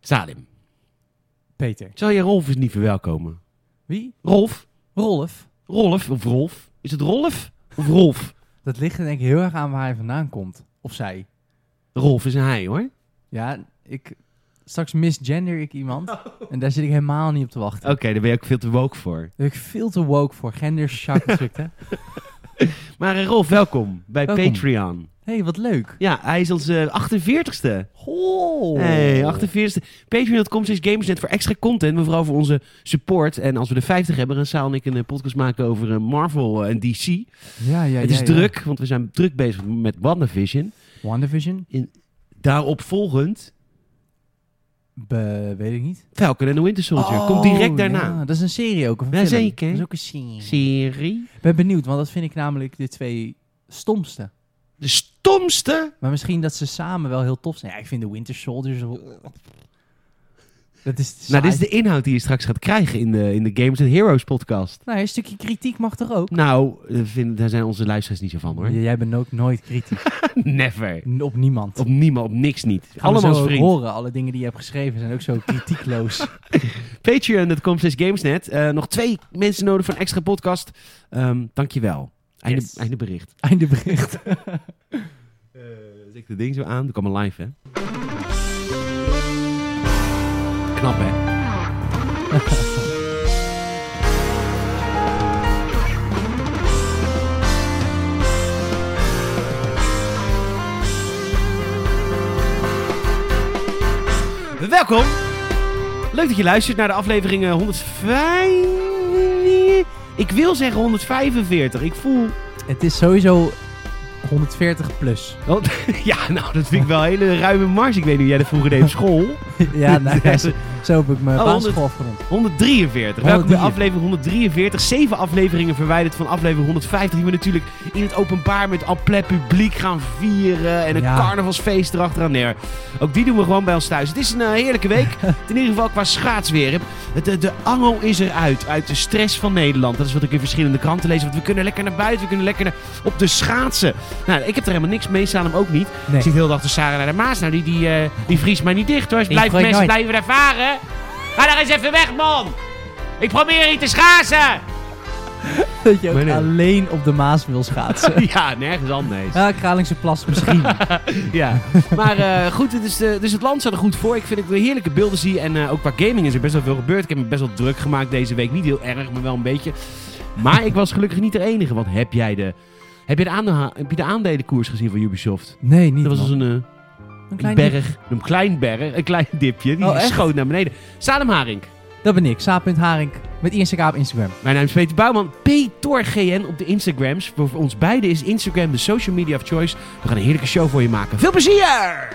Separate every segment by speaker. Speaker 1: Salim,
Speaker 2: Peter.
Speaker 1: zou je Rolf eens niet verwelkomen?
Speaker 2: Wie?
Speaker 1: Rolf?
Speaker 2: Rolf.
Speaker 1: Rolf of Rolf? Is het Rolf of Rolf?
Speaker 2: Dat ligt er denk ik heel erg aan waar hij vandaan komt. Of zij.
Speaker 1: Rolf is een hij hoor.
Speaker 2: Ja, ik... Oh. Straks misgender ik iemand. En daar zit ik helemaal niet op te wachten.
Speaker 1: Oké, daar ben je ook veel te woke voor.
Speaker 2: Daar ben ik veel te woke voor. Gendershark hè?
Speaker 1: Maar eh, Rolf, welkom bij
Speaker 2: Welkom.
Speaker 1: Patreon.
Speaker 2: Hé, hey, wat leuk.
Speaker 1: Ja, hij is onze 48ste.
Speaker 2: Oh.
Speaker 1: Hey, 48. Patreon.com slash gamersnet voor extra content, maar vooral voor onze support. En als we de 50 hebben, dan zal ik een eh, podcast maken over eh, Marvel en DC.
Speaker 2: Ja, ja,
Speaker 1: het
Speaker 2: ja,
Speaker 1: is
Speaker 2: ja.
Speaker 1: druk, want we zijn druk bezig met WandaVision.
Speaker 2: WandaVision?
Speaker 1: Daarop volgend
Speaker 2: Be- weet ik niet.
Speaker 1: Falcon en the Winter Soldier. Komt
Speaker 2: Oh,
Speaker 1: direct daarna.
Speaker 2: ja, dat is een serie ook. Of een
Speaker 1: Ja,
Speaker 2: film.
Speaker 1: zeker.
Speaker 2: Dat is ook een serie.
Speaker 1: Serie.
Speaker 2: Ik ben benieuwd, want dat vind ik namelijk de twee stomste.
Speaker 1: De stomste.
Speaker 2: Maar misschien dat ze samen wel heel tof zijn. Ja, ik vind de Winter Soldiers... wel- Dat is
Speaker 1: Nou, dit is
Speaker 2: saai.
Speaker 1: de inhoud die je straks gaat krijgen in de, in de Games and Heroes podcast.
Speaker 2: Nou, een stukje kritiek mag er ook.
Speaker 1: Nou, eh, vind, daar zijn onze luisteraars niet zo van hoor.
Speaker 2: Ja, jij bent ook nooit kritisch.
Speaker 1: Never.
Speaker 2: N- op niemand.
Speaker 1: Op niemand, op niks niet.
Speaker 2: Gaan we
Speaker 1: Allemaal
Speaker 2: zo
Speaker 1: als vriend.
Speaker 2: horen. Alle dingen die je hebt geschreven zijn ook zo kritiekloos.
Speaker 1: Patreon.com slash Gamesnet. Eh, nog twee mensen nodig voor een extra podcast. Ehm dankjewel. Einde,
Speaker 2: Yes.
Speaker 1: einde bericht.
Speaker 2: Einde bericht.
Speaker 1: Zet ik eh, de ding zo aan. Doe ik allemaal live, hè? Knap, hè? Welkom! Leuk dat je luistert naar de aflevering eh, 105. Ik wil zeggen 145. Ik voel
Speaker 2: Het is sowieso 140 plus.
Speaker 1: Oh, ja, nou, dat vind ik wel een hele ruime marge. Ik weet niet hoe jij dat vroeger deed op school.
Speaker 2: ja, nou, ja, zo, zo heb ik mijn
Speaker 1: Oh,
Speaker 2: basisschool afgerond.
Speaker 1: 143. Welkom bij
Speaker 2: 143.
Speaker 1: aflevering 143. Zeven afleveringen verwijderd van aflevering 150. Die we natuurlijk in het openbaar met al plek publiek gaan vieren. En een
Speaker 2: Ja.
Speaker 1: carnavalsfeest erachteraan neer. Ook die doen we gewoon bij ons thuis. Het is een eh, heerlijke week. in ieder geval qua schaatsweer. Het, eh, de, de angel is eruit. Uit de stress van Nederland. Dat is wat ik in verschillende kranten lees. Want we kunnen lekker naar buiten. We kunnen lekker naar- op de schaatsen. Nou, ik heb er helemaal niks mee. Salem ook niet.
Speaker 2: Nee.
Speaker 1: Ik zit heel de dag te Sarah naar de Maas. Nou, die, die, eh, die vriest mij niet dicht hoor. Als
Speaker 2: Die
Speaker 1: blijft
Speaker 2: groeit
Speaker 1: mensen
Speaker 2: nooit.
Speaker 1: blijven daar varen. Ga daar eens even weg, man. Ik probeer hier te schaatsen.
Speaker 2: Dat je ook
Speaker 1: Maar nee.
Speaker 2: alleen op de Maas wil schaatsen.
Speaker 1: Ja, nergens anders.
Speaker 2: ja, Kralingse plas misschien.
Speaker 1: Ja. Maar eh, goed, het is, eh, dus het land staat er goed voor. Ik vind dat ik weer heerlijke beelden zie. En eh, ook qua gaming is er best wel veel gebeurd. Ik heb me best wel druk gemaakt deze week. Niet heel erg, maar wel een beetje. Maar ik was gelukkig niet de enige. Want heb jij de, heb je de, aandeha- heb je de aandelenkoers gezien van Ubisoft?
Speaker 2: Nee, niet
Speaker 1: Dat was
Speaker 2: man.
Speaker 1: als een... eh,
Speaker 2: Een
Speaker 1: Een
Speaker 2: klein
Speaker 1: berg, een klein berg, een klein dipje. Die
Speaker 2: Oh, echt?
Speaker 1: schoot naar beneden. Salem Haring.
Speaker 2: dip. Dat ben ik, Saap.Haring. Met Insta op Instagram.
Speaker 1: Mijn naam is Peter Bouwman. PetorGN op de Instagrams. Voor voor ons beiden is Instagram de social media of choice. We gaan een heerlijke show voor je maken. Veel plezier!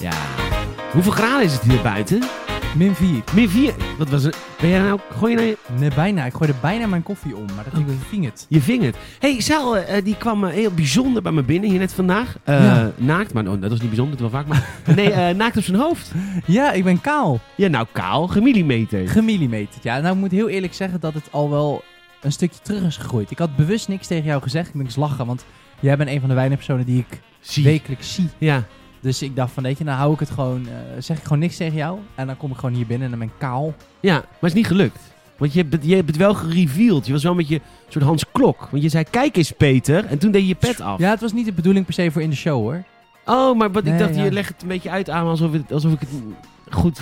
Speaker 1: Ja. Hoeveel graden is het hier buiten?
Speaker 2: Min 4.
Speaker 1: Meer vier. Wat was het? Ben jij nou... Gooi je nou je,
Speaker 2: Nee, bijna. Ik gooide bijna mijn koffie om,
Speaker 1: Oh,
Speaker 2: maar dat ging
Speaker 1: dus-
Speaker 2: ving het.
Speaker 1: je vinger? Hé, hey, Sal, eh, die kwam eh, heel bijzonder bij me binnen hier net vandaag. Eh,
Speaker 2: Ja.
Speaker 1: Naakt, maar oh, dat was niet bijzonder, dat was vaak. Maar, nee, eh, naakt op zijn hoofd.
Speaker 2: Ja, ik ben kaal.
Speaker 1: Ja, nou kaal, gemillimeter.
Speaker 2: Gemillimeterd. Ja, nou ik moet heel eerlijk zeggen dat het al wel een stukje terug is gegroeid. Ik had bewust niks tegen jou gezegd. Ik ben eens lachen, want jij bent een van de weinige personen die ik
Speaker 1: Zie.
Speaker 2: wekelijks zie.
Speaker 1: Ja.
Speaker 2: Dus ik dacht van, weet je, nou hou ik het gewoon, eh, zeg ik gewoon niks tegen jou. En dan kom ik gewoon hier binnen en dan ben ik kaal.
Speaker 1: Ja, maar het is niet gelukt. Want je hebt, het- je hebt het wel gereveeld. Je was wel met je soort Hans Klok. Want je zei, kijk eens Peter. En toen deed je je pet af.
Speaker 2: Ja, het was niet de bedoeling per se voor in de show hoor.
Speaker 1: Oh, maar wat, ik
Speaker 2: Nee,
Speaker 1: dacht,
Speaker 2: ja.
Speaker 1: je legt het een beetje uit aan me alsof, het, alsof ik het goed...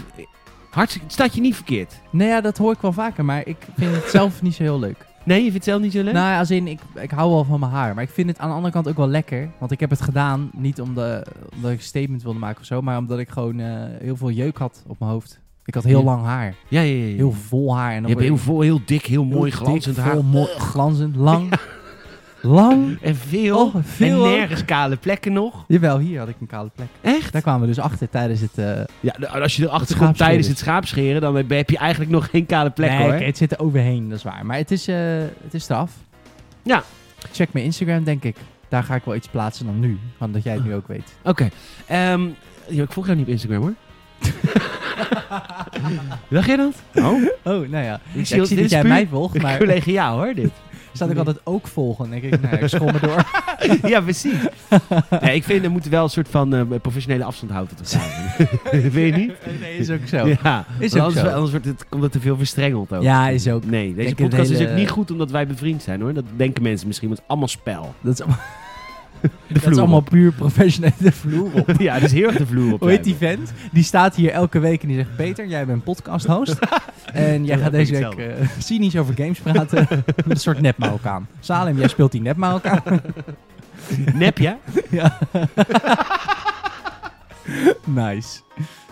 Speaker 1: Hartstikke, het staat je niet verkeerd.
Speaker 2: Nou ja, dat hoor ik wel vaker, maar ik vind het zelf niet zo heel leuk.
Speaker 1: Nee, je vindt het zelf niet zo leuk?
Speaker 2: Nou ja, als in, ik, ik hou wel van mijn haar. Maar ik vind het aan de andere kant ook wel lekker. Want ik heb het gedaan, niet om de- omdat ik een statement wilde maken of zo. Maar omdat ik gewoon eh, heel veel jeuk had op mijn hoofd. Ik had heel
Speaker 1: Ja.
Speaker 2: lang haar.
Speaker 1: ja, ja, ja, ja.
Speaker 2: Heel vol haar. En
Speaker 1: je
Speaker 2: dan
Speaker 1: hebt
Speaker 2: word
Speaker 1: nou, heel, vol, heel dik, heel mooi
Speaker 2: heel
Speaker 1: glanzend
Speaker 2: dik,
Speaker 1: haar.
Speaker 2: Vol, mooi, glanzend, lang. Lang.
Speaker 1: En veel.
Speaker 2: Oh, veel
Speaker 1: en
Speaker 2: ook.
Speaker 1: nergens kale plekken nog.
Speaker 2: Jawel, hier had ik een kale plek.
Speaker 1: Echt?
Speaker 2: Daar kwamen we dus achter tijdens het... eh
Speaker 1: Ja, d- als je erachter komt
Speaker 2: schaapscheren.
Speaker 1: tijdens het schaapscheren, dan heb je eigenlijk nog geen kale plek
Speaker 2: nee,
Speaker 1: hoor.
Speaker 2: oké, het zit er overheen, dat is waar. Maar het is, eh, het is straf.
Speaker 1: Ja.
Speaker 2: Check mijn Instagram, denk ik. Daar ga ik wel iets plaatsen dan nu. Want dat jij het nu ook weet.
Speaker 1: Oké. ehm, ja, ik volg jou niet op Instagram hoor. Dacht jij dat? Oh,
Speaker 2: Oh, nou ja.
Speaker 1: ik
Speaker 2: Ja, ik zie dat jij mij volgt, maar
Speaker 1: Collegiaal hoor, dit.
Speaker 2: staat ik altijd ook volgen. Dan denk ik, nou ja, ik schommel door.
Speaker 1: ja, precies. Nee, ik vind er moet wel een soort van eh, professionele afstand houden tot elkaar. Vind je niet?
Speaker 2: Nee, is ook zo.
Speaker 1: Ja,
Speaker 2: Is
Speaker 1: want
Speaker 2: ook
Speaker 1: anders,
Speaker 2: zo.
Speaker 1: anders wordt het, komt het te veel verstrengeld ook.
Speaker 2: Ja, is ook.
Speaker 1: Nee, deze
Speaker 2: Denk het
Speaker 1: podcast is
Speaker 2: hele-
Speaker 1: ook niet goed omdat wij bevriend zijn hoor. Dat denken mensen misschien, want het is allemaal spel.
Speaker 2: Dat is, allemaal-
Speaker 1: De
Speaker 2: dat is allemaal puur professioneel de vloer op.
Speaker 1: op. Ja, dat is heel erg de vloer op.
Speaker 2: Hoe heet die vent? Die staat hier elke week en die zegt... Peter, jij bent podcast-host. en jij
Speaker 1: Ja,
Speaker 2: gaat
Speaker 1: dat
Speaker 2: deze
Speaker 1: denk
Speaker 2: week
Speaker 1: ik
Speaker 2: eh, cynisch over games praten. met een soort nepmauk aan. Salem, jij speelt die nepmauk aan.
Speaker 1: Nep, ja?
Speaker 2: ja. nice.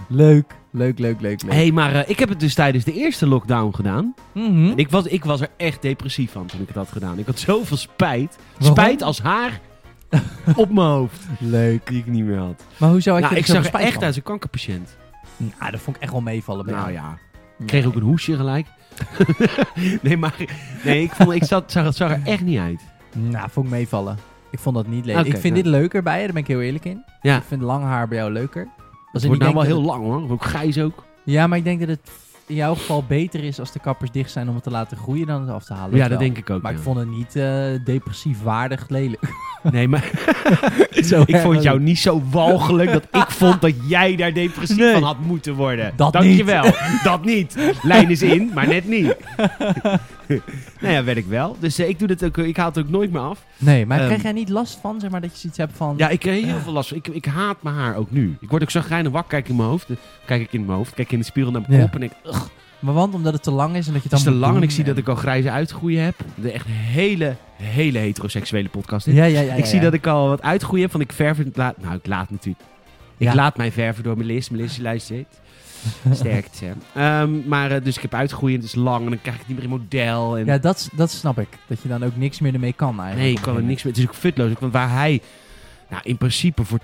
Speaker 2: Leuk. Leuk, leuk, leuk, leuk.
Speaker 1: Hé, hey, maar eh, ik heb het dus tijdens de eerste lockdown gedaan.
Speaker 2: Mhm.
Speaker 1: En ik was, ik was er echt depressief van toen ik het had gedaan. Ik had zoveel spijt.
Speaker 2: Waarom?
Speaker 1: Spijt als haar op mijn hoofd.
Speaker 2: Leuk.
Speaker 1: Die ik niet meer had.
Speaker 2: Maar hoezo had
Speaker 1: nou,
Speaker 2: je
Speaker 1: ik
Speaker 2: er zoveel
Speaker 1: zag er
Speaker 2: spijt
Speaker 1: echt
Speaker 2: van?
Speaker 1: uit als een kankerpatiënt.
Speaker 2: Nou, dat vond ik echt wel meevallen. bij
Speaker 1: Nou
Speaker 2: jou.
Speaker 1: ja, ik kreeg ook een hoesje gelijk. nee, maar nee, ik, vond, ik zat, zag, het zag er echt niet uit.
Speaker 2: Nou, vond ik meevallen. Ik vond dat niet leuk.
Speaker 1: Oké,
Speaker 2: ik vind
Speaker 1: ja.
Speaker 2: dit leuker bij je, daar ben ik heel eerlijk in.
Speaker 1: Ja.
Speaker 2: Ik vind lang haar bij jou leuker.
Speaker 1: Het
Speaker 2: in
Speaker 1: wordt
Speaker 2: die
Speaker 1: nou wel
Speaker 2: denk
Speaker 1: heel lang hoor. Ook grijs ook.
Speaker 2: Ja, maar ik denk dat het in jouw geval beter is als de kappers dicht zijn om het te laten groeien dan het af te halen.
Speaker 1: ja, dat
Speaker 2: wel.
Speaker 1: denk ik ook.
Speaker 2: Maar
Speaker 1: ja.
Speaker 2: ik vond het niet eh, depressief waardig lelijk.
Speaker 1: Nee, maar
Speaker 2: Zo
Speaker 1: ik vond
Speaker 2: erg.
Speaker 1: jou niet zo walgelijk dat ik vond dat jij daar depressief
Speaker 2: Nee.
Speaker 1: van had moeten worden.
Speaker 2: Dat
Speaker 1: Dankjewel. dat niet. Lijn is in, maar net niet. nou ja, weet ik wel. Dus eh, ik doe dat ook. eh, Ik haal het ook nooit meer af.
Speaker 2: Nee, maar
Speaker 1: Ehm.
Speaker 2: kreeg jij niet last van, zeg maar, dat je zoiets hebt van...
Speaker 1: Ja, ik kreeg heel veel last. van. Ik, ik haat mijn haar ook nu. Ik word ook zo en wakker. Kijk in mijn hoofd. eh, Kijk ik in mijn hoofd. Kijk in de spiegel naar mijn
Speaker 2: Ja.
Speaker 1: kop en ik. Ugh,
Speaker 2: Maar want omdat het te lang is en dat je het
Speaker 1: Het is
Speaker 2: dan
Speaker 1: te
Speaker 2: moet
Speaker 1: lang en
Speaker 2: doen
Speaker 1: ik zie
Speaker 2: en-
Speaker 1: dat ik al grijze uitgroeien heb. De echt hele, hele heteroseksuele podcast. dit.
Speaker 2: Ja, ja, ja.
Speaker 1: ik zie dat ik al wat uitgroeien heb, want ik verf het laat... Nou, ik laat natuurlijk. Ik
Speaker 2: Ja.
Speaker 1: laat mij verven door Melis. Melis, je luistert. Sterkte. Ehm, maar eh, dus ik heb uitgroeien, het is lang en dan krijg ik niet meer in model. En...
Speaker 2: Ja, dat, s- dat snap ik. Dat je dan ook niks meer ermee kan eigenlijk.
Speaker 1: nee, ik kan er niks meer. Het is ook futloos. ook, Want waar hij nou, in principe voor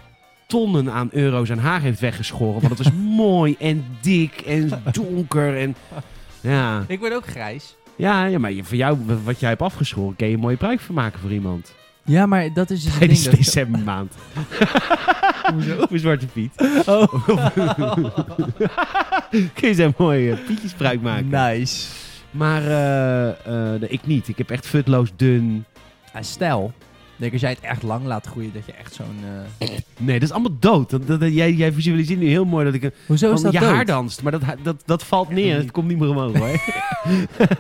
Speaker 1: tonnen aan euro's aan haar heeft weggeschoren. Want het was mooi en dik en donker en... Ja.
Speaker 2: Ik word ook grijs.
Speaker 1: Ja, ja maar je- voor jou, w- wat jij hebt afgeschoren, kun je een mooie pruik van maken voor iemand.
Speaker 2: Ja, maar dat is dus het
Speaker 1: Tijdens
Speaker 2: ding. dat-
Speaker 1: decembermaand. Hoezo? Voor Zwarte Piet.
Speaker 2: Oh,
Speaker 1: kun je zo'n mooie eh, pietjespruik maken.
Speaker 2: nice.
Speaker 1: Maar eh, eh, nee, ik niet. Ik heb echt futloos dun.
Speaker 2: Ja, stel, denk als jij het echt lang laat groeien, dat je echt zo'n... eh,
Speaker 1: Nee, dat is allemaal dood. Dat, dat, dat- jij, jij visualiseert nu heel mooi dat ik een,
Speaker 2: Hoezo is
Speaker 1: van
Speaker 2: dat
Speaker 1: je
Speaker 2: dood?
Speaker 1: haar danst. Maar dat, ha- dat, dat valt neer. Het komt niet meer omhoog hoor.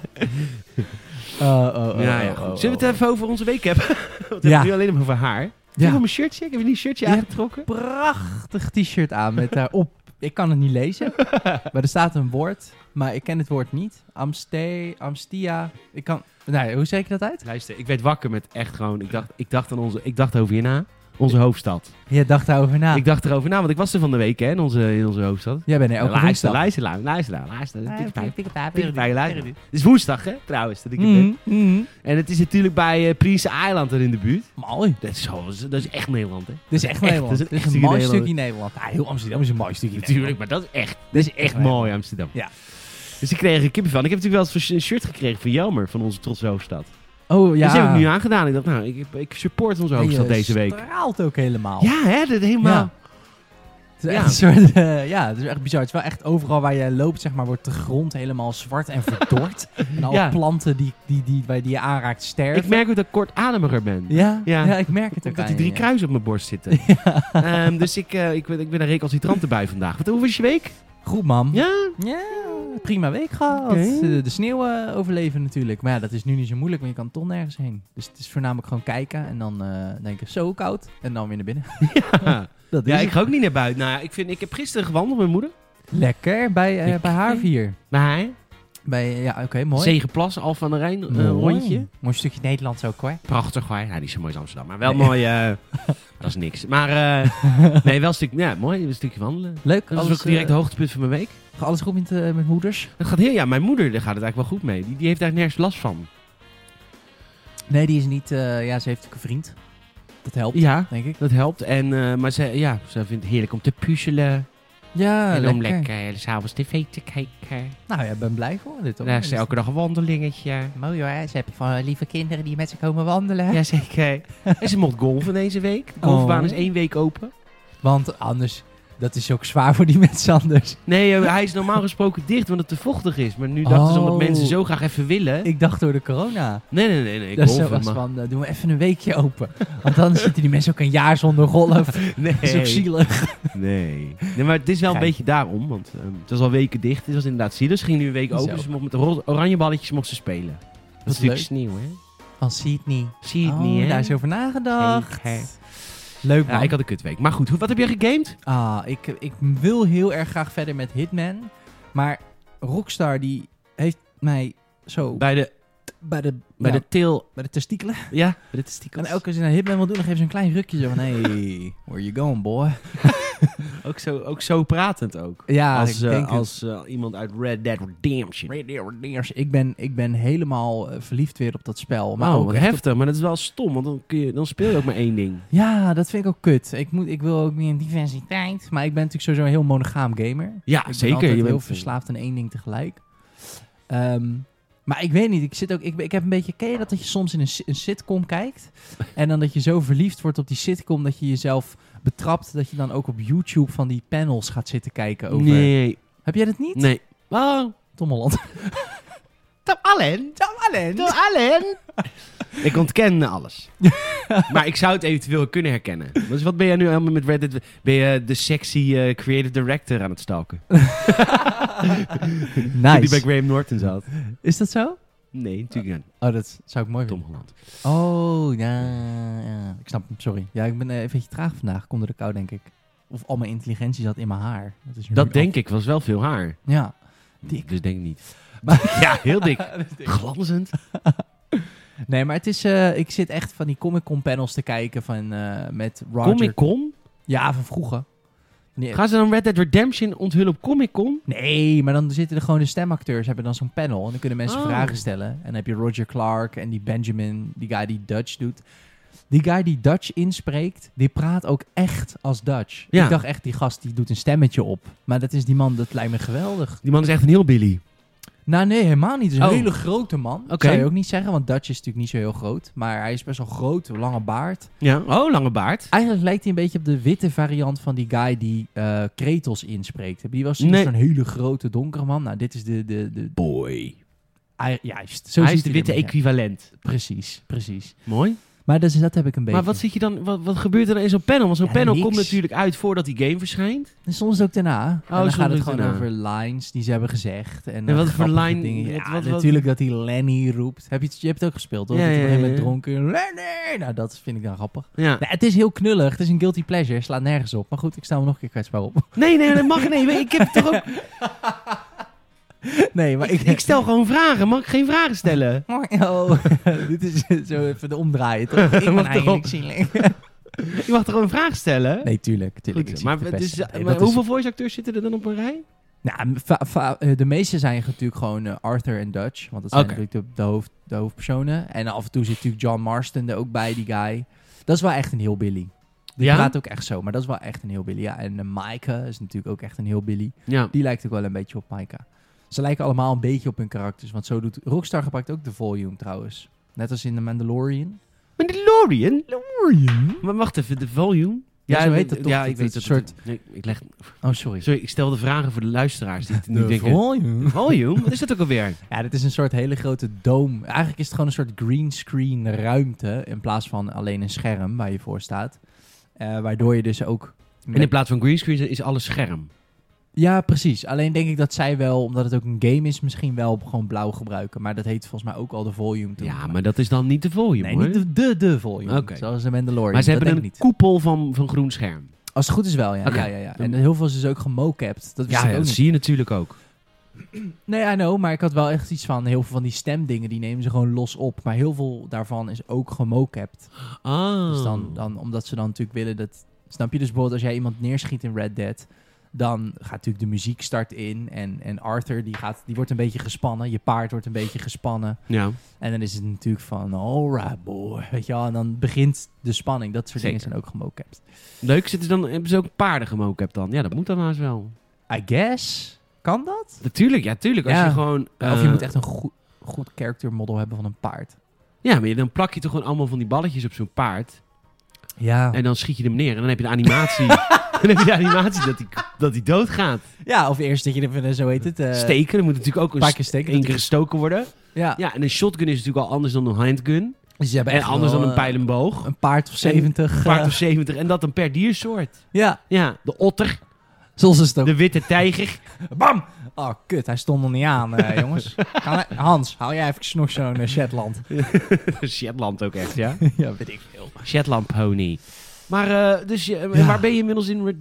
Speaker 2: Oh, oh, oh,
Speaker 1: ja, ja,
Speaker 2: oh,
Speaker 1: goed.
Speaker 2: oh,
Speaker 1: Zullen we
Speaker 2: oh.
Speaker 1: het even over onze week hebben? Want we
Speaker 2: Ja.
Speaker 1: hebben nu alleen maar over haar. Heb je
Speaker 2: Ja,
Speaker 1: nog mijn shirtje? Ik heb je niet shirtje
Speaker 2: Ja.
Speaker 1: aangetrokken?
Speaker 2: prachtig t-shirt aan met daarop... Ik kan het niet lezen, maar er staat een woord, maar ik ken het woord niet. Amste, Amstia, ik kan... Nee, hoe zeg ik dat uit?
Speaker 1: Luister, ik werd wakker met echt gewoon. Ik dacht, ik dacht aan onze. Ik dacht over hierna. Onze hoofdstad.
Speaker 2: Je dacht daarover na.
Speaker 1: Ik dacht erover na, want ik was er van de week hè, in, onze, in onze hoofdstad.
Speaker 2: Jij bent er elke
Speaker 1: Luister,
Speaker 2: woensdag.
Speaker 1: luister, luister, luister, luister.
Speaker 2: Ah,
Speaker 1: Tikkertij, tikkertij, luister.
Speaker 2: Mm,
Speaker 1: Het is woensdag, hè, trouwens, dat ik er ben.
Speaker 2: mm.
Speaker 1: En het is natuurlijk bij eh, Prinsen Eiland er in de buurt.
Speaker 2: Mooi.
Speaker 1: Dat is, zo, dat is echt Nederland, hè?
Speaker 2: Dit is echt Nederland.
Speaker 1: dat
Speaker 2: Dit
Speaker 1: is
Speaker 2: is
Speaker 1: echt
Speaker 2: een mooi
Speaker 1: Nederland.
Speaker 2: stukje Nederland. Ja, heel Amsterdam is een mooi stukje
Speaker 1: Natuurlijk, maar dat is echt,
Speaker 2: Dit is
Speaker 1: echt mooi Amsterdam.
Speaker 2: Ja.
Speaker 1: Dus ik kreeg een kippenvel. En Ik heb natuurlijk wel eens een shirt gekregen van Jelmer, van onze trotse hoofdstad.
Speaker 2: Oh ja. Ah,
Speaker 1: Dus heb ik nu aangedaan. Ik dacht, nou, ik, ik support onze
Speaker 2: En je
Speaker 1: hoofdstad deze week.
Speaker 2: straalt ook helemaal.
Speaker 1: Ja, hè, dat helemaal...
Speaker 2: Ja. Het is
Speaker 1: Ja.
Speaker 2: echt een soort, eh, ja, het is echt bizar. Het is wel echt overal waar jij loopt, zeg maar, wordt de grond helemaal zwart en verdord. en alle
Speaker 1: Ja.
Speaker 2: planten die, die, die, bij die je aanraakt sterven.
Speaker 1: Ik merk ook dat ik kortademiger ben.
Speaker 2: ja,
Speaker 1: Ja.
Speaker 2: ja. ik merk het ook
Speaker 1: Omdat
Speaker 2: aan
Speaker 1: die drie
Speaker 2: je.
Speaker 1: kruisen op mijn borst zitten. Ehm, dus ik, eh, ik, ben, ik ben een recalcitrant erbij vandaag. Wat, hoe was je week?
Speaker 2: Goed, mam.
Speaker 1: Ja?
Speaker 2: Ja, prima week gehad.
Speaker 1: Oké.
Speaker 2: De, de sneeuw eh, overleven natuurlijk. Maar ja, dat is nu niet zo moeilijk, want je kan toch nergens heen. Dus het is voornamelijk gewoon kijken en dan eh, denken, zo koud. En dan weer naar binnen. Dat is
Speaker 1: Ja, Dus
Speaker 2: het.
Speaker 1: ik ga ook niet naar buiten. Nou, ja, ik, vind, ik heb gisteren gewandeld met mijn moeder.
Speaker 2: Lekker, bij, eh,
Speaker 1: Ik-
Speaker 2: bij haar vier.
Speaker 1: Naar haar.
Speaker 2: Bij, eh, ja, oké, mooi.
Speaker 1: Zegenplas, Al van de Rijn, eh,
Speaker 2: Mooi.
Speaker 1: rondje.
Speaker 2: Mooi stukje Nederlands ook hoor.
Speaker 1: Prachtig hoor. Nou, niet zo mooi als Amsterdam, maar wel
Speaker 2: Nee.
Speaker 1: mooi. eh, dat is niks. Maar eh, nee, wel een stuk, ja, mooi, een stukje wandelen.
Speaker 2: Leuk.
Speaker 1: Dat was ook
Speaker 2: eh,
Speaker 1: direct het hoogtepunt van mijn week.
Speaker 2: Alles goed met, eh, met moeders?
Speaker 1: Dat gaat heel, ja, mijn moeder daar gaat het eigenlijk wel goed mee. Die, die heeft daar nergens last van.
Speaker 2: Nee, die is niet... eh, ja, ze heeft natuurlijk een vriend. Dat helpt,
Speaker 1: Ja,
Speaker 2: denk ik.
Speaker 1: dat helpt. En, eh, maar ze, ja, ze vindt het heerlijk om te puzzelen.
Speaker 2: Ja,
Speaker 1: en
Speaker 2: Ah, lekker.
Speaker 1: om lekker eh, s'avonds tv te kijken.
Speaker 2: Nou ja, ben blij voor dit. hoor.
Speaker 1: Daar
Speaker 2: Is
Speaker 1: is elke dag een wandelingetje.
Speaker 2: Mooi hoor, ze hebben van eh, lieve kinderen die met ze komen wandelen.
Speaker 1: Jazeker. en ze mocht golven deze week. De golfbaan
Speaker 2: Oh.
Speaker 1: is één week open.
Speaker 2: Want anders, dat is ook zwaar voor die mensen anders.
Speaker 1: Nee, eh, hij is normaal gesproken dicht, omdat het te vochtig is. Maar nu dachten ze, omdat
Speaker 2: Oh.
Speaker 1: mensen zo graag even willen.
Speaker 2: Ik dacht door de corona.
Speaker 1: Nee, nee, nee, nee.
Speaker 2: dat is zo
Speaker 1: golven
Speaker 2: was
Speaker 1: mag.
Speaker 2: van, eh, doen we even een weekje open. Want anders zitten die mensen ook een jaar zonder golf. Dat is ook
Speaker 1: Nee.
Speaker 2: zielig.
Speaker 1: nee. Nee, maar het is wel een
Speaker 2: Gein.
Speaker 1: beetje daarom. Want ehm, het was al weken dicht. Het was inderdaad zielig. Ze ging nu een week open.
Speaker 2: Zo.
Speaker 1: Dus ze mocht met de ro- oranje balletjes mocht ze spelen. Dat is
Speaker 2: leuk.
Speaker 1: natuurlijk sneeuw, hè?
Speaker 2: Van Sydney.
Speaker 1: Zie je het
Speaker 2: oh,
Speaker 1: niet, hè?
Speaker 2: daar is over nagedacht.
Speaker 1: Zeker.
Speaker 2: Leuk man.
Speaker 1: Ja, ik had een kutweek. Maar goed, hoe- wat heb jij gegamed?
Speaker 2: Ah, ik, ik wil heel erg graag verder met Hitman. Maar Rockstar die heeft mij zo bij,
Speaker 1: Bij de,
Speaker 2: de,
Speaker 1: bij
Speaker 2: ja,
Speaker 1: de til...
Speaker 2: bij de testikelen.
Speaker 1: Ja, Nou. bij de
Speaker 2: En
Speaker 1: testikels.
Speaker 2: elke keer als je naar Hitman wil doen, dan geven ze een klein rukje zo van... Hey, where you going, boy?
Speaker 1: Ook zo, ook zo pratend ook.
Speaker 2: Ja,
Speaker 1: als
Speaker 2: ik
Speaker 1: eh,
Speaker 2: denk het.
Speaker 1: als eh, iemand uit Red Dead Redemption.
Speaker 2: Red Dead Redemption. Ik ben, ik ben helemaal eh, verliefd weer op dat spel. Maar
Speaker 1: Maar
Speaker 2: ook
Speaker 1: oh,
Speaker 2: echt op-
Speaker 1: heftig. Maar dat is wel stom, want dan, kun je, dan speel je ook maar één ding.
Speaker 2: Ja, dat vind ik ook kut. Ik, moet, ik wil ook meer diversiteit. Maar ik ben natuurlijk sowieso een heel monogaam gamer.
Speaker 1: Ja,
Speaker 2: Ik
Speaker 1: zeker.
Speaker 2: ben altijd
Speaker 1: je
Speaker 2: heel
Speaker 1: bent-
Speaker 2: verslaafd aan één ding tegelijk. Ehm, maar ik weet niet, ik, zit ook, ik, ik heb een beetje... Ken je dat, dat je soms in een, si- een sitcom kijkt? En dan dat je zo verliefd wordt op die sitcom... dat je jezelf betrapt dat je dan ook op YouTube van die panels gaat zitten kijken over...
Speaker 1: Nee,
Speaker 2: Heb jij dat niet?
Speaker 1: nee. Oh.
Speaker 2: Tom Holland.
Speaker 1: Tom Allen.
Speaker 2: Tom Holland!
Speaker 1: Tom Allen. ik ontken alles. maar ik zou het eventueel kunnen herkennen. Dus wat ben jij nu helemaal met Red Dead? Ben je de sexy eh, creative director aan het stalken? Die bij
Speaker 2: nice.
Speaker 1: Graham Norton zat.
Speaker 2: Is dat zo?
Speaker 1: Nee, natuurlijk niet.
Speaker 2: Oh, dat zou ik mooi
Speaker 1: Tom
Speaker 2: vinden.
Speaker 1: Holland.
Speaker 2: Oh, ja, ja. Ik snap hem, sorry. Ja, ik ben eh, een beetje traag vandaag. Komt door de kou, denk ik. Of al mijn intelligentie zat in mijn haar. Dat, is nu
Speaker 1: Dat
Speaker 2: af.
Speaker 1: denk ik, was wel veel haar.
Speaker 2: Ja. Dik.
Speaker 1: Dus denk ik niet.
Speaker 2: Maar-
Speaker 1: Ja, heel dik.
Speaker 2: Dat is dik.
Speaker 1: Glanzend.
Speaker 2: Nee, maar het is... eh, ik zit echt van die Comic-Con panels te kijken van, eh, met Roger.
Speaker 1: Comic Con?
Speaker 2: Ja, van vroeger. Nee,
Speaker 1: Gaan ze dan Red Dead Redemption onthullen op Comic Con?
Speaker 2: nee, maar dan zitten er gewoon de stemacteurs, hebben dan zo'n panel. En dan kunnen mensen
Speaker 1: Oh.
Speaker 2: vragen stellen. En dan heb je Roger Clark en die Benjamin, die guy die Dutch doet. Die guy die Dutch inspreekt, die praat ook echt als Dutch.
Speaker 1: Ja.
Speaker 2: Ik dacht echt, die gast die doet een stemmetje op. Maar dat is die man, dat lijkt me geweldig.
Speaker 1: Die man is echt een heel Billy.
Speaker 2: Nou nee, helemaal niet. Het is een
Speaker 1: Oh.
Speaker 2: hele grote man. Dat
Speaker 1: Oké.
Speaker 2: zou je ook niet zeggen, want Dutch is natuurlijk niet zo heel groot. Maar hij is best wel groot, lange baard.
Speaker 1: Ja. Oh, lange baard.
Speaker 2: Eigenlijk lijkt hij een beetje op de witte variant van die guy die eh Kretos inspreekt. Die was
Speaker 1: Nee.
Speaker 2: zo'n hele grote donkere man. Nou, dit is de... de, de
Speaker 1: Boy.
Speaker 2: hij, juist, zo
Speaker 1: Hij is
Speaker 2: ziet
Speaker 1: de witte
Speaker 2: hij er een beetje
Speaker 1: equivalent.
Speaker 2: uit. Precies, precies.
Speaker 1: Mooi.
Speaker 2: Maar dus, dat heb ik een beetje.
Speaker 1: Maar wat, zit je dan, wat, wat gebeurt er dan in zo'n panel? Want zo'n
Speaker 2: Ja,
Speaker 1: panel
Speaker 2: niks.
Speaker 1: komt natuurlijk uit voordat die game verschijnt.
Speaker 2: En soms ook daarna. en dan
Speaker 1: Oh, soms
Speaker 2: gaat het
Speaker 1: ook
Speaker 2: gewoon
Speaker 1: daarna.
Speaker 2: over lines die ze hebben gezegd. En, eh,
Speaker 1: En wat voor
Speaker 2: grappige
Speaker 1: line-
Speaker 2: Dingen.
Speaker 1: wat-
Speaker 2: Ja,
Speaker 1: wat- wat-
Speaker 2: natuurlijk dat hij Lenny roept. Heb je, het, je hebt het ook gespeeld, hoor.
Speaker 1: Ja,
Speaker 2: dat hij op een
Speaker 1: ja,
Speaker 2: gegeven
Speaker 1: ja,
Speaker 2: moment dronken... Lenny! Nou, dat vind ik dan grappig.
Speaker 1: Ja.
Speaker 2: Nou, het is heel knullig. Het is een guilty pleasure. Slaat nergens op. Maar goed, ik sta me nog een keer kwetsbaar op.
Speaker 1: Nee, nee, dat mag niet. Ik, heb toch ook,
Speaker 2: nee, maar ik...
Speaker 1: ik stel gewoon vragen. Mag ik geen vragen stellen?
Speaker 2: Oh, dit is zo even de omdraaien, toch? Ik ben
Speaker 1: Wat
Speaker 2: eigenlijk
Speaker 1: toch?
Speaker 2: zielig.
Speaker 1: Je mag toch gewoon vragen stellen?
Speaker 2: Nee, tuurlijk. tuurlijk
Speaker 1: Goed,
Speaker 2: ik
Speaker 1: maar
Speaker 2: zie het
Speaker 1: het is-
Speaker 2: best. Nee,
Speaker 1: maar
Speaker 2: dat is-
Speaker 1: hoeveel voice acteurs zitten er dan op een rij?
Speaker 2: Nou, va- va- eh, de meeste zijn natuurlijk gewoon eh, Arthur en Dutch. Want dat zijn
Speaker 1: Oké.
Speaker 2: natuurlijk de, de, hoofd, de hoofdpersonen. En af en toe zit natuurlijk John Marston er ook bij, die guy. Dat is wel echt een heel Billy. Die
Speaker 1: Ja?
Speaker 2: praat ook echt zo, maar dat is wel echt een heel Billy. Ja, en eh, Maaike is natuurlijk ook echt een heel Billy.
Speaker 1: Ja.
Speaker 2: Die lijkt ook wel een beetje op Maaika. Ze lijken allemaal een beetje op hun karakters. Want zo doet... Rockstar gebruikt ook de volume trouwens. Net als in The Mandalorian.
Speaker 1: Mandalorian?
Speaker 2: Mandalorian?
Speaker 1: Maar wacht even, de volume?
Speaker 2: Ja, zo heet dat toch?
Speaker 1: Ja,
Speaker 2: Dat
Speaker 1: ik
Speaker 2: het
Speaker 1: weet het.
Speaker 2: een soort-
Speaker 1: Nee, ik leg...
Speaker 2: Oh, sorry.
Speaker 1: Sorry, ik stel de vragen voor de luisteraars die het nu
Speaker 2: De
Speaker 1: denken...
Speaker 2: volume.
Speaker 1: Volume? Wat is dat ook alweer?
Speaker 2: Ja, dit is een soort hele grote dome. Eigenlijk is het gewoon een soort greenscreen ruimte. In plaats van alleen een scherm waar je voor staat. Eh, waardoor je dus ook.
Speaker 1: En in plaats van greenscreen is alles scherm.
Speaker 2: Ja, precies. Alleen denk ik dat zij wel, omdat het ook een game is, misschien wel gewoon blauw gebruiken. Maar dat heet volgens mij ook al de volume. toen.
Speaker 1: Ja, maar dat is dan niet de volume,
Speaker 2: Nee,
Speaker 1: hoor.
Speaker 2: niet de, de, de volume.
Speaker 1: Oké.
Speaker 2: Zoals de Mandalorian.
Speaker 1: Maar ze
Speaker 2: dat
Speaker 1: hebben een
Speaker 2: denk ik niet.
Speaker 1: koepel van, van groen scherm.
Speaker 2: Als het goed is wel, ja.
Speaker 1: Oké.
Speaker 2: ja, ja, ja. En heel veel is dus ook gemocapt. Dat wist
Speaker 1: Ja, ja,
Speaker 2: ik ook
Speaker 1: dat
Speaker 2: niet.
Speaker 1: zie je natuurlijk ook.
Speaker 2: Nee, I know, maar ik had wel echt iets van heel veel van die stemdingen, die nemen ze gewoon los op. Maar heel veel daarvan is ook gemocapt.
Speaker 1: Ah.
Speaker 2: Hmm. Dus dan, dan, omdat ze dan natuurlijk willen dat... Snap je? Dus bijvoorbeeld als jij iemand neerschiet in Red Dead... Dan gaat natuurlijk de muziek start in. En, en Arthur die, gaat, die wordt een beetje gespannen. Je paard wordt een beetje gespannen.
Speaker 1: Ja.
Speaker 2: En dan is het natuurlijk van, alright boy. Weet je wel, en dan begint de spanning. Dat soort
Speaker 1: Zeker.
Speaker 2: dingen zijn ook gemocapt.
Speaker 1: Leuk, zitten ze dan, hebben ze ook paarden gemocapt dan? Ja, dat moet dan haast wel.
Speaker 2: I guess. Kan dat?
Speaker 1: Natuurlijk, ja, tuurlijk. Als
Speaker 2: Ja.
Speaker 1: je gewoon...
Speaker 2: of je
Speaker 1: eh,
Speaker 2: moet echt een goed, goed character model hebben van een paard.
Speaker 1: Ja, maar dan plak je toch gewoon allemaal van die balletjes op zo'n paard.
Speaker 2: Ja.
Speaker 1: En dan schiet je hem neer. En dan heb je de animatie. dan heb je de animatie dat hij dat hij doodgaat.
Speaker 2: ja, of eerst dat je er van, zo heet het... eh,
Speaker 1: steken, dan moet natuurlijk ook
Speaker 2: Een
Speaker 1: een
Speaker 2: paar
Speaker 1: st-
Speaker 2: keer steken.
Speaker 1: één keer gestoken worden.
Speaker 2: Ja.
Speaker 1: Ja, en een shotgun is natuurlijk al anders dan een handgun.
Speaker 2: Dus ze hebben
Speaker 1: En
Speaker 2: echt
Speaker 1: anders
Speaker 2: wel,
Speaker 1: dan een
Speaker 2: eh,
Speaker 1: pijlenboog.
Speaker 2: Een paard of 70.
Speaker 1: Paard
Speaker 2: eh,
Speaker 1: of 70. En dat dan per diersoort.
Speaker 2: ja,
Speaker 1: Ja, de otter,
Speaker 2: zoals is het ook.
Speaker 1: de witte tijger.
Speaker 2: Bam! Oh, kut. Hij stond nog niet aan, eh, jongens. Kan hij- Hans, hou jij even nog zo'n eh, Shetland.
Speaker 1: Shetland ook echt, ja.
Speaker 2: ja, weet ik veel.
Speaker 1: Shetland pony. Maar eh, dus, je- en
Speaker 2: Ja.
Speaker 1: waar ben je inmiddels in? Red,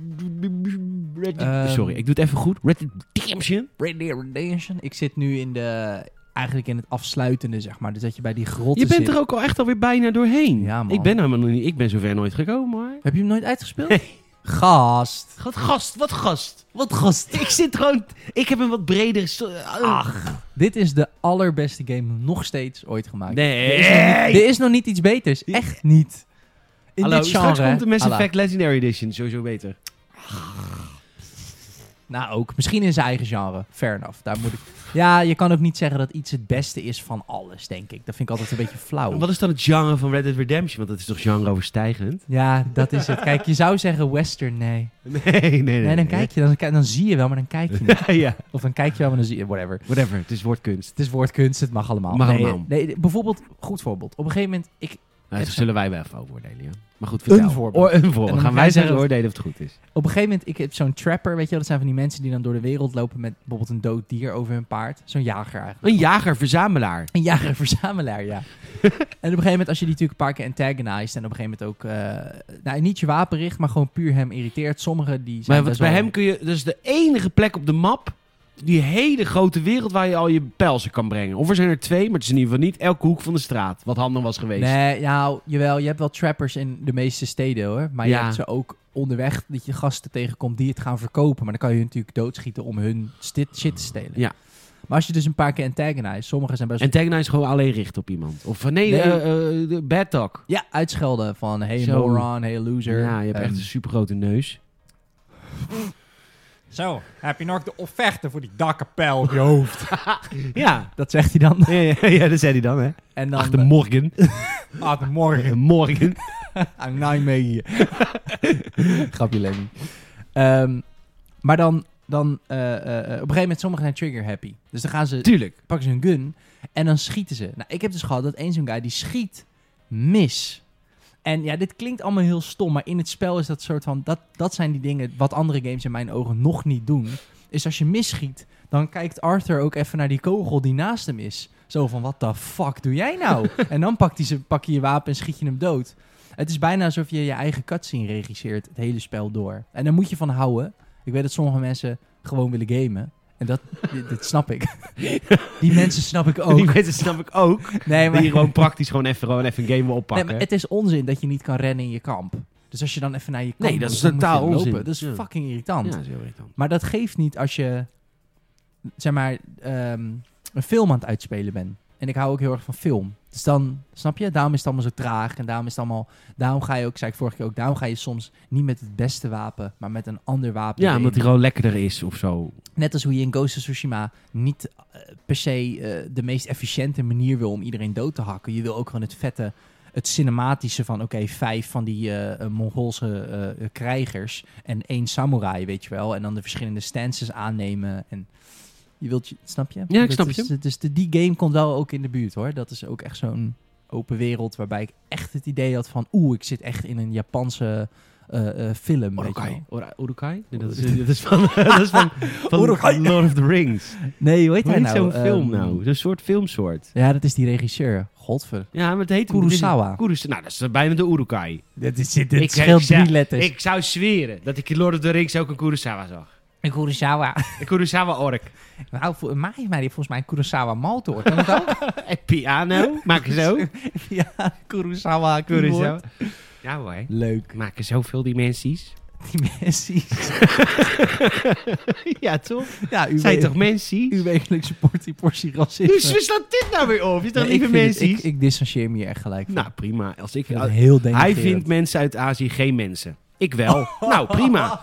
Speaker 1: Red-
Speaker 2: Ehm.
Speaker 1: sorry, ik doe het even goed. Red Dead Redemption.
Speaker 2: Red Dead Redemption. Ik zit nu in de... Eigenlijk in het afsluitende, zeg maar. Dus dat je bij die grot
Speaker 1: Je bent
Speaker 2: zit.
Speaker 1: er ook al echt alweer bijna doorheen.
Speaker 2: Ja, man.
Speaker 1: Ik ben helemaal nog niet. Ik ben zover nooit gekomen, hoor.
Speaker 2: Heb je hem nooit uitgespeeld? Gast.
Speaker 1: Wat gast, wat gast.
Speaker 2: Wat gast.
Speaker 1: Ik zit gewoon... Ik heb een wat breder... sto-
Speaker 2: Ach, dit is de allerbeste game nog steeds ooit gemaakt. Er is, nog niet,
Speaker 1: Ah, Nee.
Speaker 2: er is nog niet iets beters. Echt niet. In
Speaker 1: Hallo,
Speaker 2: dit genre.
Speaker 1: straks komt
Speaker 2: hè?
Speaker 1: de Mass
Speaker 2: Alla.
Speaker 1: Effect Legendary Edition. Sowieso beter.
Speaker 2: Nou, ook. Misschien in zijn eigen genre. Fair enough. Daar moet ik... Ja, je kan ook niet zeggen dat iets het beste is van alles, denk ik. Dat vind ik altijd een beetje flauw.
Speaker 1: Wat is dan het genre van Red Dead Redemption? Want dat is toch genreoverstijgend?
Speaker 2: Ja, dat is het. Kijk, je zou zeggen western, nee.
Speaker 1: Nee, nee, nee.
Speaker 2: Nee, dan kijk je. Dan, ki- dan zie je wel, maar dan kijk je niet.
Speaker 1: ja,
Speaker 2: Of dan kijk je wel, maar dan zie je... Whatever.
Speaker 1: whatever. Het is woordkunst.
Speaker 2: Het is woordkunst, het mag allemaal.
Speaker 1: Mag
Speaker 2: nee,
Speaker 1: allemaal.
Speaker 2: Nee, bijvoorbeeld, goed voorbeeld. Op een gegeven moment, ik,
Speaker 1: Nou,
Speaker 2: Even-
Speaker 1: daar zullen wij wel even over oordelen, ja. Maar goed, vertel.
Speaker 2: Een voorbeeld.
Speaker 1: Oor- een
Speaker 2: En
Speaker 1: voorbeeld.
Speaker 2: dan
Speaker 1: Gaan
Speaker 2: moet
Speaker 1: wij
Speaker 2: jij
Speaker 1: zeggen
Speaker 2: zeggen
Speaker 1: oordelen of het goed is.
Speaker 2: Op een gegeven moment, ik heb zo'n trapper, weet je wel. Dat zijn van die mensen die dan door de wereld lopen met bijvoorbeeld een dood dier over hun paard. Zo'n jager eigenlijk.
Speaker 1: Een jager-verzamelaar.
Speaker 2: Een jager-verzamelaar, ja. en op een gegeven moment, als je die natuurlijk een paar keer antagonized en op een gegeven moment ook, eh, nou, niet je wapen richt, maar gewoon puur hem irriteert. Sommigen die zijn
Speaker 1: Maar wat,
Speaker 2: best
Speaker 1: bij
Speaker 2: wel-
Speaker 1: hem kun je... Dat is de enige plek op de map... Die hele grote wereld waar je al je pijlsen kan brengen. Of er zijn er twee, maar het is in ieder geval niet elke hoek van de straat. Wat handig was geweest.
Speaker 2: Nee, nou, jawel, je hebt wel trappers in de meeste steden hoor. Maar je
Speaker 1: Ja.
Speaker 2: hebt ze ook onderweg dat je gasten tegenkomt die het gaan verkopen. Maar dan kan je hun natuurlijk doodschieten om hun sti- shit te stelen.
Speaker 1: Ja.
Speaker 2: Maar als je dus een paar keer antagonized, sommigen zijn best wel
Speaker 1: En Tagline gewoon alleen richt op iemand. Of eh, nee,
Speaker 2: Nee.
Speaker 1: eh, eh, de bad talk.
Speaker 2: Ja, uitschelden van hey
Speaker 1: Zo.
Speaker 2: moron, hey loser.
Speaker 1: Ja, je hebt
Speaker 2: Ehm,
Speaker 1: echt een supergrote neus.
Speaker 3: Zo, heb je nog de offerte voor die dakkenpijl op je hoofd?
Speaker 1: Ja.
Speaker 2: Dat zegt hij dan.
Speaker 1: Ja, ja, ja, dat zei hij dan, hè?
Speaker 2: En dan
Speaker 1: Achter morgen.
Speaker 3: Ah, de morgen.
Speaker 1: morgen.
Speaker 2: aan Nijmegen. Grapje Lenny. Ehm, maar dan, dan eh, eh, eh, op een gegeven moment sommigen zijn trigger happy. Dus dan gaan ze,
Speaker 1: Tuurlijk.
Speaker 2: pakken ze hun gun en dan schieten ze. Nou, ik heb dus gehad dat één zo'n guy die schiet mis. En ja, dit klinkt allemaal heel stom, maar in het spel is dat soort van... Dat, dat zijn die dingen wat andere games in mijn ogen nog niet doen. Is als je misschiet, dan kijkt Arthur ook even naar die kogel die naast hem is. Zo van, wat de fuck doe jij nou? en dan pakt hij ze, pak je je wapen en schiet je hem dood. Het is bijna alsof je je eigen cutscene regisseert het hele spel door. En daar moet je van houden. Ik weet dat sommige mensen gewoon willen gamen. En dat, dit- dat snap ik. die mensen snap ik
Speaker 1: Die
Speaker 2: ook.
Speaker 1: mensen snap ik ook.
Speaker 2: Nee,
Speaker 1: Die gewoon praktisch gewoon even, gewoon even een game wil
Speaker 2: Nee,
Speaker 1: oppakken.
Speaker 2: maar het is onzin dat je niet kan rennen in je kamp. Dus als je dan even naar je kamp
Speaker 1: Nee,
Speaker 2: moet,
Speaker 1: dat is
Speaker 2: dan moet je
Speaker 1: totaal
Speaker 2: lopen.
Speaker 1: onzin.
Speaker 2: Dat is
Speaker 1: Ja.
Speaker 2: fucking irritant.
Speaker 1: Ja, dat is heel irritant.
Speaker 2: Maar dat geeft niet als je, zeg maar, ehm, een film aan het uitspelen bent. En ik hou ook heel erg van film. Dus dan, snap je? Daarom is het allemaal zo traag. En daarom is het allemaal... Daarom ga je ook, zei ik vorige keer ook... Daarom ga je soms niet met het beste wapen... maar met een ander wapen.
Speaker 1: Ja,
Speaker 2: erin.
Speaker 1: omdat hij gewoon lekkerder is of zo.
Speaker 2: Net als hoe je in Ghost of Tsushima... niet eh, per se eh, de meest efficiënte manier wil... om iedereen dood te hakken. Je wil ook gewoon het vette... Het cinematische van, oké, vijf van die eh, eh, Mongoolse eh, eh, krijgers en één samurai, weet je wel. En dan de verschillende stances aannemen. En je wilt, je, snap je?
Speaker 1: Ja, ik
Speaker 2: Dat
Speaker 1: snap
Speaker 2: is-
Speaker 1: je.
Speaker 2: Dus de, die game komt wel ook in de buurt, hoor. Dat is ook echt zo'n open wereld waarbij ik echt het idee had van... Oeh, ik zit echt in een Japanse eh, eh,
Speaker 1: Oh,
Speaker 2: film, weet je wel.
Speaker 1: Orokai. Ora- Urukai? Nee, dat is, dat is van, dat is van, van
Speaker 2: Urukai.
Speaker 1: Lord of the Rings.
Speaker 2: Nee, hoe heet
Speaker 1: Hoe
Speaker 2: hij
Speaker 1: heet
Speaker 2: nou?
Speaker 1: zo'n film
Speaker 2: Ehm,
Speaker 1: nou? Zo'n soort filmsoort.
Speaker 2: Ja, dat is die regisseur. Godver.
Speaker 1: Ja, maar het heet...
Speaker 2: Kurosawa.
Speaker 1: Kurosawa. Nou, dat is bijna de Urukai.
Speaker 2: Dit, is, dit,
Speaker 1: Ik-
Speaker 2: scheelt
Speaker 1: ik-
Speaker 2: drie letters.
Speaker 1: Ik zou zweren dat ik in Lord of the Rings ook een Kurosawa zag.
Speaker 2: Een Kurosawa.
Speaker 1: Een Kurosawa-ork.
Speaker 2: Nou, voor mij heeft mij volgens mij een Kurosawa Malto. Kan dat ook?
Speaker 1: En piano. Maak er zo.
Speaker 2: ja, Kurosawa. keyboard.
Speaker 1: Ja hoor.
Speaker 2: Leuk.
Speaker 1: Maken zoveel dimensies.
Speaker 2: dimensies.
Speaker 1: ja, toch?
Speaker 2: Ja, u,
Speaker 1: Zijn
Speaker 2: weet,
Speaker 1: toch mensen?
Speaker 2: u wekelijks support die portie racisme.
Speaker 1: Hoe slaat dit nou weer op? Je
Speaker 2: Nee,
Speaker 1: dan
Speaker 2: ik,
Speaker 1: liever
Speaker 2: vind het-
Speaker 1: mensen?
Speaker 2: ik, ik distancieer me hier echt gelijk van.
Speaker 1: Nou, prima. Als ik,
Speaker 2: Ik vind het heel denigrerend.
Speaker 1: hij vindt mensen uit Azië geen mensen. Ik wel. nou, prima.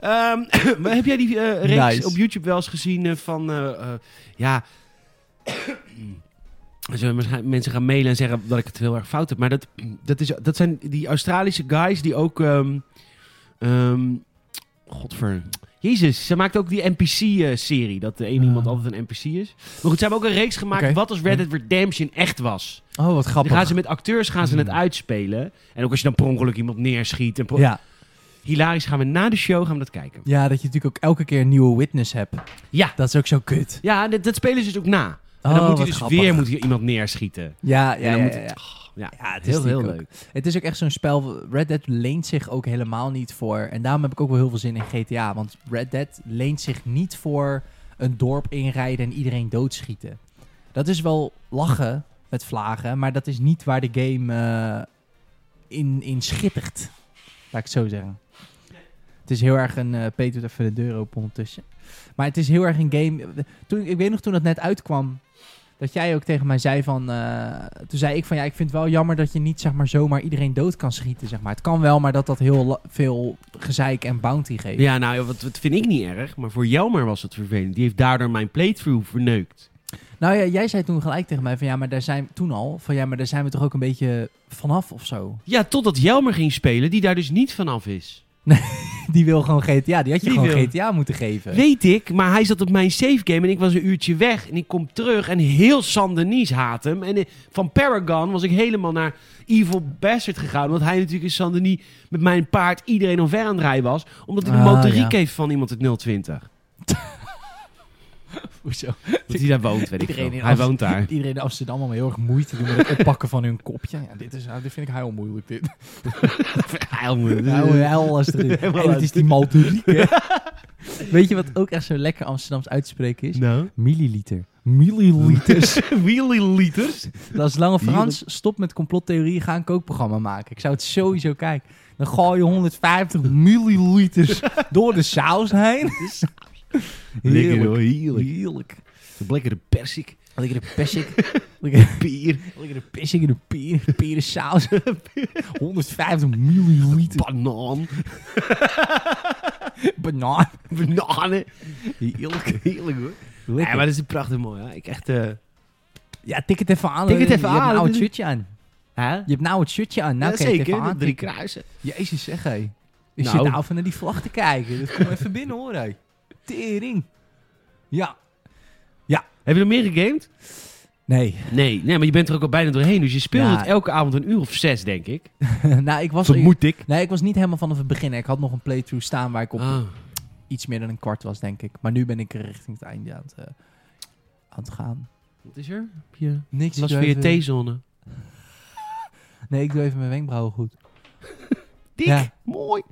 Speaker 1: Ehm, maar heb jij die eh, reeks
Speaker 2: Nice.
Speaker 1: op YouTube wel eens gezien eh, van... eh, eh, ja... Zullen waarschijn- mensen gaan mailen en zeggen dat ik het heel erg fout heb. Maar dat, dat, is, dat zijn die Australische guys die ook... ehm, ehm, godver... Jezus, ze maakt ook die NPC-serie. eh, dat de een
Speaker 2: Ja.
Speaker 1: iemand altijd een NPC is. Maar goed, ze hebben ook een reeks gemaakt
Speaker 2: Ah. Oké.
Speaker 1: wat als Red Dead Redemption echt was.
Speaker 2: Oh, wat
Speaker 1: Dan
Speaker 2: grappig.
Speaker 1: gaan ze met acteurs gaan ze het
Speaker 2: Mm.
Speaker 1: uitspelen. En ook als je dan per ongeluk iemand neerschiet. En pro-
Speaker 2: ja.
Speaker 1: Hilarisch gaan we na de show gaan we dat kijken.
Speaker 2: ja, dat je natuurlijk ook elke keer een nieuwe witness hebt.
Speaker 1: Ja.
Speaker 2: Dat is ook zo kut.
Speaker 1: Ja, dat, dat spelen ze dus ook na. En
Speaker 2: Oh,
Speaker 1: dan moet
Speaker 2: wat
Speaker 1: hij dus
Speaker 2: grappig.
Speaker 1: weer moet hij iemand neerschieten.
Speaker 2: Ja,
Speaker 1: en
Speaker 2: ja,
Speaker 1: dan
Speaker 2: ja,
Speaker 1: moet
Speaker 2: ja,
Speaker 1: het-
Speaker 2: ja.
Speaker 1: Ja,
Speaker 2: Ja, het is
Speaker 1: heel, heel
Speaker 2: natuurlijk ook.
Speaker 1: leuk.
Speaker 2: Het is ook echt zo'n spel. Red Dead leent zich ook helemaal niet voor. En daarom heb ik ook wel heel veel zin in GTA. Want Red Dead leent zich niet voor een dorp inrijden en iedereen doodschieten. Dat is wel lachen met vlagen, maar dat is niet waar de game eh, in, in schittert. Laat ik het zo zeggen. Het is heel erg een... eh Peter doet even de deur open ondertussen. Maar het is heel erg een game... Toen, ik weet nog toen dat net uitkwam... Dat jij ook tegen mij zei van... eh, toen zei ik van ja, ik vind het wel jammer dat je niet zeg maar zomaar iedereen dood kan schieten. Zeg maar. Het kan wel, maar dat dat heel la- veel gezeik en bounty geeft.
Speaker 1: Ja, nou, wat, wat vind ik niet erg. Maar voor Jelmer was het vervelend. Die heeft daardoor mijn playthrough verneukt.
Speaker 2: Nou ja, jij zei toen gelijk tegen mij van ja, maar daar zijn... Toen al, van ja, maar daar zijn we toch ook een beetje vanaf of zo.
Speaker 1: Ja, totdat Jelmer ging spelen, die daar dus niet vanaf is.
Speaker 2: Die wil gewoon GTA, die had je
Speaker 1: Die
Speaker 2: gewoon
Speaker 1: wil-
Speaker 2: GTA moeten geven.
Speaker 1: Weet ik, maar hij zat op mijn save game en ik was een uurtje weg. En ik kom terug en heel Sandenis haat hem. En eh, van Paragon was ik helemaal naar Evil Bastard gegaan. Omdat hij natuurlijk in Sandenis met mijn paard iedereen omver aan het rijden was. Omdat hij de
Speaker 2: Ah,
Speaker 1: motoriek
Speaker 2: ja.
Speaker 1: heeft van iemand uit 020.
Speaker 2: Hoezo?
Speaker 1: Dat hij daar woont, weet ik
Speaker 2: Iedereen
Speaker 1: veel.
Speaker 2: in
Speaker 1: Hij
Speaker 2: Amst-
Speaker 1: woont daar.
Speaker 2: Iedereen in Amsterdam allemaal heel erg moeite doen met het oppakken van hun kopje. Ja, dit, is, nou, dit vind ik heel moeilijk, dit.
Speaker 1: Heel moeilijk.
Speaker 2: Heel, heel als erin.
Speaker 1: Helemaal
Speaker 2: En het Nou, eh, is die Malteriek, hè. Weet je wat ook echt zo lekker Amsterdams uitspreken is?
Speaker 1: Nou,
Speaker 2: Milliliter. Milliliters.
Speaker 1: milliliters.
Speaker 2: Dat is Lange Frans. Stop met complottheorieën. Ga een kookprogramma maken. Ik zou het sowieso kijken. Dan gooi je 150 milliliters door de saus heen.
Speaker 1: Lekker
Speaker 2: Heerlijk.
Speaker 1: hoor, heerlijk.
Speaker 2: Heerlijk.
Speaker 1: Lekkere persik,
Speaker 2: Lekker de persik. Lekker
Speaker 1: bier,
Speaker 2: Lekkere pissing in de pier, perensaus. 150 milliliter
Speaker 1: banaan,
Speaker 2: banaan.
Speaker 1: bananen. Heerlijk, heerlijk hoor. Ja, maar dat is prachtig mooi. Hè? Ik echt... eh,
Speaker 2: Ja, tik het even aan.
Speaker 1: Tik het even
Speaker 2: Je
Speaker 1: aan.
Speaker 2: hebt nou het shirtje aan.
Speaker 1: hè?
Speaker 2: Je hebt nou het shirtje aan. Nou,
Speaker 1: Ja,
Speaker 2: kijk,
Speaker 1: zeker,
Speaker 2: even aan.
Speaker 1: de drie kruisen.
Speaker 2: Jezus, zeg hé. Ik
Speaker 1: Nou.
Speaker 2: zit nou even naar die vlag te kijken. Dat komt even binnen hoor hé. Tering. Ja.
Speaker 1: Heb je nog meer gegamed?
Speaker 2: Nee.
Speaker 1: Nee, nee, maar je bent er ook al bijna doorheen. Dus je speelt
Speaker 2: Ja.
Speaker 1: het elke avond een uur of zes, denk ik.
Speaker 2: nou, ik was...
Speaker 1: moet ik.
Speaker 2: Nee, ik was niet helemaal vanaf het begin. hè. Ik had nog een playthrough staan waar ik op
Speaker 1: Ah,
Speaker 2: iets meer dan een kwart was, denk ik. Maar nu ben ik er richting het einde aan het, eh, aan het gaan.
Speaker 1: wat is er? Heb je-
Speaker 2: Niks.
Speaker 1: Het was
Speaker 2: ik doe
Speaker 1: weer
Speaker 2: even-
Speaker 1: T-zone.
Speaker 2: Nee, ik doe even mijn wenkbrauwen goed.
Speaker 1: Dik,
Speaker 2: Ja.
Speaker 1: mooi.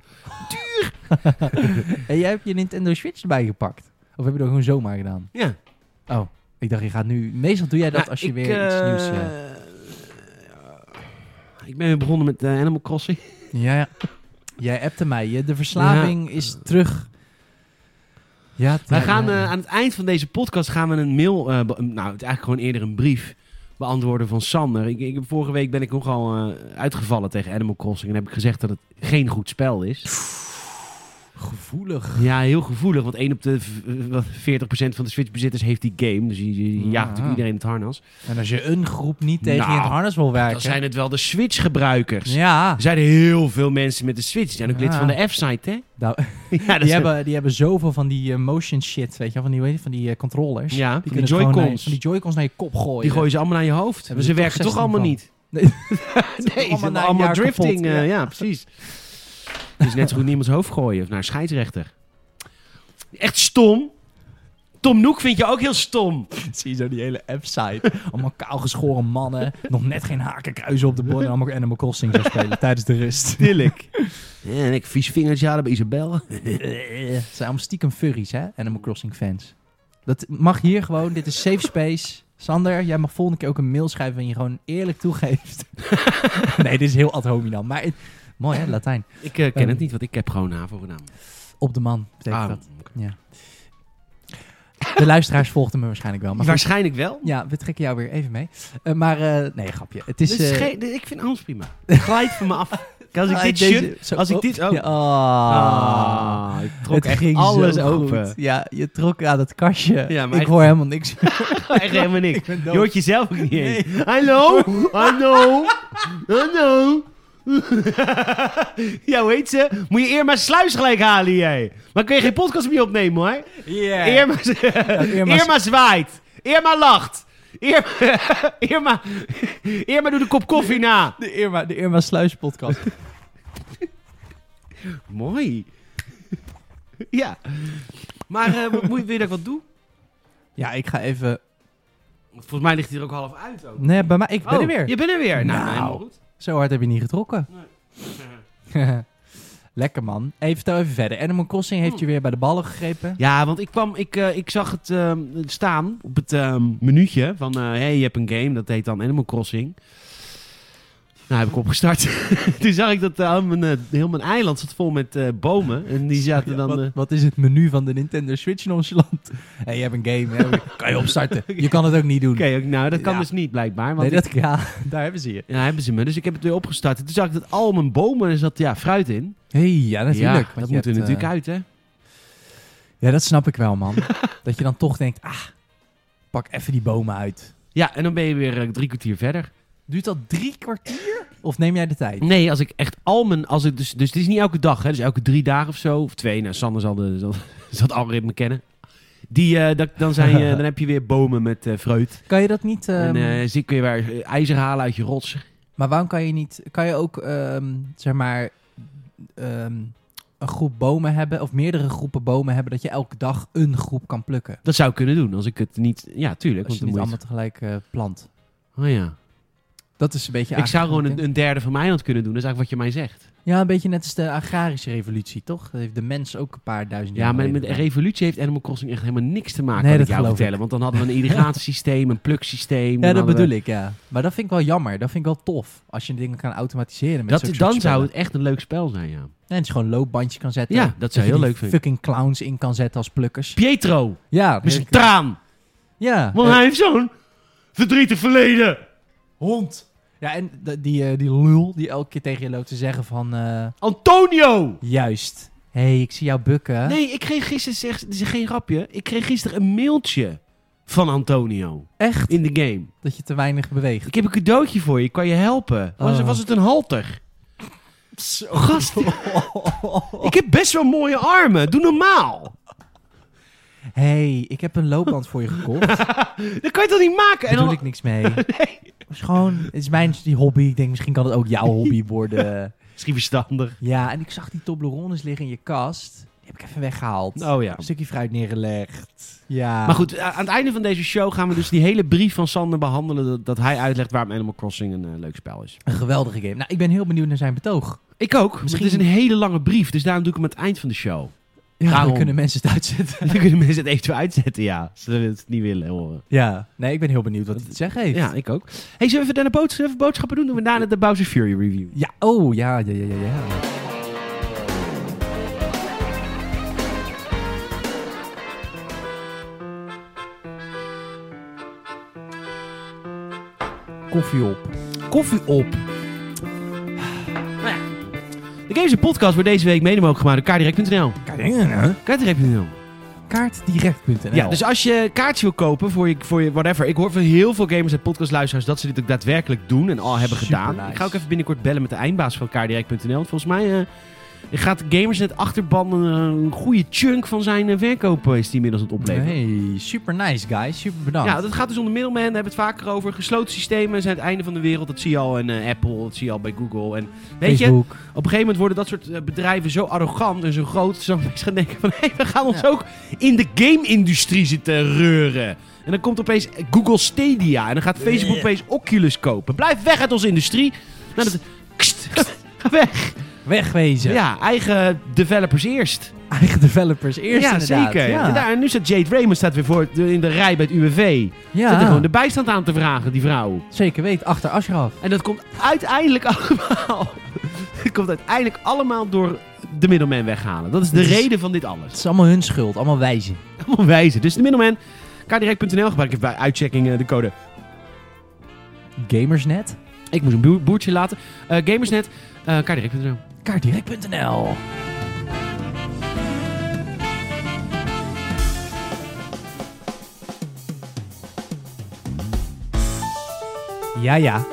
Speaker 2: En jij hebt je Nintendo Switch erbij gepakt? Of heb je dat gewoon zomaar gedaan?
Speaker 1: Ja.
Speaker 2: Oh, ik dacht je gaat nu... Meestal doe jij dat
Speaker 1: Nou,
Speaker 2: als je
Speaker 1: ik,
Speaker 2: weer iets
Speaker 1: eh,
Speaker 2: nieuws... eh,
Speaker 1: ik ben weer begonnen met eh, Animal Crossing.
Speaker 2: Ja, ja. jij appte mij. Je- De verslaving is terug. Ja, het-
Speaker 1: Wij
Speaker 2: ja,
Speaker 1: gaan
Speaker 2: ja.
Speaker 1: eh, aan het eind van deze podcast gaan we een mail, eh, be- nou het is eigenlijk gewoon eerder een brief beantwoorden van Sander. Ik, ik, vorige week ben ik nogal eh uitgevallen tegen Animal Crossing en heb ik gezegd dat het geen goed spel is.
Speaker 2: Gevoelig.
Speaker 1: Ja, heel gevoelig. Want 1 op de v- eh, wat, 40% van de Switch-bezitters heeft die game. Dus je, je jaagt
Speaker 2: Ja.
Speaker 1: natuurlijk iedereen in het harnas.
Speaker 2: En als je een groep niet tegen je in het
Speaker 1: Nou,
Speaker 2: harnas wil werken...
Speaker 1: Dan zijn het wel de Switch-gebruikers.
Speaker 2: Ja.
Speaker 1: Er zijn heel veel mensen met de Switch. Die zijn ook
Speaker 2: Ja.
Speaker 1: lid van de F-site, hè?
Speaker 2: Nou,
Speaker 1: Ja, dat
Speaker 2: die,
Speaker 1: is-
Speaker 2: hebben, die hebben zoveel van die eh, motion shit, weet je wel, Van die, weet je, van die eh, controllers.
Speaker 1: Ja, van die
Speaker 2: kunnen gewoon
Speaker 1: Joy-Cons.
Speaker 2: naar je- Van die joycons naar je kop gooien.
Speaker 1: Die gooien ze allemaal naar je hoofd.
Speaker 2: Hebben
Speaker 1: ze
Speaker 2: er toch
Speaker 1: werken toch
Speaker 2: 16
Speaker 1: allemaal
Speaker 2: van.
Speaker 1: niet.
Speaker 2: Nee.
Speaker 1: nee,
Speaker 2: allemaal
Speaker 1: allemaal,
Speaker 2: na een
Speaker 1: allemaal
Speaker 2: jaar
Speaker 1: drifting.
Speaker 2: kapot,
Speaker 1: eh,
Speaker 2: ja.
Speaker 1: ja. precies. Dus net zo goed niemands hoofd gooien. Of naar een scheidsrechter. Echt stom. Tom Noek vind je ook heel stom.
Speaker 2: Zie je zo die hele app-site. Allemaal kaalgeschoren mannen. nog net geen hakenkruizen op de borden. En allemaal Animal Crossing zou spelen tijdens de rust.
Speaker 1: Tillik. en ik vies vingertje hadden bij Isabelle.
Speaker 2: Het zijn allemaal stiekem furries, hè? Animal Crossing fans. Dat mag hier gewoon. Dit is safe space. Sander, jij mag volgende keer ook een mail schrijven waarin je gewoon eerlijk toegeeft. nee, dit is heel ad hominem. Maar het- Mooi hè, Latijn.
Speaker 1: Ik eh, ken
Speaker 2: Ehm.
Speaker 1: het niet, want ik heb gewoon NAVO gedaan.
Speaker 2: Op de man betekent
Speaker 1: Ah,
Speaker 2: dat.
Speaker 1: oké.
Speaker 2: De luisteraars volgden me waarschijnlijk wel. Maar goed.
Speaker 1: Waarschijnlijk wel.
Speaker 2: ja, we trekken jou weer even mee. Eh, maar eh, nee, grapje. Het
Speaker 1: Dus
Speaker 2: is... eh,
Speaker 1: geen- ik vind Hans prima. Glijd van me af. Als ik
Speaker 2: ah,
Speaker 1: dit
Speaker 2: deze-
Speaker 1: shut...
Speaker 2: zo-
Speaker 1: als ik
Speaker 2: oh,
Speaker 1: dit- oh.
Speaker 2: ja, ah.
Speaker 1: Ah, ik trok
Speaker 2: het
Speaker 1: echt
Speaker 2: ging
Speaker 1: alles
Speaker 2: zo
Speaker 1: open.
Speaker 2: goed. Ja, je trok aan het kastje.
Speaker 1: Ja, maar
Speaker 2: ik
Speaker 1: echt-
Speaker 2: hoor helemaal niks.
Speaker 1: echt helemaal niks.
Speaker 2: ben
Speaker 1: Je hoort jezelf ook niet eens. Hallo? Hallo? Hallo? ja, hoe heet ze? Moet je Irma Sluis gelijk halen, jij. Maar kun je geen podcast meer opnemen, hoor.
Speaker 3: Yeah.
Speaker 1: Irma, Irma...
Speaker 2: Irma-
Speaker 1: zwaait. Irma lacht. Irma, Irma, Irma doet een kop koffie na.
Speaker 2: De Irma, de Irma Sluis podcast.
Speaker 1: Mooi. ja. Maar eh, wat moet je, wil je dat ik wat doe?
Speaker 2: Ja, ik ga even...
Speaker 1: Want volgens mij ligt hij er ook half uit. Ook.
Speaker 2: Nee, bij mij... Ik ben
Speaker 1: Oh,
Speaker 2: er weer.
Speaker 1: Je bent er weer. Nou,
Speaker 2: Nou.
Speaker 1: helemaal goed.
Speaker 2: Zo hard heb je niet getrokken. Lekker man. Even vertel even verder. Animal Crossing heeft je weer bij de ballen gegrepen.
Speaker 1: Ja, want ik, kwam, ik, eh, ik zag het ehm, staan op het ehm menuutje van... eh hey, je hebt een game, dat heet dan Animal Crossing. Nou, heb ik opgestart. Toen zag ik dat eh, al mijn, eh, heel mijn eiland zat vol met eh, bomen. En die zaten
Speaker 2: Ja,
Speaker 1: dan...
Speaker 2: wat,
Speaker 1: eh,
Speaker 2: wat is het menu van de Nintendo Switch nonchalant? Hé, je hebt een game, hè? kan je opstarten. Je kan het ook niet doen.
Speaker 1: Oké, ook- nou, dat kan
Speaker 2: Ja.
Speaker 1: dus niet blijkbaar. Want
Speaker 2: nee,
Speaker 1: ik-
Speaker 2: dat, ja, daar hebben ze je.
Speaker 1: ja, hebben ze me. Dus ik heb het weer opgestart. En Toen zag ik dat al mijn bomen, er zat ja, fruit in.
Speaker 2: Hé, ja, natuurlijk.
Speaker 1: Ja,
Speaker 2: want
Speaker 1: dat
Speaker 2: je
Speaker 1: moet er
Speaker 2: hebt,
Speaker 1: natuurlijk
Speaker 2: eh,
Speaker 1: uit, hè.
Speaker 2: Ja, dat snap ik wel, man. dat je dan toch denkt, ah, pak even die bomen uit.
Speaker 1: Ja, en dan ben je weer eh, drie kwartier verder.
Speaker 2: Duurt dat drie kwartier? Of neem jij de tijd?
Speaker 1: Nee, als ik echt al mijn... Als ik dus, dus het is niet elke dag, hè. Dus elke drie dagen of zo. Of twee. Nou, Sander zal, de, zal, zal het algoritme kennen. Die, eh, dat, dan, zijn je, dan heb je weer bomen met eh fruit.
Speaker 2: Kan je dat niet... ehm,
Speaker 1: en eh zie kun je weer eh, ijzer halen uit je rots.
Speaker 2: Maar waarom kan je niet... Kan je ook, ehm, zeg maar, ehm, een groep bomen hebben... of meerdere groepen bomen hebben... dat je elke dag een groep kan plukken?
Speaker 1: Dat zou ik kunnen doen als ik het niet... Ja, tuurlijk.
Speaker 2: Als
Speaker 1: Want
Speaker 2: je
Speaker 1: dan
Speaker 2: niet
Speaker 1: moet je
Speaker 2: allemaal tegelijk eh, plant.
Speaker 1: het- Oh ja.
Speaker 2: Dat is een beetje...
Speaker 1: ik zou
Speaker 2: eigenlijk-
Speaker 1: gewoon een, een derde van mijn eiland kunnen doen. Dat is eigenlijk wat je mij zegt.
Speaker 2: Ja, een beetje net als de agrarische revolutie, toch? Dat heeft de mens ook een paar duizend jaar
Speaker 1: Ja, maar met
Speaker 2: geleden
Speaker 1: de revolutie heeft Animal Crossing echt helemaal niks te maken.
Speaker 2: Nee,
Speaker 1: kan
Speaker 2: dat
Speaker 1: ik jou
Speaker 2: geloof
Speaker 1: vertellen. Want dan hadden we een irrigatiesysteem, een pluksysteem.
Speaker 2: gedaan. Ja, dat bedoel ik, ja. Maar dat vind ik wel jammer. Dat vind ik wel tof. Als je dingen kan automatiseren met
Speaker 1: Dat,
Speaker 2: zulke
Speaker 1: dan
Speaker 2: soort
Speaker 1: zou
Speaker 2: spellen.
Speaker 1: het echt een leuk spel zijn, ja.
Speaker 2: En dat je gewoon een loopbandje kan zetten.
Speaker 1: Ja, dat zou
Speaker 2: je
Speaker 1: heel
Speaker 2: die
Speaker 1: leuk vinden.
Speaker 2: fucking clowns in kan zetten als plukkers.
Speaker 1: Pietro,
Speaker 2: Ja.
Speaker 1: met zijn
Speaker 2: ik-
Speaker 1: traan.
Speaker 2: Ja.
Speaker 1: Want
Speaker 2: eh,
Speaker 1: hij heeft zo'n verdrietig verleden.
Speaker 2: Hond. Ja, en d- die, eh, die lul die elke keer tegen je loopt te zeggen van... eh,
Speaker 1: Antonio!
Speaker 2: juist. Hé, hey, ik zie jou bukken.
Speaker 1: Nee, ik kreeg gisteren, zeg, dit is geen grapje, ik kreeg gisteren een mailtje van Antonio
Speaker 2: Echt?
Speaker 1: in de game.
Speaker 2: Dat je te weinig beweegt.
Speaker 1: Ik heb een cadeautje voor je, ik kan je helpen. Was,
Speaker 2: Oh.
Speaker 1: was het een halter? Gast, ik heb best wel mooie armen. Doe normaal.
Speaker 2: Hé, hey, ik heb een loopband voor je gekocht. Daar
Speaker 1: Dat kan je toch niet maken? En
Speaker 2: doe
Speaker 1: dan,
Speaker 2: ik niks mee. Het is gewoon... Het is mijn die hobby. Ik denk, misschien kan het ook jouw hobby worden.
Speaker 1: misschien verstandig.
Speaker 2: Ja, en ik zag die Toblerones liggen in je kast. Die heb ik even weggehaald.
Speaker 1: Oh ja.
Speaker 2: Een stukje fruit neergelegd. Ja.
Speaker 1: Maar goed, a- aan het einde van deze show gaan we dus die hele brief van Sander behandelen. Dat, dat hij uitlegt waarom Animal Crossing een eh, leuk spel is.
Speaker 2: Een geweldige game. Nou, ik ben heel benieuwd naar zijn betoog.
Speaker 1: Ik ook. Misschien...
Speaker 2: Misschien-
Speaker 1: Het is een hele lange brief, dus daarom doe ik hem aan het eind van de show.
Speaker 2: Ja,
Speaker 1: Daarom.
Speaker 2: dan kunnen mensen het uitzetten.
Speaker 1: Dan kunnen mensen het even uitzetten, ja. Ze willen het niet willen horen.
Speaker 2: Ja. Nee, ik ben heel benieuwd wat hij te zeggen heeft.
Speaker 1: Ja, ik ook. hey, zullen we even naar de boodschappen, even boodschappen doen? Doen we daarna de Bowser Fury review.
Speaker 2: Ja, oh, ja, ja, ja, ja, ja. Koffie op.
Speaker 1: Koffie op. De Games en Podcast wordt deze week mede mogelijk gemaakt door kaardirect.nl. Kaardirect.nl.
Speaker 2: Kaartdirect.nl
Speaker 1: Ja, dus als je kaartjes wil kopen voor je, voor je whatever. Ik hoor van heel veel gamers en podcastluisteraars dat ze dit ook daadwerkelijk doen en al hebben
Speaker 2: Super
Speaker 1: gedaan.
Speaker 2: nice.
Speaker 1: Ik ga ook even binnenkort bellen met de eindbaas van kaardirect.nl. Volgens mij eh, gaat Gamersnet achterban eh, een goede chunk van zijn eh, verkoop eh, is die inmiddels aan het opleveren.
Speaker 2: Hey, super nice guys, super bedankt.
Speaker 1: Ja, dat gaat dus onder middleman, daar hebben we het vaker over. Gesloten systemen zijn het einde van de wereld. Dat zie je al in eh, Apple, dat zie je al bij Google. En weet je, op
Speaker 2: Facebook.
Speaker 1: een gegeven moment worden dat soort eh, bedrijven zo arrogant en zo groot... dat ze dan opeens gaan denken van, hé, we gaan ons
Speaker 2: Ja.
Speaker 1: ook in de game-industrie zitten reuren. En dan komt opeens Google Stadia en dan gaat Facebook
Speaker 2: Ja.
Speaker 1: opeens Oculus kopen. Blijf weg uit onze industrie. Nou, dat... Kst, kst, ga weg.
Speaker 2: Wegwezen.
Speaker 1: Ja, eigen developers eerst.
Speaker 2: Eigen developers eerst
Speaker 1: ja,
Speaker 2: inderdaad.
Speaker 1: zeker.
Speaker 2: Ja,
Speaker 1: En, daar, en nu staat Jade Raymond staat weer voor in de rij bij het UWV.
Speaker 2: Ja,
Speaker 1: Zit er gewoon de bijstand aan te vragen, die vrouw.
Speaker 2: zeker weet. Achter Ashraf.
Speaker 1: En dat komt uiteindelijk allemaal. komt uiteindelijk allemaal door de middelman weghalen. Dat is de
Speaker 2: Het is-
Speaker 1: reden van dit
Speaker 2: Het
Speaker 1: alles.
Speaker 2: is allemaal hun schuld, allemaal wijzen.
Speaker 1: Allemaal wijzen. Dus de middelman, kdirect.nl gebruik ik bij uitchecking eh, de code.
Speaker 2: Gamersnet.
Speaker 1: Ik moest een boer- boertje laten. Eh, Gamersnet, eh kdirect.nl.
Speaker 2: Kaartdirect.nl Ja, ja.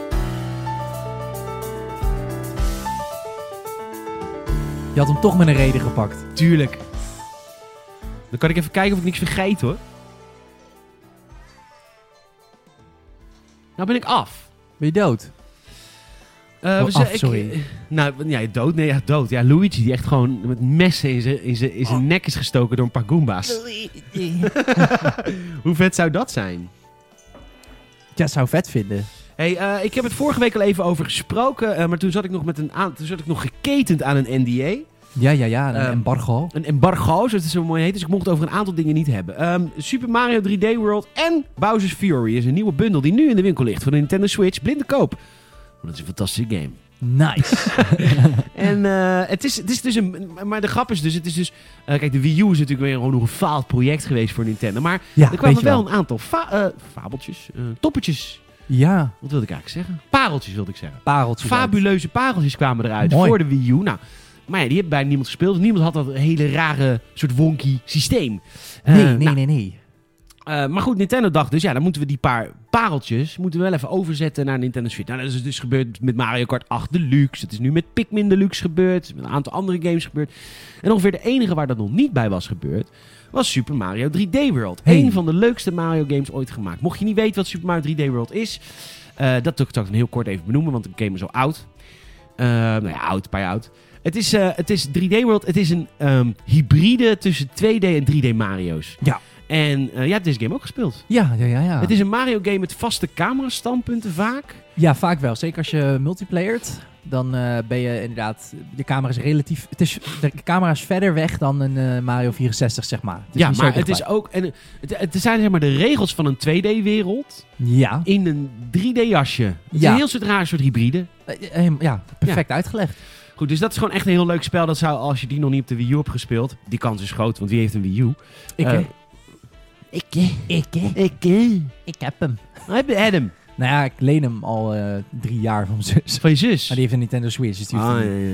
Speaker 2: Je had hem toch met een reden gepakt.
Speaker 1: Tuurlijk. Dan kan ik even kijken of ik niks vergeet hoor. Nou ben ik af.
Speaker 2: Ben je dood?
Speaker 1: Eh,
Speaker 2: Oh,
Speaker 1: we zijn-
Speaker 2: af, sorry.
Speaker 1: Ik, nou, ja, dood. Nee, ja, dood. Ja, Luigi die echt gewoon met messen in zijn, in zijn, in zijn nek is gestoken door een paar Goomba's. Hoe vet zou dat zijn?
Speaker 2: ja, zou vet vinden.
Speaker 1: Hey, eh, ik heb het vorige week al even over gesproken, eh, maar toen zat ik nog, met een aan, toen zat ik nog geketend aan een NDA.
Speaker 2: Ja, ja, ja. Een
Speaker 1: Ehm,
Speaker 2: embargo.
Speaker 1: Een embargo, zoals het zo mooi heet. Dus ik mocht het over een aantal dingen niet hebben. Ehm, Super Mario 3D World en Bowser's Fury is een nieuwe bundel die nu in de winkel ligt voor de Nintendo Switch. Blinde koop. Want Dat is een fantastische game.
Speaker 2: Nice.
Speaker 1: En eh, het, is, het is dus een. Maar de grap is dus, het is dus. eh, kijk, de Wii U is natuurlijk weer gewoon een gefaald project geweest voor Nintendo. Maar
Speaker 2: Ja,
Speaker 1: er
Speaker 2: weet
Speaker 1: kwamen
Speaker 2: je
Speaker 1: wel
Speaker 2: wel.
Speaker 1: een aantal fa- eh, fabeltjes, eh, toppetjes.
Speaker 2: Ja,
Speaker 1: Wat wilde ik eigenlijk zeggen? Pareltjes wilde ik zeggen.
Speaker 2: pareltje.
Speaker 1: Fabuleuze pareltjes kwamen eruit
Speaker 2: Mooi.
Speaker 1: voor de Wii U. Nou, maar ja, die hebben bijna niemand gespeeld. Niemand had dat hele rare soort wonky systeem. Eh,
Speaker 2: Nee, nee,
Speaker 1: nou,
Speaker 2: nee, nee.
Speaker 1: eh, maar goed, Nintendo dacht dus, ja, dan moeten we die paar pareltjes moeten we wel even overzetten naar Nintendo Switch. Nou, dat is dus gebeurd met Mario Kart 8 Deluxe. Het is nu met Pikmin Deluxe gebeurd. Met een aantal andere games gebeurd. En ongeveer de enige waar dat nog niet bij was gebeurd, was Super Mario 3D World.
Speaker 2: Hey.
Speaker 1: Eén van de leukste Mario games ooit gemaakt. Mocht je niet weten wat Super Mario 3D World is, eh, dat zal ik dan heel kort even benoemen, want ik game is zo oud. Eh, nou ja, oud, een paar jaar oud. Het is, eh, het is 3D World, het is een ehm, hybride tussen 2D en 3D Mario's.
Speaker 2: Ja.
Speaker 1: En eh, jij hebt deze game ook gespeeld.
Speaker 2: Ja, ja, ja. ja.
Speaker 1: Het is een Mario game met vaste camerastandpunten vaak.
Speaker 2: Ja, vaak wel. Zeker als je multiplayert, dan eh, ben je inderdaad... De camera is relatief... Het is, de camera is verder weg dan een eh, Mario 64, zeg maar. Het is
Speaker 1: ja,
Speaker 2: niet zo
Speaker 1: maar het is
Speaker 2: dichtbij.
Speaker 1: ook... En, eh, het, het zijn zeg maar de regels van een 2D-wereld
Speaker 2: Ja,
Speaker 1: in een 3D-jasje. Het is
Speaker 2: Ja.
Speaker 1: een heel soort raar soort hybride.
Speaker 2: eh, eh, helemaal- ja perfect uitgelegd.
Speaker 1: Goed, dus dat is gewoon echt een heel leuk spel. Dat zou, als je die nog niet op de Wii U hebt gespeeld... Die kans is groot, want wie heeft een Wii U?
Speaker 2: Ik,
Speaker 1: Eh,
Speaker 2: eh, ik, eh, ik, eh,
Speaker 1: Ik, eh,
Speaker 2: ik heb hem.
Speaker 1: heb je Adam.
Speaker 2: Nou ja, ik leen hem al eh, drie jaar van mijn zus.
Speaker 1: Van je zus.
Speaker 2: Maar die heeft een Nintendo Switch, dus die, hoeft
Speaker 1: Ah,
Speaker 2: hem
Speaker 1: ja,
Speaker 2: niet.
Speaker 1: ja,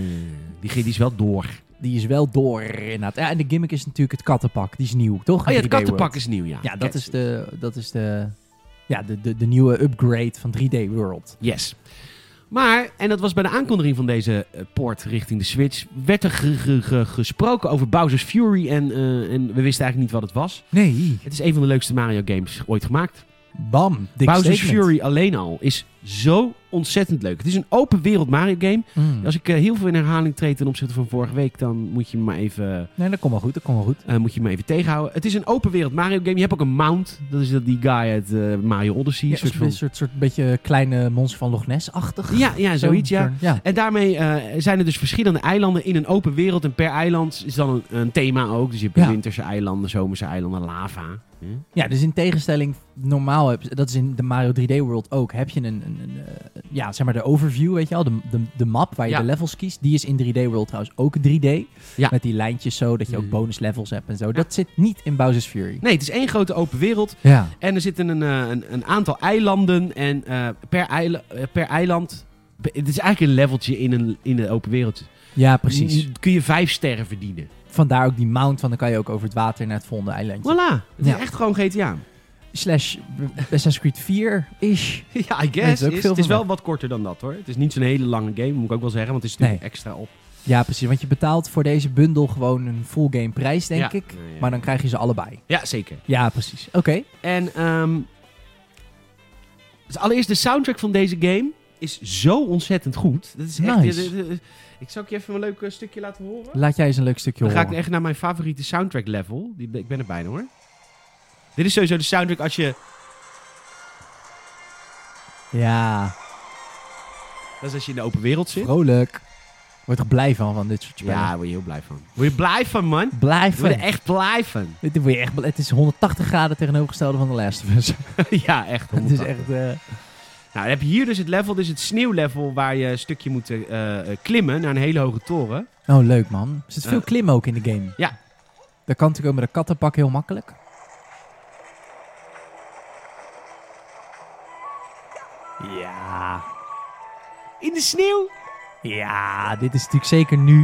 Speaker 1: ja. Die, die is wel door.
Speaker 2: die is wel door inderdaad. Ja, en de gimmick is natuurlijk het kattenpak, die is nieuw, toch?
Speaker 1: Oh ja, het
Speaker 2: 3D World.
Speaker 1: kattenpak is nieuw, ja.
Speaker 2: Ja,
Speaker 1: Kijk.
Speaker 2: dat is de, dat is de, ja, de, de, de nieuwe upgrade van 3D World.
Speaker 1: Yes. Maar, en dat was bij de aankondiging van deze eh, port richting de Switch, werd er ge- ge- ge- gesproken over Bowser's Fury en, eh, en we wisten eigenlijk niet wat het was.
Speaker 2: Nee.
Speaker 1: Het is een van de leukste Mario games ooit gemaakt.
Speaker 2: Bam. Dik
Speaker 1: Bowser's
Speaker 2: statement.
Speaker 1: Fury alleen al is zo ontzettend leuk. Het is een open wereld Mario game.
Speaker 2: Mm.
Speaker 1: Als ik eh, heel veel in herhaling treed ten opzichte van vorige week, dan moet je me maar even,
Speaker 2: Nee, dat komt wel goed, dat komt wel goed.
Speaker 1: eh, moet je me even tegenhouden. Het is een open wereld Mario game. Je hebt ook een mount. Dat is dat die guy uit eh, Mario Odyssey.
Speaker 2: Ja,
Speaker 1: een
Speaker 2: een soort,
Speaker 1: soort van...
Speaker 2: soort, soort, beetje kleine monster van Loch Ness-achtig.
Speaker 1: ja, ja, zoiets ja.
Speaker 2: Zo'n- ja.
Speaker 1: En daarmee eh, zijn er dus verschillende eilanden in een open wereld. En per eiland is dan een, een thema ook. Dus je hebt
Speaker 2: Ja.
Speaker 1: winterse eilanden, zomerse eilanden, lava. Hm?
Speaker 2: Ja, dus in tegenstelling, normaal, heb, dat is in de Mario 3D World ook, heb je een, een, een, eh, ja, zeg maar de overview, weet je wel, de, de, de map waar je
Speaker 1: Ja.
Speaker 2: de levels kiest. Die is in 3D World trouwens ook 3D.
Speaker 1: Ja.
Speaker 2: Met die lijntjes zo, dat je ook
Speaker 1: Mm.
Speaker 2: bonus levels hebt en zo. Dat zit niet in Bowser's Fury.
Speaker 1: Nee, het is één grote open wereld.
Speaker 2: Ja.
Speaker 1: En er zitten een, eh, een, een aantal eilanden. En eh, per, eile- eh, per eiland... be- Het is eigenlijk een leveltje in een, in een open wereld.
Speaker 2: Ja, precies.
Speaker 1: N- Kun je vijf sterren verdienen.
Speaker 2: Vandaar ook die mount, want dan kan je ook over het water naar het volgende eilandje.
Speaker 1: Voilà. Het
Speaker 2: Ja.
Speaker 1: is echt gewoon GTA.
Speaker 2: Slash Assassin's Creed 4-ish.
Speaker 1: ja, I
Speaker 2: Er is
Speaker 1: guess.
Speaker 2: ook
Speaker 1: Is,
Speaker 2: veel
Speaker 1: het is
Speaker 2: van
Speaker 1: wel wat korter dan dat hoor. Het is niet zo'n hele lange game, moet ik ook wel zeggen. Want het is natuurlijk extra op.
Speaker 2: Ja, precies. Want je betaalt voor deze bundel gewoon een full game prijs, denk
Speaker 1: Ja.
Speaker 2: ik.
Speaker 1: Ja, ja.
Speaker 2: Maar dan krijg je ze allebei.
Speaker 1: Ja, zeker.
Speaker 2: Ja, precies. Oké.
Speaker 1: En ehm, dus allereerst, de soundtrack van deze game is zo ontzettend goed. Dat is echt,
Speaker 2: Nice.
Speaker 1: eh, eh, eh, ik zal ik je even een leuk eh, stukje laten horen.
Speaker 2: Laat jij eens een leuk stukje
Speaker 1: Dan ga
Speaker 2: horen.
Speaker 1: ik echt naar mijn favoriete soundtrack level. Die, ik ben er bijna hoor. Dit is sowieso de soundtrack als je...
Speaker 2: Ja,
Speaker 1: Dat is als je in de open wereld zit.
Speaker 2: vrolijk. Word er blij van, van dit soort spellen.
Speaker 1: Ja, daar word je heel blij van. Word je blij van, man?
Speaker 2: Blij
Speaker 1: Word
Speaker 2: van.
Speaker 1: je er echt blij van.
Speaker 2: Dit word je echt blij- Het is 180 graden tegenovergestelde van de Last of Us.
Speaker 1: ja, Dus echt.
Speaker 2: Het is echt... eh,
Speaker 1: Nou, Nou, dan heb je hier dus het level, dus het sneeuwlevel, waar je een stukje moet eh, eh, klimmen naar een hele hoge toren.
Speaker 2: Oh, leuk man. Er zit veel
Speaker 1: Ja.
Speaker 2: klimmen ook in de game.
Speaker 1: Eh. Ja.
Speaker 2: Dat kan natuurlijk ook met een kattenpak heel makkelijk.
Speaker 1: Ja. In de sneeuw?
Speaker 2: Ja, dit is natuurlijk zeker nu.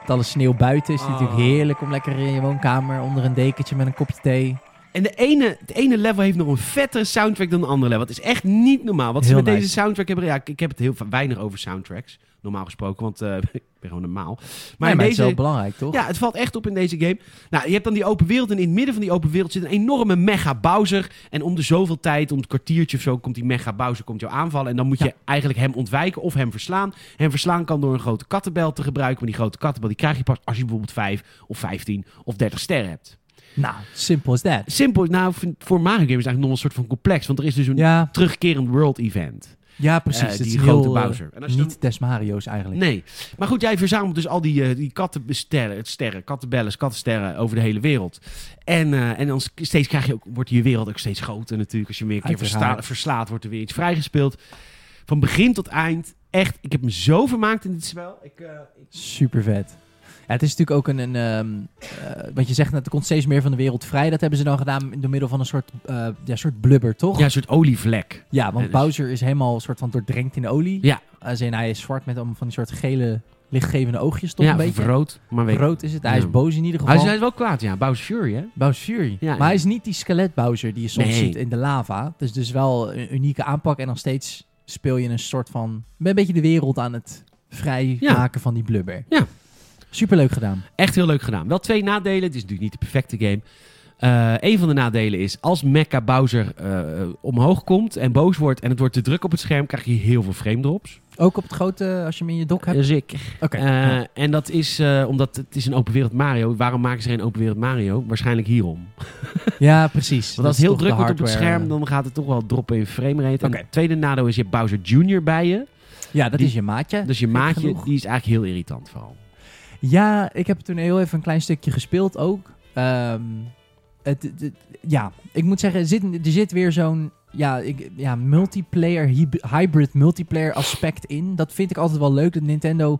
Speaker 2: Met alle sneeuw buiten is het
Speaker 1: Oh.
Speaker 2: natuurlijk heerlijk om lekker in je woonkamer onder een dekentje met een kopje thee.
Speaker 1: En de ene, het ene level heeft nog een vettere soundtrack dan de andere level. Het is echt niet normaal. Wat ze
Speaker 2: Heel
Speaker 1: met
Speaker 2: nice.
Speaker 1: deze soundtrack hebben... Ja, ik- ik heb het heel va- weinig over soundtracks, normaal gesproken. Want eh, ik ben gewoon normaal. Maar,
Speaker 2: Maar,
Speaker 1: in
Speaker 2: maar het is
Speaker 1: deze,
Speaker 2: wel belangrijk, toch?
Speaker 1: Ja, het valt echt op in deze game. Nou, je hebt dan die open wereld en in het midden van die open wereld zit een enorme mega Bowser. En om de zoveel tijd, om het kwartiertje of zo, komt die mega Bowser komt jou aanvallen. En dan moet
Speaker 2: Ja.
Speaker 1: je eigenlijk hem ontwijken of hem verslaan. Hem verslaan kan door een grote kattenbel te gebruiken. Maar die grote kattenbel die krijg je pas als je bijvoorbeeld 5 of 15 of 30 sterren hebt.
Speaker 2: Nou, simple as that.
Speaker 1: Simpel, nou, vind- voor Mario Game is het eigenlijk nog een soort van complex. Want er is dus een
Speaker 2: Ja,
Speaker 1: terugkerend world event.
Speaker 2: ja precies.
Speaker 1: Eh,
Speaker 2: Het
Speaker 1: die
Speaker 2: is
Speaker 1: grote
Speaker 2: heel, eh,
Speaker 1: Bowser. En als je dan-
Speaker 2: niet des Mario's eigenlijk.
Speaker 1: Nee. Maar goed, jij verzamelt dus al die, eh die kattensterren, sterren, kattenbelles, kattensterren over de hele wereld. En, eh, en dan s- steeds krijg je ook, wordt je wereld ook steeds groter natuurlijk. Als je meer een keer
Speaker 2: Uiteraard.
Speaker 1: versta- verslaat, wordt er weer iets vrijgespeeld. Van begin tot eind. Echt, ik heb me zo vermaakt in dit spel. Ik, eh, ik-
Speaker 2: Super vet. Ja, het is natuurlijk ook een. een ehm, eh, wat je zegt, net, er komt steeds meer van de wereld vrij. Dat hebben ze dan gedaan door middel van een soort, eh, ja, soort blubber, toch?
Speaker 1: ja, een soort olievlek.
Speaker 2: Ja, want
Speaker 1: Ja, dus-
Speaker 2: Bowser is helemaal een soort van doordrenkt in olie.
Speaker 1: Ja.
Speaker 2: Als in hij is zwart met allemaal van die soort gele, lichtgevende oogjes, toch?
Speaker 1: Ja,
Speaker 2: een
Speaker 1: of
Speaker 2: beetje.
Speaker 1: rood. Maar weet ik-
Speaker 2: Rood is het. Hij
Speaker 1: Ja.
Speaker 2: is boos in ieder geval.
Speaker 1: Hij is, hij is wel kwaad, ja. Bowser Fury, hè?
Speaker 2: Bowser Fury.
Speaker 1: Ja, ja.
Speaker 2: Maar hij is niet die skelet Bowser die je soms
Speaker 1: Nee.
Speaker 2: ziet in de lava. Dus dus wel een unieke aanpak. En nog steeds speel je een soort van... je bent Een beetje de wereld aan het vrijmaken van die blubber.
Speaker 1: Ja.
Speaker 2: Superleuk gedaan.
Speaker 1: Echt heel leuk gedaan. Wel twee nadelen. Het is natuurlijk niet de perfecte game. Eh een van de nadelen is, als Mecha Bowser eh, omhoog komt en boos wordt en het wordt te druk op het scherm, krijg je heel veel frame drops.
Speaker 2: Ook op het grote, als je hem in je dok hebt.
Speaker 1: Zeker.
Speaker 2: Oké. Ja.
Speaker 1: En dat is eh, omdat het is een open wereld Mario. Waarom maken ze geen open wereld Mario? Waarschijnlijk hierom.
Speaker 2: ja, precies.
Speaker 1: Want als het heel druk wordt
Speaker 2: wordt
Speaker 1: op het
Speaker 2: eh.
Speaker 1: scherm, dan gaat het toch wel droppen in framerate. En
Speaker 2: Oké.
Speaker 1: het tweede nadeel is, je hebt Bowser Jr. bij je.
Speaker 2: Ja, dat
Speaker 1: die-
Speaker 2: is je maatje.
Speaker 1: Dus je
Speaker 2: Gek
Speaker 1: maatje,
Speaker 2: genoeg.
Speaker 1: die is eigenlijk heel irritant vooral.
Speaker 2: Ja, ik heb toen heel even een klein stukje gespeeld ook. Ehm, het, het- het- ja, ik moet zeggen, er zit, er zit weer zo'n ja, ik, ja, multiplayer, hyb- hybrid multiplayer aspect in. Dat vind ik altijd wel leuk. Dat Nintendo.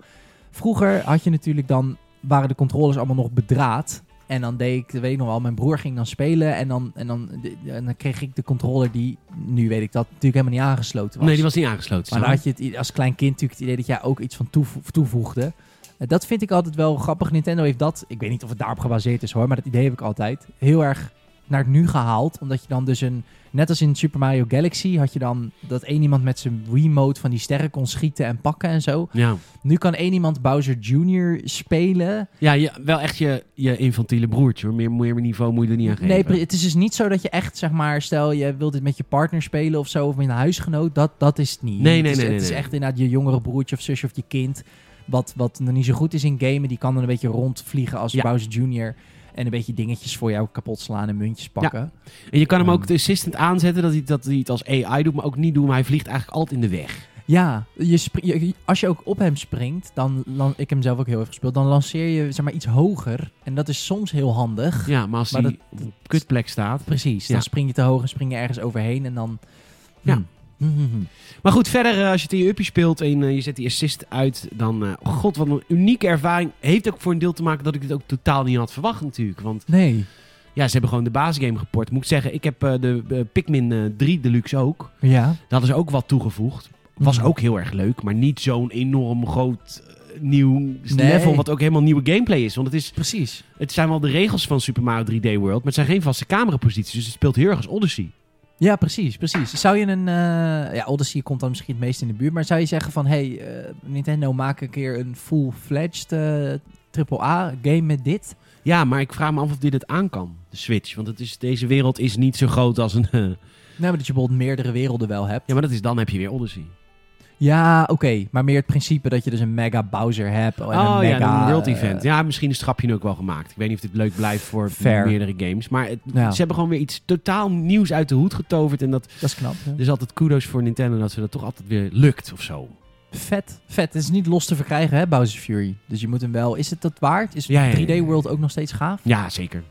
Speaker 2: Vroeger had je natuurlijk dan, waren de controllers allemaal nog bedraad. En dan deed ik, weet ik nog wel, mijn broer ging dan spelen. En dan, en dan, en dan kreeg ik de controller die, nu weet ik dat, natuurlijk helemaal niet aangesloten was.
Speaker 1: Nee, die was niet aangesloten.
Speaker 2: Maar dan
Speaker 1: snap
Speaker 2: had je het, i- als klein kind natuurlijk het idee dat jij ook iets van toevo- toevoegde. Eh, Dat vind ik altijd wel grappig. Nintendo heeft dat, ik weet niet of het daarop gebaseerd is hoor, maar dat idee heb ik altijd, heel erg naar het nu gehaald. Omdat je dan dus een, net als in Super Mario Galaxy, had je dan dat één iemand met zijn Wiimote van die sterren kon schieten en pakken en zo.
Speaker 1: je. Ja.
Speaker 2: Nu kan één iemand Bowser Jr. spelen.
Speaker 1: Ja, je, wel echt je, je infantiele broertje. Hoor. Meer, meer niveau moet je er niet aan geven.
Speaker 2: Nee, pre- het is dus niet zo dat je echt, zeg maar, stel je wilt dit met je partner spelen of zo, of met een huisgenoot. Dat, dat is het niet.
Speaker 1: Nee, nee,
Speaker 2: het is,
Speaker 1: nee,
Speaker 2: Het
Speaker 1: nee,
Speaker 2: is
Speaker 1: nee.
Speaker 2: echt inderdaad je jongere broertje of zusje of je kind. Wat, wat nog niet zo goed is in gamen, die kan dan een beetje rondvliegen als
Speaker 1: Ja.
Speaker 2: Bowser Jr. En een beetje dingetjes voor jou kapot slaan en muntjes pakken.
Speaker 1: En je kan hem ook
Speaker 2: Ehm.
Speaker 1: de assistant aanzetten dat hij, dat hij het als AI doet, maar ook niet doet. Maar hij vliegt eigenlijk altijd in de weg.
Speaker 2: Ja, je spri- je- als je ook op hem springt, dan lan- ik heb hem zelf ook heel even gespeeld, dan lanceer je zeg maar iets hoger. En dat is soms heel handig.
Speaker 1: Ja, maar als
Speaker 2: Maar
Speaker 1: hij op een kutplek staat.
Speaker 2: Precies, dan
Speaker 1: Ja.
Speaker 2: spring je te hoog en spring je ergens overheen en dan...
Speaker 1: Ja.
Speaker 2: Hmm. Hmm, hmm, hmm.
Speaker 1: Maar goed, verder, eh, als je het in je uppie speelt en eh, je zet die assist uit, dan... eh, oh god, wat een unieke ervaring. Heeft ook voor een deel te maken dat ik dit ook totaal niet had verwacht natuurlijk. Want
Speaker 2: Nee,
Speaker 1: ja, ze hebben gewoon de basisgame geport. Moet ik zeggen, ik heb eh, de eh, Pikmin eh, 3 Deluxe ook.
Speaker 2: ja.
Speaker 1: Daar hadden ze ook wat toegevoegd. Was
Speaker 2: Mhm.
Speaker 1: ook heel erg leuk, maar niet zo'n enorm groot eh, nieuw level,
Speaker 2: Nee.
Speaker 1: wat ook helemaal nieuwe gameplay is. Want het, is,
Speaker 2: Precies.
Speaker 1: het zijn wel de regels van Super Mario 3D World, maar het zijn geen vaste cameraposities, dus het speelt heel erg als Odyssey.
Speaker 2: Ja, precies, precies. Zou je een... eh, ja, Odyssey komt dan misschien het meest in de buurt. Maar zou je zeggen van... Hey, eh, Nintendo, maak een keer een full-fledged eh, AAA-game met dit?
Speaker 1: Ja, maar ik vraag me af of dit het aan kan, de Switch. Want het is, deze wereld is niet zo groot als een... eh,
Speaker 2: Nou, maar dat je bijvoorbeeld meerdere werelden wel hebt.
Speaker 1: ja, maar dat is, dan heb je weer Odyssey.
Speaker 2: Ja, oké. maar meer het principe dat je dus een mega Bowser hebt. En
Speaker 1: oh
Speaker 2: een mega,
Speaker 1: ja, een world
Speaker 2: eh,
Speaker 1: event. ja, misschien is het grapje nu ook wel gemaakt. Ik weet niet of dit leuk blijft voor
Speaker 2: Fair.
Speaker 1: meerdere games. Maar het-
Speaker 2: Ja.
Speaker 1: ze hebben gewoon weer iets totaal nieuws uit de hoed getoverd. En dat
Speaker 2: dat is knap. ja.
Speaker 1: Dus altijd kudos voor Nintendo dat ze dat toch altijd weer lukt of zo.
Speaker 2: Vet, vet. Het is niet los te verkrijgen, hè, Bowser Fury. Dus je moet hem wel... Is het dat waard? Is
Speaker 1: Ja, ja, ja,
Speaker 2: 3D
Speaker 1: ja.
Speaker 2: World ook nog steeds gaaf?
Speaker 1: Ja, zeker.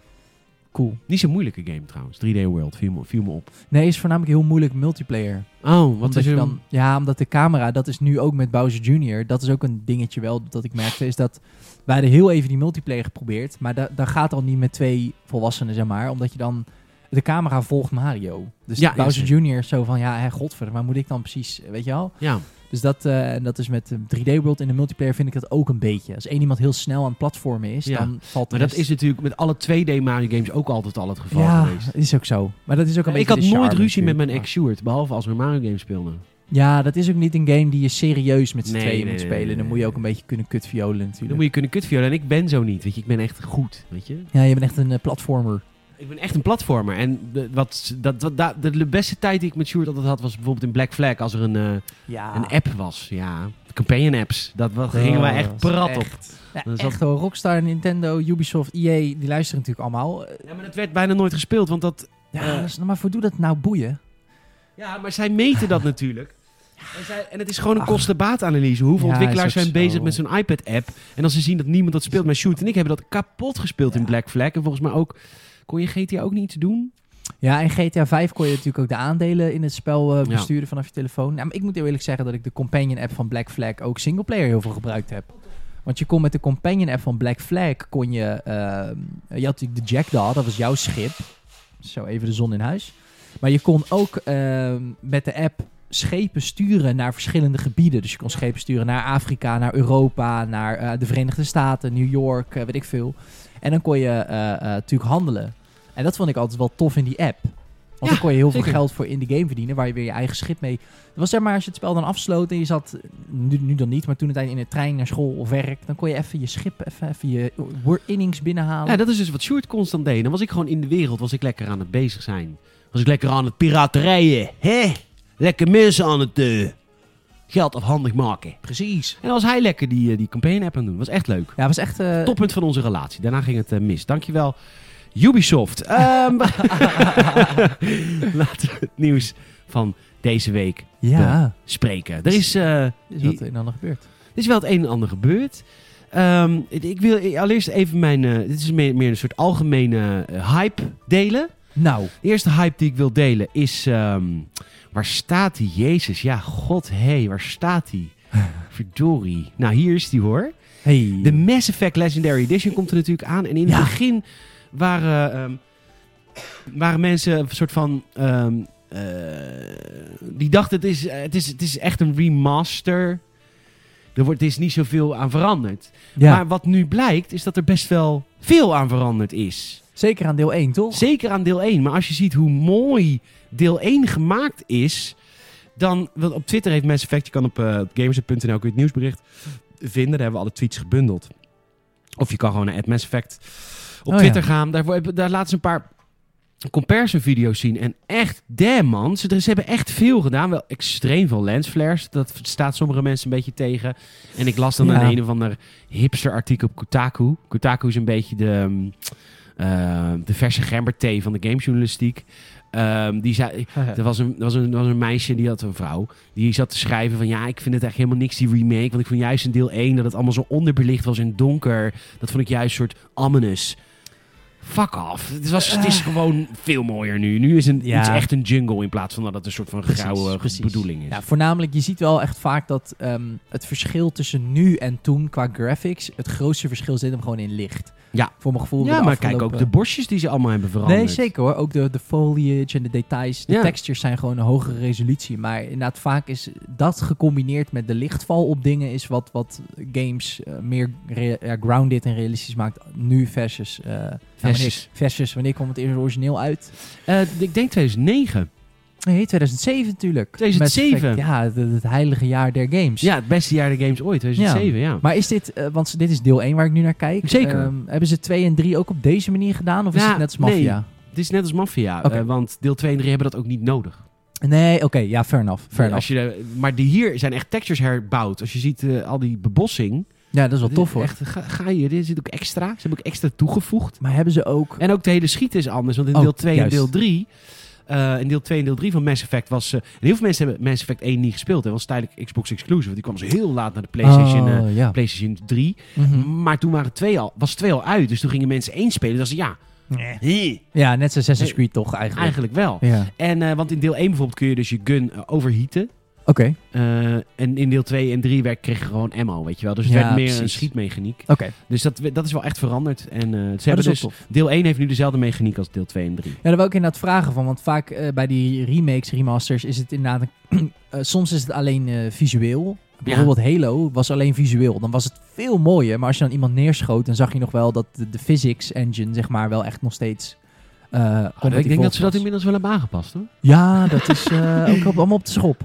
Speaker 2: cool.
Speaker 1: Niet zo'n moeilijke game trouwens. 3D World, viel me, viel me op.
Speaker 2: Nee, is voornamelijk heel moeilijk multiplayer.
Speaker 1: Oh, wat
Speaker 2: Omdat
Speaker 1: is
Speaker 2: je
Speaker 1: er
Speaker 2: dan, ja, omdat de camera, dat is nu ook met Bowser Jr., dat is ook een dingetje wel dat ik merkte, is dat wij hadden heel even die multiplayer geprobeerd, maar da, dat gaat al niet met twee volwassenen, zeg maar, omdat je dan, de camera volgt Mario. Dus
Speaker 1: Ja, ja,
Speaker 2: Bowser Jr. is zo van, ja, hè, godver, waar moet ik dan precies, weet je wel?
Speaker 1: Ja,
Speaker 2: Dus dat, eh, en dat is met eh, 3D World in de multiplayer vind ik dat ook een beetje. Als één iemand heel snel aan het platformen is,
Speaker 1: Ja.
Speaker 2: dan valt de
Speaker 1: maar dat is
Speaker 2: rest-
Speaker 1: natuurlijk met alle 2D Mario games ook altijd al het geval
Speaker 2: Ja,
Speaker 1: geweest.
Speaker 2: is ook zo. Maar dat is ook een
Speaker 1: ik
Speaker 2: beetje
Speaker 1: had
Speaker 2: de
Speaker 1: nooit
Speaker 2: charme
Speaker 1: ruzie met mijn
Speaker 2: natuurlijk.
Speaker 1: ex-Sjoerd, behalve als we Mario games speelden.
Speaker 2: Ja, dat is ook niet een game die je serieus met z'n
Speaker 1: Nee,
Speaker 2: tweeën
Speaker 1: nee,
Speaker 2: moet
Speaker 1: nee,
Speaker 2: spelen.
Speaker 1: nee,
Speaker 2: dan
Speaker 1: nee,
Speaker 2: moet je ook een beetje kunnen kutviolen natuurlijk.
Speaker 1: Dan moet je kunnen kutviolen en ik ben zo niet, weet je. Ik ben echt goed, weet je.
Speaker 2: Ja, je bent echt een eh, platformer.
Speaker 1: Ik ben echt een platformer. En de, wat, dat, dat, dat- de, de beste tijd die ik met Sjoerd altijd had, was bijvoorbeeld in Black Flag. Als er een, eh,
Speaker 2: Ja,
Speaker 1: een app was, ja. Companion apps. Dat, dat
Speaker 2: Oh,
Speaker 1: gingen wij echt prat op.
Speaker 2: Ja,
Speaker 1: Dat is
Speaker 2: echt hoor. Rockstar, Nintendo, Ubisoft, EA, die luisteren natuurlijk allemaal. Eh,
Speaker 1: Ja, maar dat werd bijna nooit gespeeld, want dat...
Speaker 2: Ja, dat is- maar voor doe dat nou boeien?
Speaker 1: Ja, maar zij meten dat natuurlijk. En, zij, en het is gewoon een
Speaker 2: Ach.
Speaker 1: kosten-baat-analyse. Hoeveel
Speaker 2: Ja,
Speaker 1: ontwikkelaars
Speaker 2: is ook
Speaker 1: zijn bezig
Speaker 2: zo.
Speaker 1: met zo'n iPad-app? En als ze zien dat niemand dat speelt, maar Shoot en ik hebben dat kapot gespeeld in Black Flag. En volgens mij ook... Kon je GTA ook niet iets doen?
Speaker 2: Ja, in GTA 5 kon je natuurlijk ook de aandelen in het spel eh,
Speaker 1: Ja.
Speaker 2: besturen vanaf je telefoon. Nou, maar ik moet heel eerlijk zeggen dat ik de companion app van Black Flag ook singleplayer heel veel gebruikt heb. Want je kon met de companion app van Black Flag kon je. ehm, je had natuurlijk de Jackdaw, dat was jouw schip. Zo even de zon in huis. Maar je kon ook ehm, met de app schepen sturen naar verschillende gebieden. Dus je kon schepen sturen naar Afrika, naar Europa, naar eh, de Verenigde Staten, New York, eh, weet ik veel. En dan kon je eh, eh, natuurlijk handelen. En dat vond ik altijd wel tof in die app. Want
Speaker 1: Ja,
Speaker 2: dan kon je heel veel
Speaker 1: zeker.
Speaker 2: geld voor in de game verdienen, waar je weer je eigen schip mee... Het was zeg maar, als je het spel dan afsloot en je zat, nu, nu dan niet, maar toen uiteindelijk in de trein naar school of werk, dan kon je even je schip, even, even je wor- innings binnenhalen.
Speaker 1: Ja, dat is dus wat Sjoerd constant deed. Dan was ik gewoon in de wereld, was ik lekker aan het bezig zijn. Was ik lekker aan het piraterijen. Hè? Lekker mensen aan het eh, geld afhandig maken.
Speaker 2: Precies.
Speaker 1: En dan was hij lekker die, eh, die campaign-app aan het doen. Was echt leuk.
Speaker 2: Ja, het was echt... eh,
Speaker 1: Toppunt van onze relatie. Daarna ging het eh, mis. Dankjewel, Ubisoft. Ehm, Laten we het nieuws van deze week
Speaker 2: Ja,
Speaker 1: spreken. Er is, eh,
Speaker 2: is wat er dan gebeurd.
Speaker 1: er is wel het een en ander gebeurd. Ehm, ik- ik wil allereerst even mijn... eh, dit is meer, meer een soort algemene eh, hype delen.
Speaker 2: Nou,
Speaker 1: De eerste hype die ik wil delen is... ehm, waar staat die Jezus? Ja, god, hé, waar staat die? Verdorie. Nou, hier is die hoor.
Speaker 2: hey.
Speaker 1: De Mass Effect Legendary Edition komt er natuurlijk aan. En in
Speaker 2: Ja.
Speaker 1: het begin waren, ehm, waren mensen een soort van. ehm, eh, die dachten: het is, eh, het, is, het is echt een remaster. Er wordt is niet zoveel aan veranderd.
Speaker 2: ja,
Speaker 1: Maar wat nu blijkt, is dat er best wel veel aan veranderd is.
Speaker 2: zeker aan deel 1, toch?
Speaker 1: Zeker aan deel 1. Maar als je ziet hoe mooi deel 1 gemaakt is. Dan, want op Twitter heeft Mass Effect, je kan op eh, gamers.nl kun je het nieuwsbericht vinden. Daar hebben we alle tweets gebundeld. Of je kan gewoon naar Mass Effect op
Speaker 2: Oh,
Speaker 1: Twitter
Speaker 2: ja.
Speaker 1: gaan. Daarvoor, hebben- daar laten ze een paar comparison video's zien. En echt, damn man. Ze, ze hebben echt veel gedaan. Wel extreem veel lensflares. Dat staat sommige mensen een beetje tegen. En ik las dan
Speaker 2: Ja.
Speaker 1: een, een of ander hipster artikel op Kotaku. Kotaku is een beetje de, ehm, eh, de verse gemberthee van de gamejournalistiek. Ehm, die zei, er was, een, er was, een, er was een meisje, die had een vrouw, die zat te schrijven van... ja, ik vind het echt helemaal niks, die remake. Want ik vond juist in deel 1 dat het allemaal zo onderbelicht was en donker. Dat vond ik juist een soort ominous. Fuck off. Het, was, het is gewoon veel mooier nu. Nu is een,
Speaker 2: Eh. Ja.
Speaker 1: iets echt een jungle in plaats van dat het een soort van
Speaker 2: Precies,
Speaker 1: grauwe
Speaker 2: precies.
Speaker 1: bedoeling is.
Speaker 2: Ja, voornamelijk, je ziet wel echt vaak dat ehm, het verschil tussen nu en toen qua graphics, het grootste verschil zit hem gewoon in licht.
Speaker 1: Ja.
Speaker 2: Voor mijn gevoel.
Speaker 1: Ja,
Speaker 2: hebben de
Speaker 1: maar kijk ook
Speaker 2: afgelopen-
Speaker 1: de bosjes die ze allemaal hebben veranderd.
Speaker 2: Nee, zeker hoor. Ook de, de foliage en de details, de
Speaker 1: Ja.
Speaker 2: textures zijn gewoon een hogere resolutie. Maar inderdaad, vaak is dat gecombineerd met de lichtval op dingen, is wat, wat games eh, meer re- ja, grounded en realistisch maakt nu versus... eh, nou,
Speaker 1: Versus.
Speaker 2: wanneer, versus, wanneer kwam het eerst origineel uit?
Speaker 1: Eh, ik denk 2009.
Speaker 2: Nee, 2007 natuurlijk.
Speaker 1: 2007.
Speaker 2: Met- ja, het, het heilige jaar der games.
Speaker 1: Ja, het beste jaar de games ooit, 2007, ja.
Speaker 2: Maar is dit, eh, want dit is deel 1 waar ik nu naar kijk.
Speaker 1: Zeker.
Speaker 2: Ehm, hebben ze 2 en 3 ook op deze manier gedaan? Of is
Speaker 1: Ja,
Speaker 2: het net als Mafia?
Speaker 1: nee. Het is net als Mafia,
Speaker 2: Oké.
Speaker 1: eh, want deel 2 en 3 hebben dat ook niet nodig.
Speaker 2: Nee, oké. ja, fair enough. Fair enough.
Speaker 1: Als je, de- maar die hier zijn echt textures herbouwd. Als je ziet eh, al die bebossing.
Speaker 2: Ja, dat is wel
Speaker 1: dit
Speaker 2: tof
Speaker 1: is
Speaker 2: hoor.
Speaker 1: Echt, eh, ga, ga je, dit zit ook extra. Ze hebben ook extra toegevoegd.
Speaker 2: Maar hebben ze ook...
Speaker 1: En ook de hele schieten is anders. Want in
Speaker 2: Oh,
Speaker 1: deel 2
Speaker 2: juist.
Speaker 1: en deel 3... eh, in deel 2 en deel 3 van Mass Effect was... eh, en heel veel mensen hebben Mass Effect 1 niet gespeeld. Dat was tijdelijk Xbox Exclusive. Die kwam ze heel laat naar de PlayStation, eh,
Speaker 2: Oh, ja.
Speaker 1: PlayStation 3.
Speaker 2: Mhm.
Speaker 1: Maar toen waren twee al, was 2 al uit. Dus toen gingen mensen 1 spelen. Dat ze ja,
Speaker 3: Nee.
Speaker 1: Hi.
Speaker 2: Ja, net zoals Assassin's
Speaker 1: Nee.
Speaker 2: Creed toch eigenlijk.
Speaker 1: Eigenlijk wel.
Speaker 2: Ja.
Speaker 1: En, eh, want in deel 1 bijvoorbeeld kun je dus je gun eh, overheaten.
Speaker 2: Oké,
Speaker 1: Eh, en in deel 2 en 3 werd, kreeg je gewoon ammo, weet je wel. Dus het
Speaker 2: Ja,
Speaker 1: werd meer een
Speaker 2: precies.
Speaker 1: schietmechaniek.
Speaker 2: oké.
Speaker 1: Dus dat, dat is wel echt veranderd. En eh, ze
Speaker 2: Ja, dat
Speaker 1: hebben
Speaker 2: is wel
Speaker 1: dus,
Speaker 2: tof.
Speaker 1: deel 1 heeft nu dezelfde mechaniek als deel 2 en 3.
Speaker 2: Ja, daar wil ik inderdaad vragen van. Want vaak eh, bij die remakes, remasters is het inderdaad... een- eh, soms is het alleen eh, visueel. Bijvoorbeeld Halo was alleen visueel. Dan was het veel mooier. Maar als je dan iemand neerschoot, dan zag je nog wel dat de, de physics engine, zeg maar, wel echt nog steeds... eh, compatible
Speaker 1: Oh, ik denk dat ze dat
Speaker 2: was.
Speaker 1: inmiddels wel hebben aangepast, hoor.
Speaker 2: Ja, dat is eh, ook op, allemaal op de schop.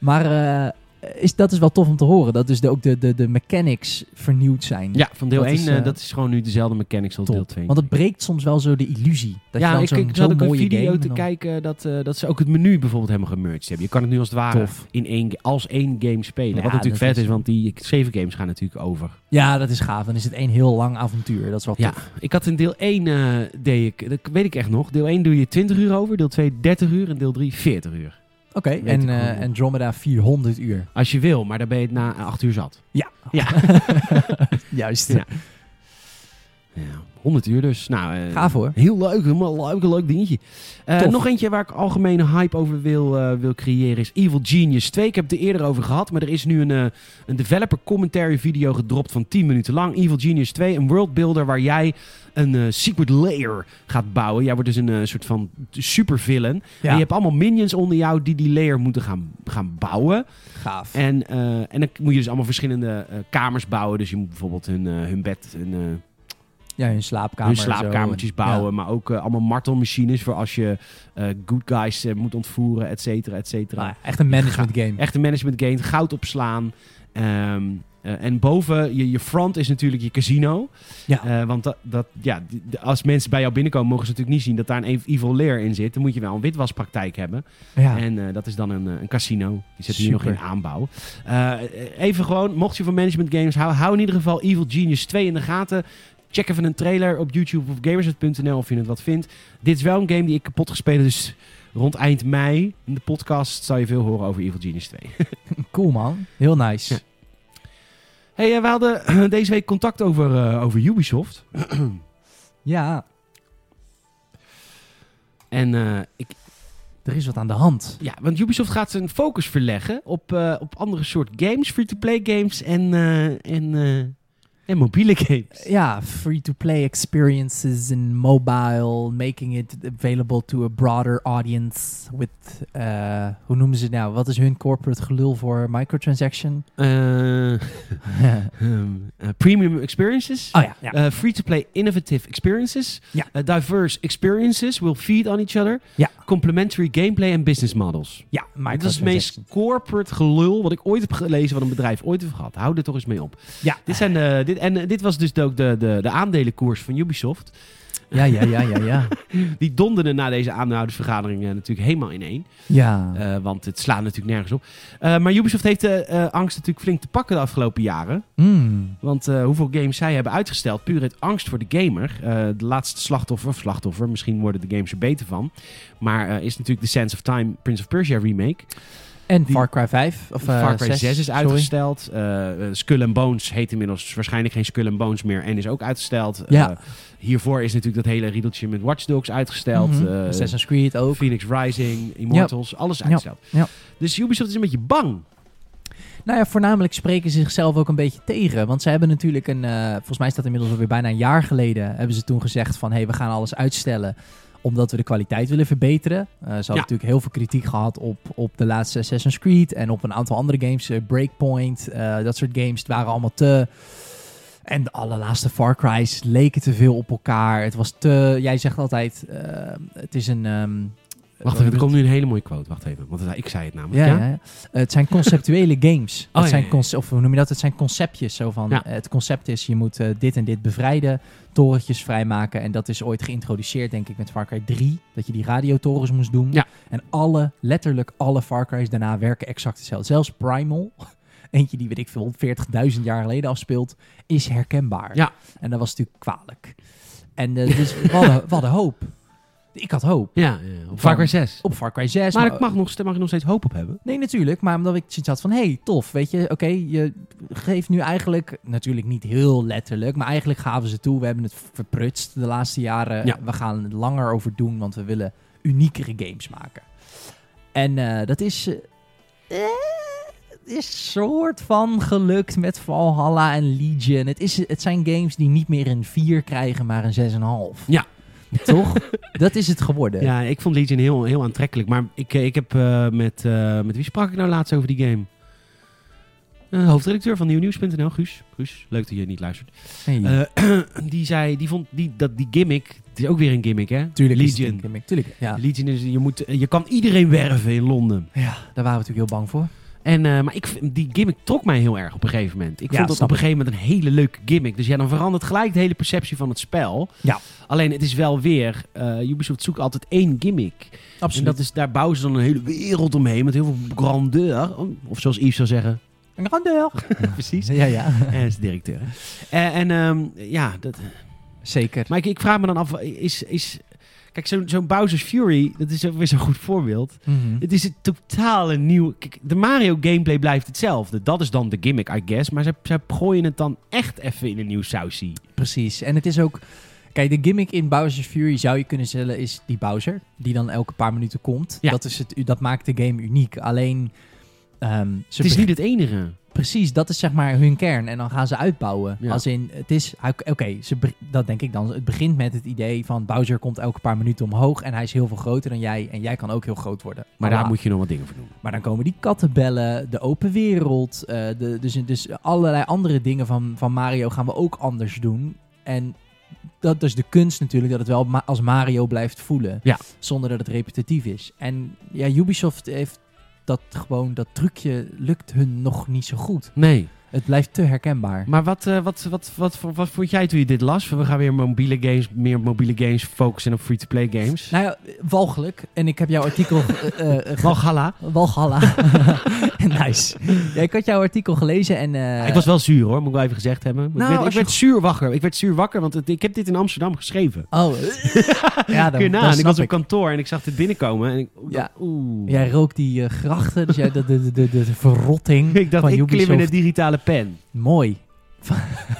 Speaker 2: Maar eh, is, dat is wel tof om te horen. Dat dus de, ook de, de, de mechanics vernieuwd zijn.
Speaker 1: Ja, van deel
Speaker 2: Dat
Speaker 1: 1,
Speaker 2: is,
Speaker 1: eh,
Speaker 2: eh,
Speaker 1: dat is gewoon nu dezelfde mechanics als
Speaker 2: Top.
Speaker 1: deel 2.
Speaker 2: Want het breekt soms wel zo de illusie. Dat je
Speaker 1: ja,
Speaker 2: dan
Speaker 1: ik,
Speaker 2: zo'n
Speaker 1: ik
Speaker 2: zo'n
Speaker 1: zat ook een
Speaker 2: mooie game
Speaker 1: video
Speaker 2: en
Speaker 1: te
Speaker 2: dan-
Speaker 1: kijken dat, eh, dat ze ook het menu bijvoorbeeld helemaal gemerged hebben. Je kan het nu als het ware
Speaker 2: Tof.
Speaker 1: in één, ga- als één game spelen.
Speaker 2: Ja,
Speaker 1: Wat natuurlijk
Speaker 2: dat
Speaker 1: vet is,
Speaker 2: is-
Speaker 1: want die zeven games gaan natuurlijk over.
Speaker 2: Ja, dat is gaaf. Dan is het één heel lang avontuur. Dat is wel
Speaker 1: Ja,
Speaker 2: tof.
Speaker 1: ik had in deel 1, eh, deed ik, dat weet ik echt nog. Deel 1 doe je 20 uur over, deel 2 30 uur en deel 3 40 uur.
Speaker 2: Oké,
Speaker 1: Weet
Speaker 2: en
Speaker 1: ik
Speaker 2: eh,
Speaker 1: wel.
Speaker 2: Andromeda 400 uur.
Speaker 1: Als je wil, maar dan ben je het na 8 uur zat.
Speaker 2: Ja.
Speaker 1: Ja.
Speaker 2: Juist.
Speaker 1: Ja. Ja, 100 uur dus. Nou, eh,
Speaker 2: Gaaf hoor.
Speaker 1: Heel leuk, helemaal leuk, een leuk dingetje. Eh,
Speaker 2: Tof.
Speaker 1: nog eentje waar ik algemene hype over wil, eh, wil creëren is Evil Genius 2. Ik heb het er eerder over gehad, maar er is nu een, eh, een developer commentary video gedropt van 10 minuten lang. Evil Genius 2, een worldbuilder waar jij een eh, secret layer gaat bouwen. Jij wordt dus een eh, soort van supervillain. En je hebt allemaal minions onder jou die die layer moeten gaan, gaan bouwen.
Speaker 2: gaaf.
Speaker 1: En, eh, en dan moet je dus allemaal verschillende eh, kamers bouwen. Dus je moet bijvoorbeeld hun, eh, hun bed, hun, eh,
Speaker 2: ja, hun slaapkamer.
Speaker 1: hun slaapkamertjes
Speaker 2: zo.
Speaker 1: bouwen. Maar ook eh, allemaal martelmachines voor als je eh, good guys eh, moet ontvoeren, et cetera, et
Speaker 2: Ja.
Speaker 1: cetera.
Speaker 2: Nou, echt een management game.
Speaker 1: Echt een management game, goud opslaan. Ehm, eh, en boven, je, je front is natuurlijk je casino.
Speaker 2: Ja.
Speaker 1: Eh, want dat, dat, ja, d- d- als mensen bij jou binnenkomen, mogen ze natuurlijk niet zien dat daar een evil lair in zit. Dan moet je wel een witwaspraktijk hebben.
Speaker 2: Ja.
Speaker 1: En eh, dat is dan een, eh, een casino. Die zit hier nog
Speaker 2: Super.
Speaker 1: in aanbouw. Eh, even gewoon, mocht je van management games houden, hou in ieder geval Evil Genius 2 in de gaten. Check even een trailer op YouTube of gamersnet.nl of je het wat vindt. Dit is wel een game die ik kapot gespeeld heb, dus rond eind mei in de podcast zal je veel horen over Evil Genius 2.
Speaker 2: Cool man. Heel nice.
Speaker 1: Ja. hey, eh, we hadden eh, deze week contact over, eh, over Ubisoft.
Speaker 2: ja,
Speaker 1: En eh, ik,
Speaker 2: er is wat aan de hand.
Speaker 1: ja, want Ubisoft gaat zijn focus verleggen op, eh, op andere soort games, free-to-play games en, eh, en, eh, en mobiele games.
Speaker 2: Ja, free-to-play experiences in mobile, making it available to a broader audience with, eh, hoe noemen ze het nou, wat is hun corporate gelul voor microtransaction?
Speaker 1: Eh, ehm, eh, premium experiences.
Speaker 2: oh ja, ja.
Speaker 1: Eh, Free-to-play innovative experiences.
Speaker 2: Ja.
Speaker 1: Eh, diverse experiences will feed on each other.
Speaker 2: Ja.
Speaker 1: Complementary gameplay en business models.
Speaker 2: ja,
Speaker 1: Dit is het meest
Speaker 2: microtransaction.
Speaker 1: corporate gelul wat ik ooit heb gelezen, wat een bedrijf ooit heeft gehad. Hou er toch eens mee op.
Speaker 2: Ja.
Speaker 1: Dit zijn de, dit, en eh, dit was dus ook de, de, de aandelenkoers van Ubisoft.
Speaker 2: ja, ja, ja, ja, ja.
Speaker 1: Die donderde na deze aandeelhoudersvergadering eh, natuurlijk helemaal ineen.
Speaker 2: ja.
Speaker 1: Eh want het slaat natuurlijk nergens op. Eh, maar Ubisoft heeft de eh, angst natuurlijk flink te pakken de afgelopen jaren.
Speaker 2: Mm.
Speaker 1: Want eh, hoeveel games zij hebben uitgesteld, puur uit angst voor de gamer. Eh, de laatste slachtoffer, of slachtoffer, misschien worden de games er beter van. Maar eh, is natuurlijk de Sense of Time Prince of Persia remake.
Speaker 2: En
Speaker 1: Die-
Speaker 2: Far Cry 5, of eh,
Speaker 1: Far Cry 6, is
Speaker 2: sorry.
Speaker 1: uitgesteld. Eh, eh, Skull and Bones heet inmiddels waarschijnlijk geen Skull and Bones meer en is ook uitgesteld.
Speaker 2: Ja.
Speaker 1: Eh, hiervoor is natuurlijk dat hele riedeltje met Watch Dogs uitgesteld.
Speaker 2: Mhm.
Speaker 1: Eh,
Speaker 2: Assassin's Creed ook.
Speaker 1: Phoenix Rising, Immortals, alles uitgesteld.
Speaker 2: ja.
Speaker 1: Dus Ubisoft is een beetje bang.
Speaker 2: Nou ja, voornamelijk spreken ze zichzelf ook een beetje tegen. Want ze hebben natuurlijk een... eh, volgens mij is dat inmiddels alweer bijna een jaar geleden... hebben ze toen gezegd van... hé, hey, we gaan alles uitstellen omdat we de kwaliteit willen verbeteren. Eh, ze hadden natuurlijk heel veel kritiek gehad op, op de laatste Assassin's Creed... en op een aantal andere games. eh, Breakpoint, eh, dat soort games. Het waren allemaal te... En de allerlaatste Far Cry's leken te veel op elkaar. Het was te... Jij zegt altijd... eh, het is een... ehm,
Speaker 1: Wacht even, er komt nu een hele mooie quote. Wacht even, want ik zei het namelijk.
Speaker 2: ja, ja. ja. Eh, Het zijn conceptuele games.
Speaker 1: Oh, ja,
Speaker 2: het zijn
Speaker 1: ja, ja.
Speaker 2: conce- of hoe noem je dat? Het zijn conceptjes. Zo van,
Speaker 1: Ja.
Speaker 2: eh, Het concept is, je moet eh, dit en dit bevrijden. Torentjes vrijmaken. En dat is ooit geïntroduceerd, denk ik, met Far Cry 3. Dat je die radiotorens moest doen.
Speaker 1: Ja.
Speaker 2: En alle, letterlijk alle Far Cry's daarna werken exact hetzelfde. Zelfs Primal, eentje die, weet ik veel, 40.000 jaar geleden afspeelt, is herkenbaar.
Speaker 1: Ja.
Speaker 2: En dat was natuurlijk kwalijk. En eh, dus wat een, wat een hoop. Ik had hoop.
Speaker 1: Ja, ja, op Far Cry 6.
Speaker 2: Op Far Cry 6.
Speaker 1: Maar ik mag nog, daar mag ik nog steeds hoop op hebben.
Speaker 2: Nee, natuurlijk. Maar omdat ik zoiets had van, hey, tof. Weet je, oké, je geeft nu eigenlijk... Natuurlijk niet heel letterlijk, maar eigenlijk gaven ze toe. We hebben het verprutst de laatste jaren.
Speaker 1: Ja.
Speaker 2: We gaan het langer over doen, want we willen uniekere games maken. En eh, dat is... eh, eh, het is soort van gelukt met Valhalla en Legion. Het, is, het zijn games die niet meer een 4 krijgen, maar een 6,5.
Speaker 1: Ja.
Speaker 2: Toch? dat is het geworden.
Speaker 1: Ja, ik vond Legion heel, heel aantrekkelijk. Maar ik, eh, ik heb eh, met, eh, met wie sprak ik nou laatst over die game? Eh, hoofdredacteur van nieuwnieuws.nl, Guus. Guus, leuk dat je niet luistert.
Speaker 2: Hey.
Speaker 1: Eh, die zei, die vond die, dat die gimmick, het is ook weer een gimmick hè?
Speaker 2: Tuurlijk is het
Speaker 1: Legion.
Speaker 2: een gimmick. Tuurlijk, ja.
Speaker 1: Legion is, je, moet, je kan iedereen werven in Londen.
Speaker 2: Ja, daar waren we natuurlijk heel bang voor.
Speaker 1: En, eh, maar ik, vind- die gimmick trok mij heel erg op een gegeven moment. Ik
Speaker 2: Ja,
Speaker 1: vond dat
Speaker 2: snap
Speaker 1: op een gegeven moment een hele leuke gimmick. Dus ja, dan verandert gelijk de hele perceptie van het spel.
Speaker 2: Ja.
Speaker 1: Alleen het is wel weer, eh, Ubisoft zoekt altijd één gimmick. En
Speaker 2: Absoluut.
Speaker 1: dat is, daar bouwen ze dan een hele wereld omheen met heel veel grandeur. Oh, Of zoals Yves zou zeggen,
Speaker 2: Een grandeur.
Speaker 1: precies.
Speaker 2: Ja, ja.
Speaker 1: Hij is de directeur. hè. Eh, en ehm, ja, dat,
Speaker 2: Zeker.
Speaker 1: maar ik, ik vraag me dan af, is... is kijk, zo'n zo'n Bowser's Fury, dat is ook weer zo'n goed voorbeeld.
Speaker 2: Mhm.
Speaker 1: Het is een totale nieuw. Kijk, de Mario gameplay blijft hetzelfde. Dat is dan de gimmick, I guess. Maar ze, ze gooien het dan echt even in een nieuw sausie.
Speaker 2: Precies. En het is ook... Kijk, de gimmick in Bowser's Fury zou je kunnen stellen is die Bowser. Die dan elke paar minuten komt.
Speaker 1: Ja.
Speaker 2: Dat, is het, dat maakt de game uniek. Alleen... ehm, ze
Speaker 1: Het is
Speaker 2: beg-
Speaker 1: niet het enige.
Speaker 2: Precies, dat is zeg maar hun kern. En dan gaan ze uitbouwen.
Speaker 1: Ja.
Speaker 2: Als in, het is... hij- Oké, ze be- dat denk ik dan. Het begint met het idee van Bowser komt elke paar minuten omhoog. En hij is heel veel groter dan jij. En jij kan ook heel groot worden.
Speaker 1: Maar
Speaker 2: Voilà.
Speaker 1: daar moet je nog wat dingen voor doen.
Speaker 2: Maar dan komen die kattenbellen, de open wereld. eh, de, dus, dus allerlei andere dingen van, van Mario gaan we ook anders doen. En dat is de kunst natuurlijk, dat het wel ma- als Mario blijft voelen.
Speaker 1: Ja.
Speaker 2: Zonder dat het repetitief is. En ja, Ubisoft heeft dat gewoon, dat trucje lukt hun nog niet zo goed.
Speaker 1: Nee.
Speaker 2: Het blijft te herkenbaar.
Speaker 1: Maar wat, eh, wat, wat, wat, wat, wat vond jij toen je dit las? We gaan weer mobiele games, meer mobiele games focussen op free-to-play games.
Speaker 2: Nou ja, walgelijk. En ik heb jouw artikel eh, eh, ge-
Speaker 1: Valhalla.
Speaker 2: Walhalla. nice. Ja, ik had jouw artikel gelezen en... eh,
Speaker 1: ik was wel zuur hoor, moet ik wel even gezegd hebben.
Speaker 2: Nou,
Speaker 1: ik werd, ik
Speaker 2: als je
Speaker 1: werd zuur wakker. Ik werd zuur wakker, want het- ik heb dit in Amsterdam geschreven.
Speaker 2: Oh, ja, dan,
Speaker 1: Kun je
Speaker 2: dan
Speaker 1: na, en ik
Speaker 2: snap
Speaker 1: was op
Speaker 2: ik.
Speaker 1: kantoor en ik zag dit binnenkomen. En ik,
Speaker 2: Ja.
Speaker 1: oeh.
Speaker 2: Jij rookt die eh, grachten, dus jij, de, de, de, de, de verrotting
Speaker 1: Ik dacht,
Speaker 2: van
Speaker 1: ik
Speaker 2: Ubisoft.
Speaker 1: klim in de digitale pen.
Speaker 2: Mooi.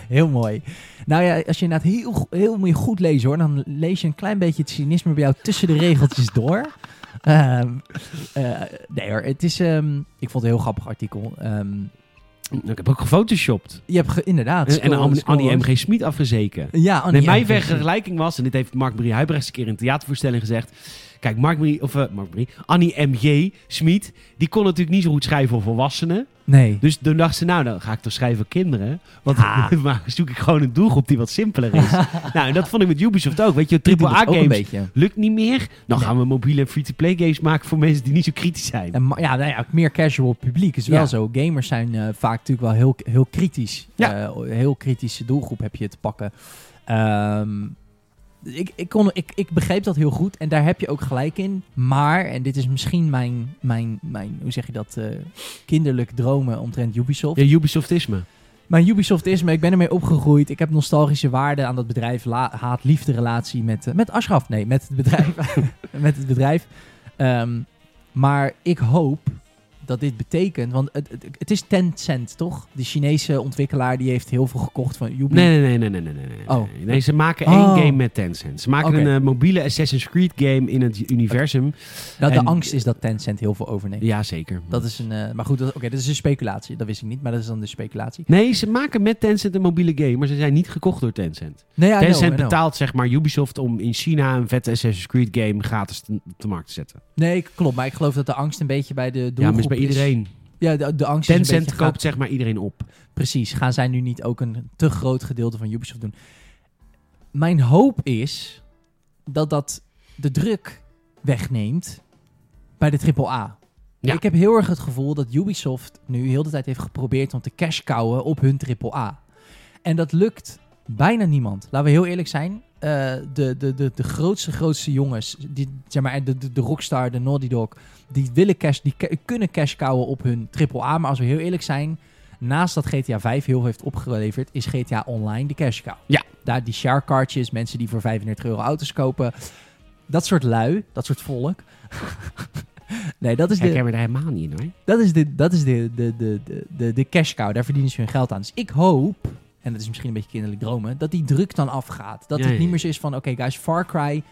Speaker 2: heel mooi. Nou ja, als je inderdaad heel, go- heel moet je goed lezen hoor, dan lees je een klein beetje het cynisme bij jou tussen de regeltjes door. Ehm, eh, nee hoor, het is, ehm, ik vond het een heel grappig artikel. Ehm,
Speaker 1: Ik heb ook gefotoshopt.
Speaker 2: je hebt ge- inderdaad...
Speaker 1: En, en
Speaker 2: scroll-
Speaker 1: Annie,
Speaker 2: scroll-
Speaker 1: Annie M.G. Smit afgezeken.
Speaker 2: Ja, Annie
Speaker 1: Nee,
Speaker 2: Oh, M.
Speaker 1: mijn
Speaker 2: precies.
Speaker 1: vergelijking was, en dit heeft Mark Marie Huibrechts een keer in een theatervoorstelling gezegd. Kijk, Mark Marie, of, eh, Mark Marie, Annie M.G. Smit, die kon natuurlijk niet zo goed schrijven voor volwassenen.
Speaker 2: Nee.
Speaker 1: Dus toen dacht ze, nou, dan ga ik toch schrijven voor kinderen. Want
Speaker 2: Ah.
Speaker 1: maar zoek ik gewoon een doelgroep die wat simpeler is. nou, en dat vond ik met Ubisoft ook. Weet je,
Speaker 2: Die doet het ook een
Speaker 1: AAA-games
Speaker 2: beetje.
Speaker 1: lukt niet meer. Dan
Speaker 2: Nee.
Speaker 1: gaan we mobiele free-to-play games maken voor mensen die niet zo kritisch zijn.
Speaker 2: En ma- ja, nou ja, meer casual publiek is wel
Speaker 1: Ja.
Speaker 2: zo. Gamers zijn eh, vaak natuurlijk wel heel, heel kritisch.
Speaker 1: Ja.
Speaker 2: Eh, heel kritische doelgroep heb je te pakken. Ehm, ik, ik, kon, ik, ik begreep dat heel goed en daar heb je ook gelijk in. Maar, en dit is misschien mijn, mijn, mijn hoe zeg je dat, eh, kinderlijk dromen omtrent Ubisoft.
Speaker 1: Ja, Ubisoftisme.
Speaker 2: Mijn Ubisoft is me, ik ben ermee opgegroeid. Ik heb nostalgische waarden aan dat bedrijf. La- Haat-liefde relatie met, eh, met Ashraf. Nee, met het bedrijf. met het bedrijf. Ehm, maar ik hoop dat dit betekent... Want het, het, het is Tencent, toch? De Chinese ontwikkelaar die heeft heel veel gekocht van Ubisoft.
Speaker 1: Nee, nee, nee, nee, nee, nee, nee. nee.
Speaker 2: Oh.
Speaker 1: Nee, ze maken
Speaker 2: Oh.
Speaker 1: één game met Tencent. Ze maken
Speaker 2: Oké.
Speaker 1: een eh, mobiele Assassin's Creed game in het universum.
Speaker 2: nou, de
Speaker 1: en-
Speaker 2: angst is dat Tencent heel veel overneemt.
Speaker 1: Jazeker.
Speaker 2: Dat is een... eh, maar goed, dat- oké, dat is een speculatie. Dat wist ik niet, maar dat is dan de speculatie.
Speaker 1: Nee, ze maken met Tencent een mobiele game, maar ze zijn niet gekocht door Tencent.
Speaker 2: Nee, I know,
Speaker 1: Tencent
Speaker 2: I know.
Speaker 1: betaalt zeg maar Ubisoft om in China een vette Assassin's Creed game gratis te- op de markt te zetten.
Speaker 2: Nee, klopt. Maar ik geloof dat de angst een beetje bij de doelgroep
Speaker 1: ja, maar is bij
Speaker 2: is.
Speaker 1: iedereen.
Speaker 2: Ja, de, de angst is een
Speaker 1: Tencent
Speaker 2: beetje...
Speaker 1: koopt
Speaker 2: gaat-
Speaker 1: zeg maar iedereen op.
Speaker 2: Precies, gaan zij nu niet ook een te groot gedeelte van Ubisoft doen? Mijn hoop is dat dat de druk wegneemt bij de AAA.
Speaker 1: Ja.
Speaker 2: Ik heb heel erg het gevoel dat Ubisoft nu heel de tijd heeft geprobeerd om te cash cowen op hun AAA. En dat lukt bijna niemand. Laten we heel eerlijk zijn. Eh, de, de, de, de grootste, grootste jongens, die, zeg maar, de, de, de Rockstar, de Naughty Dog, die, willen cash, die ca- kunnen cash cowen op hun AAA. Maar als we heel eerlijk zijn, naast dat GTA 5 heel veel heeft opgeleverd, is GTA Online de cash cow.
Speaker 1: Ja.
Speaker 2: Daar die share cardjes, mensen die voor 35 euro auto's kopen. dat soort lui, dat soort volk. nee, dat is
Speaker 1: Ik
Speaker 2: de,
Speaker 1: heb er helemaal niet in hoor.
Speaker 2: dat is de, dat is de, de, de, de, de, de cash cow. Daar verdienen ze hun geld aan. Dus ik hoop, en dat is misschien een beetje kinderlijk dromen, dat die druk dan afgaat. Dat
Speaker 1: Ja,
Speaker 2: het
Speaker 1: ja,
Speaker 2: niet
Speaker 1: ja.
Speaker 2: meer zo is van, oké guys, Far Cry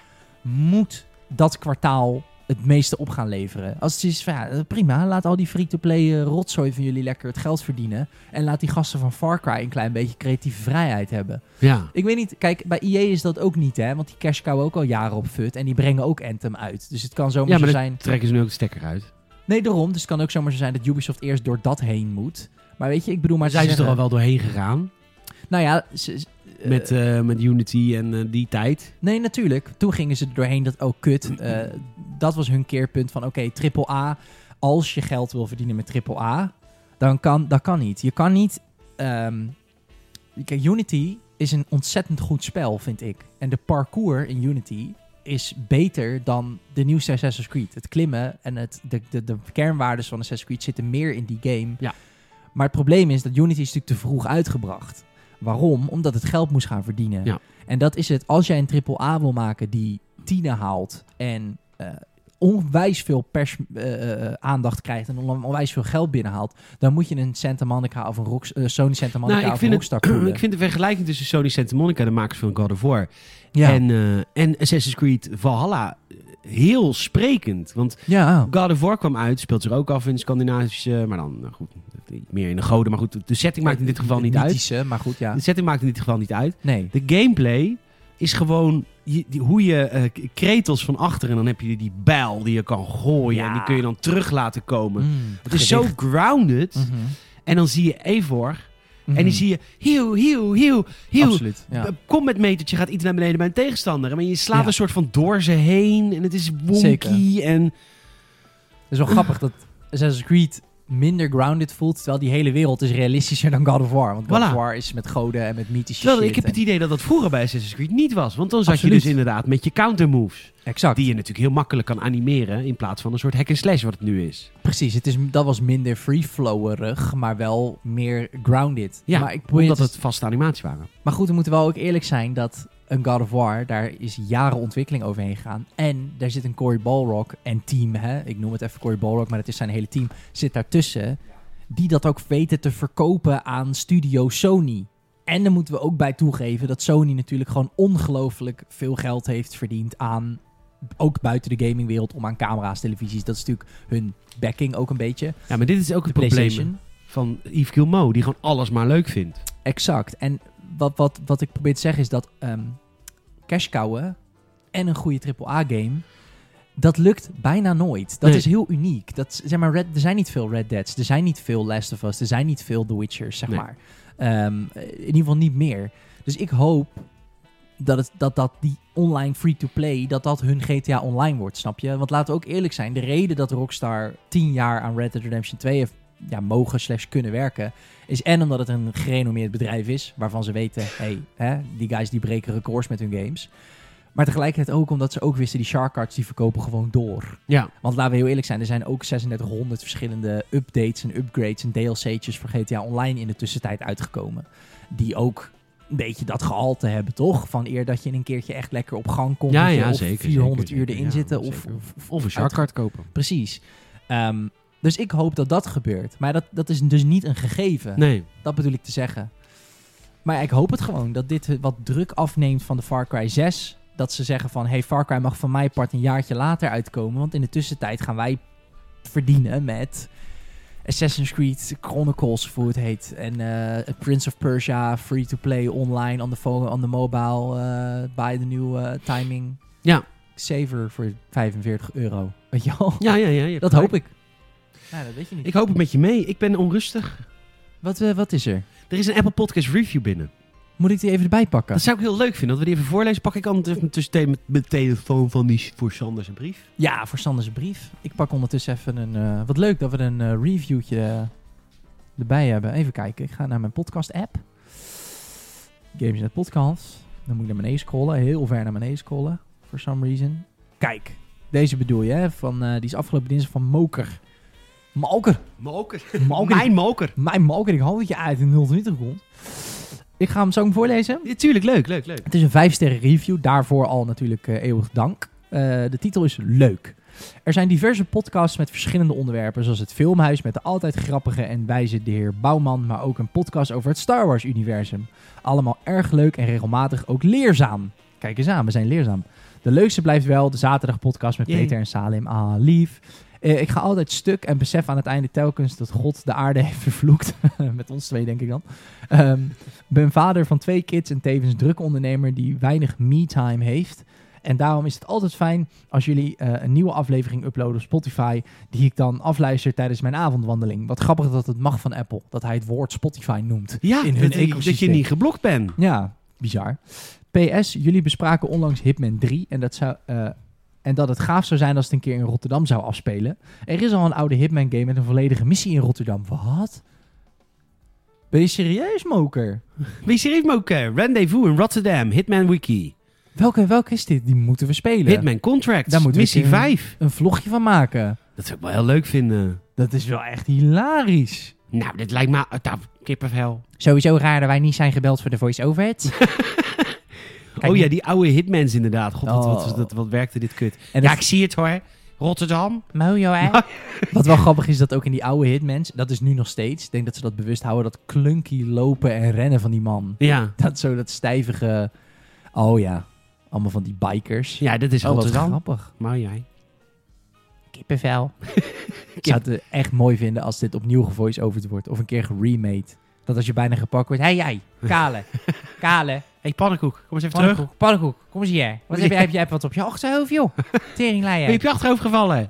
Speaker 2: moet dat kwartaal het meeste op gaan leveren. Als het is van, ja, prima, laat al die free-to-play eh, rotzooi van jullie lekker het geld verdienen. En laat die gasten van Far Cry een klein beetje creatieve vrijheid hebben.
Speaker 1: Ja.
Speaker 2: Ik weet niet, kijk, bij EA is dat ook niet, hè? Want die cash cow ook al jaren op fut en die brengen ook Anthem uit. Dus het kan zomaar
Speaker 1: Ja,
Speaker 2: zo
Speaker 1: maar
Speaker 2: zijn...
Speaker 1: dan trekken ze nu ook de stekker uit.
Speaker 2: Nee, daarom. Dus het kan ook zomaar zo zijn dat Ubisoft eerst door dat heen moet. Maar weet je, ik bedoel maar...
Speaker 1: Maar
Speaker 2: te
Speaker 1: zijn ze er
Speaker 2: zeggen-
Speaker 1: al wel doorheen gegaan?
Speaker 2: Nou ja, ze- ze- eh,
Speaker 1: Met, eh, met Unity en eh, die tijd.
Speaker 2: nee, natuurlijk. Toen gingen ze er doorheen dat, oh kut, eh, dat was hun keerpunt van... Oké, triple A, als je geld wil verdienen met triple A, dan kan dat kan niet. Je kan niet... ehm, kijk, Unity is een ontzettend goed spel, vind ik. En de parcours in Unity is beter dan de nieuwste Assassin's Creed. Het klimmen en het, de, de, de kernwaarden van Assassin's Creed zitten meer in die game.
Speaker 1: Ja.
Speaker 2: Maar het probleem is dat Unity is natuurlijk te vroeg uitgebracht. Waarom? Omdat het geld moest gaan verdienen.
Speaker 1: Ja.
Speaker 2: En dat is het. Als jij een AAA wil maken die tienen haalt en eh, onwijs veel pers, eh, eh, aandacht krijgt en on- onwijs veel geld binnenhaalt, dan moet je een Santa Monica of een Rocks- eh, Sony Santa Monica
Speaker 1: Nou, ik
Speaker 2: of
Speaker 1: vind
Speaker 2: een
Speaker 1: het-
Speaker 2: Rockstar poelen.
Speaker 1: Ik vind de vergelijking tussen Sony Santa Monica, de makers van God of War,
Speaker 2: ja.
Speaker 1: en, eh, en Assassin's Creed Valhalla eh, heel sprekend. Want
Speaker 2: ja.
Speaker 1: God of War kwam uit, speelt zich ook af in Scandinavische, maar dan eh, goed, meer in de goden. Maar goed, de setting maakt in dit geval niet uit.
Speaker 2: Mythische, maar goed, ja.
Speaker 1: De setting maakt in dit geval niet uit.
Speaker 2: Nee.
Speaker 1: De gameplay is gewoon je- die- hoe je eh, k- kretels van achter en dan heb je die bijl die je kan gooien
Speaker 2: Ja.
Speaker 1: en die kun je dan terug laten komen.
Speaker 2: Mm,
Speaker 1: Het is zo
Speaker 2: gedicht.
Speaker 1: grounded.
Speaker 2: Mhm.
Speaker 1: En dan zie je Evor en
Speaker 2: Mhm.
Speaker 1: die zie je hieuw, hieuw, hieuw, hieuw.
Speaker 2: Absoluut. Ja.
Speaker 1: B- Kom met metertje, gaat iets naar beneden bij een tegenstander. Maar je slaat
Speaker 2: Ja.
Speaker 1: een soort van door ze heen en het is wonky
Speaker 2: Zeker.
Speaker 1: en...
Speaker 2: Het is wel grappig dat Assassin's Creed minder grounded voelt, terwijl die hele wereld is realistischer dan God of War. Want God
Speaker 1: Voilà.
Speaker 2: of War is met goden en met mythische
Speaker 1: Terwijl
Speaker 2: shit.
Speaker 1: ik heb het
Speaker 2: en-
Speaker 1: idee dat dat vroeger bij Assassin's Creed niet was. Want dan zat je
Speaker 2: Absoluut.
Speaker 1: dus inderdaad met je countermoves.
Speaker 2: Exact.
Speaker 1: Die je natuurlijk heel makkelijk kan animeren in plaats van een soort hack and slash wat het nu is.
Speaker 2: Precies, het is, dat was minder free-flowerig, maar wel meer grounded.
Speaker 1: Ja,
Speaker 2: maar, ik probeer
Speaker 1: Omdat
Speaker 2: het- dus
Speaker 1: het vaste animaties waren.
Speaker 2: maar goed, we moeten wel ook eerlijk zijn dat een God of War, daar is jaren ontwikkeling overheen gegaan. En daar zit een Cory Balrog en team, hè? ik noem het even Cory Balrog, maar het is zijn hele team, zit daartussen. Die dat ook weten te verkopen aan studio Sony. En daar moeten we ook bij toegeven dat Sony natuurlijk gewoon ongelooflijk veel geld heeft verdiend aan... Ook buiten de gamingwereld, om aan camera's, televisies. Dat is natuurlijk hun backing ook een beetje.
Speaker 1: Ja, maar dit is ook
Speaker 2: de
Speaker 1: het probleem
Speaker 2: PlayStation.
Speaker 1: van Yves Guillemot, die gewoon alles maar leuk vindt.
Speaker 2: Exact. En wat, wat, wat ik probeer te zeggen is dat ehm cash cowen en een goede AAA-game, dat lukt bijna nooit. Dat
Speaker 1: Nee.
Speaker 2: is heel uniek. Dat, zeg maar, Red, er zijn niet veel Red Deads, er zijn niet veel Last of Us, er zijn niet veel The Witchers, zeg
Speaker 1: Nee.
Speaker 2: maar. Ehm, in ieder geval niet meer. Dus ik hoop dat, het, dat, dat die online free-to-play, dat dat hun GTA Online wordt, snap je? Want laten we ook eerlijk zijn, de reden dat Rockstar 10 jaar aan Red Dead Redemption 2 heeft ja, mogen slash kunnen werken, is en omdat het een gerenommeerd bedrijf is, waarvan ze weten, hey, hè, die guys die breken records met hun games. Maar tegelijkertijd ook omdat ze ook wisten, die Shark Cards die verkopen gewoon door.
Speaker 1: Ja.
Speaker 2: Want laten we heel eerlijk zijn, er zijn ook 3600 verschillende updates en upgrades en DLC'tjes voor GTA Online in de tussentijd uitgekomen. Die ook een beetje dat gehalte hebben, toch? Van eer dat je in een keertje echt lekker op gang komt.
Speaker 1: Ja,
Speaker 2: dat je
Speaker 1: ja,
Speaker 2: of
Speaker 1: zeker,
Speaker 2: 400
Speaker 1: zeker,
Speaker 2: uur
Speaker 1: zeker.
Speaker 2: erin
Speaker 1: Ja,
Speaker 2: zitten. Of,
Speaker 1: zeker.
Speaker 2: of, of-
Speaker 1: Of een sharkcard kopen.
Speaker 2: precies. Ehm, dus ik hoop dat dat gebeurt. Maar dat, dat is dus niet een gegeven.
Speaker 1: Nee.
Speaker 2: Dat bedoel ik te zeggen. Maar ja, ik hoop het gewoon dat dit wat druk afneemt van de Far Cry 6. Dat ze zeggen van, hey, Far Cry mag van mij part een jaartje later uitkomen. Want in de tussentijd gaan wij verdienen met Assassin's Creed Chronicles, of hoe het heet. En eh, Prince of Persia, free-to-play, online, on the phone, on the mobile, eh bij de nieuwe timing.
Speaker 1: Ja.
Speaker 2: Saver voor 45 euro. Weet je wel?
Speaker 1: Ja, ja, ja. je hebt
Speaker 2: Dat
Speaker 1: gelijk.
Speaker 2: hoop ik. Ja, dat weet je niet.
Speaker 1: Ik hoop het met je mee. Ik ben onrustig.
Speaker 2: Wat, eh, wat is er?
Speaker 1: Er is een Apple Podcast review binnen.
Speaker 2: Moet ik die even erbij pakken?
Speaker 1: Dat zou ik heel leuk vinden. Dat we die even voorlezen. Pak ik anders even tussen met mijn telefoon van die voor Sanders een brief.
Speaker 2: Ja, voor Sanders brief. Ik pak ondertussen even een... eh, wat leuk dat we een eh, reviewtje eh, erbij hebben. Even kijken. Ik ga naar mijn podcast-app. Games in het podcast. Dan moet ik naar beneden scrollen. Heel ver naar beneden scrollen. For some reason. Kijk. Deze bedoel je, hè? Van, eh, die is afgelopen dinsdag van Moker. Moker.
Speaker 1: Moker.
Speaker 2: Moker.
Speaker 1: Mijn moker.
Speaker 2: Mijn Moker. Ik hoop dat je uit in 020 komt. Ik ga hem zo voorlezen.
Speaker 1: Ja, tuurlijk, leuk, leuk, leuk.
Speaker 2: Het is een 5 sterren review. Daarvoor al natuurlijk eh, eeuwig dank. Eh, de titel is Leuk. Er zijn diverse podcasts met verschillende onderwerpen, zoals het Filmhuis met de altijd grappige en wijze de heer Bouwman, maar ook een podcast over het Star Wars-universum. Allemaal erg leuk en regelmatig ook leerzaam. Kijk eens aan, we zijn leerzaam. De leukste blijft wel de zaterdagpodcast met
Speaker 1: Yay.
Speaker 2: Peter en Salim. Ah, lief. Eh, ik ga altijd stuk en besef aan het einde telkens dat God de aarde heeft vervloekt. met ons twee, denk ik dan. Ehm, ben vader van twee kids en tevens drukke ondernemer die weinig me-time heeft. En daarom is het altijd fijn als jullie eh, een nieuwe aflevering uploaden op Spotify, die ik dan afluister tijdens mijn avondwandeling. Wat grappig dat het mag van Apple, dat hij het woord Spotify noemt.
Speaker 1: Ja,
Speaker 2: In hun
Speaker 1: dat, ik, dat je
Speaker 2: ecosysteem.
Speaker 1: niet geblokt bent.
Speaker 2: Ja, bizar. PS, jullie bespraken onlangs Hitman 3 en dat, zou, eh, en dat het gaaf zou zijn als het een keer in Rotterdam zou afspelen. Er is al een oude Hitman game met een volledige missie in Rotterdam. Wat? Ben je serieus, Moker?
Speaker 1: Wie schreef me ook? eh, Rendezvous in Rotterdam, Hitman Wiki.
Speaker 2: Welke, welke is dit? Die moeten we spelen.
Speaker 1: Hitman Contracts,
Speaker 2: Daar moeten we eh,
Speaker 1: missie
Speaker 2: een keer-
Speaker 1: 5.
Speaker 2: Een vlogje van maken.
Speaker 1: Dat zou ik wel heel leuk vinden.
Speaker 2: Dat is wel echt hilarisch.
Speaker 1: Nou, dit lijkt me... ah, Nou, kippenvel.
Speaker 2: Sowieso raar dat wij niet zijn gebeld voor de voice-overhead. Kijk,
Speaker 1: oh ja, die oude Hitmans inderdaad. God, wat, wat,
Speaker 2: Oh.
Speaker 1: wat, wat, werkte dit kut.
Speaker 2: en
Speaker 1: ja,
Speaker 2: dat-
Speaker 1: ik zie het hoor. Rotterdam.
Speaker 2: Mojo, hè? Wat wel grappig is, dat ook in die oude hitmans, dat is nu nog steeds, ik denk dat ze dat bewust houden, dat klunky lopen en rennen van die man.
Speaker 1: Ja,
Speaker 2: Dat zo dat stijvige, oh ja, allemaal van die bikers.
Speaker 1: ja dit is
Speaker 2: oh, wat
Speaker 1: Rotterdam.
Speaker 2: grappig.
Speaker 1: Maar jij.
Speaker 2: Kippenvel. Ik zou het eh, echt mooi vinden als dit opnieuw gevoice-overd wordt, of een keer geremade. Dat als je bijna gepakt wordt, hé hey, jij, kale, kale,
Speaker 1: hey, pannenkoek. Kom eens even terug.
Speaker 2: pannenkoek, pannenkoek, kom eens hier. Wat
Speaker 1: Ja.
Speaker 2: heb, jij, heb jij wat op je achterhoofd, joh? Teringleier.
Speaker 1: Ben je op je achterhoofd gevallen?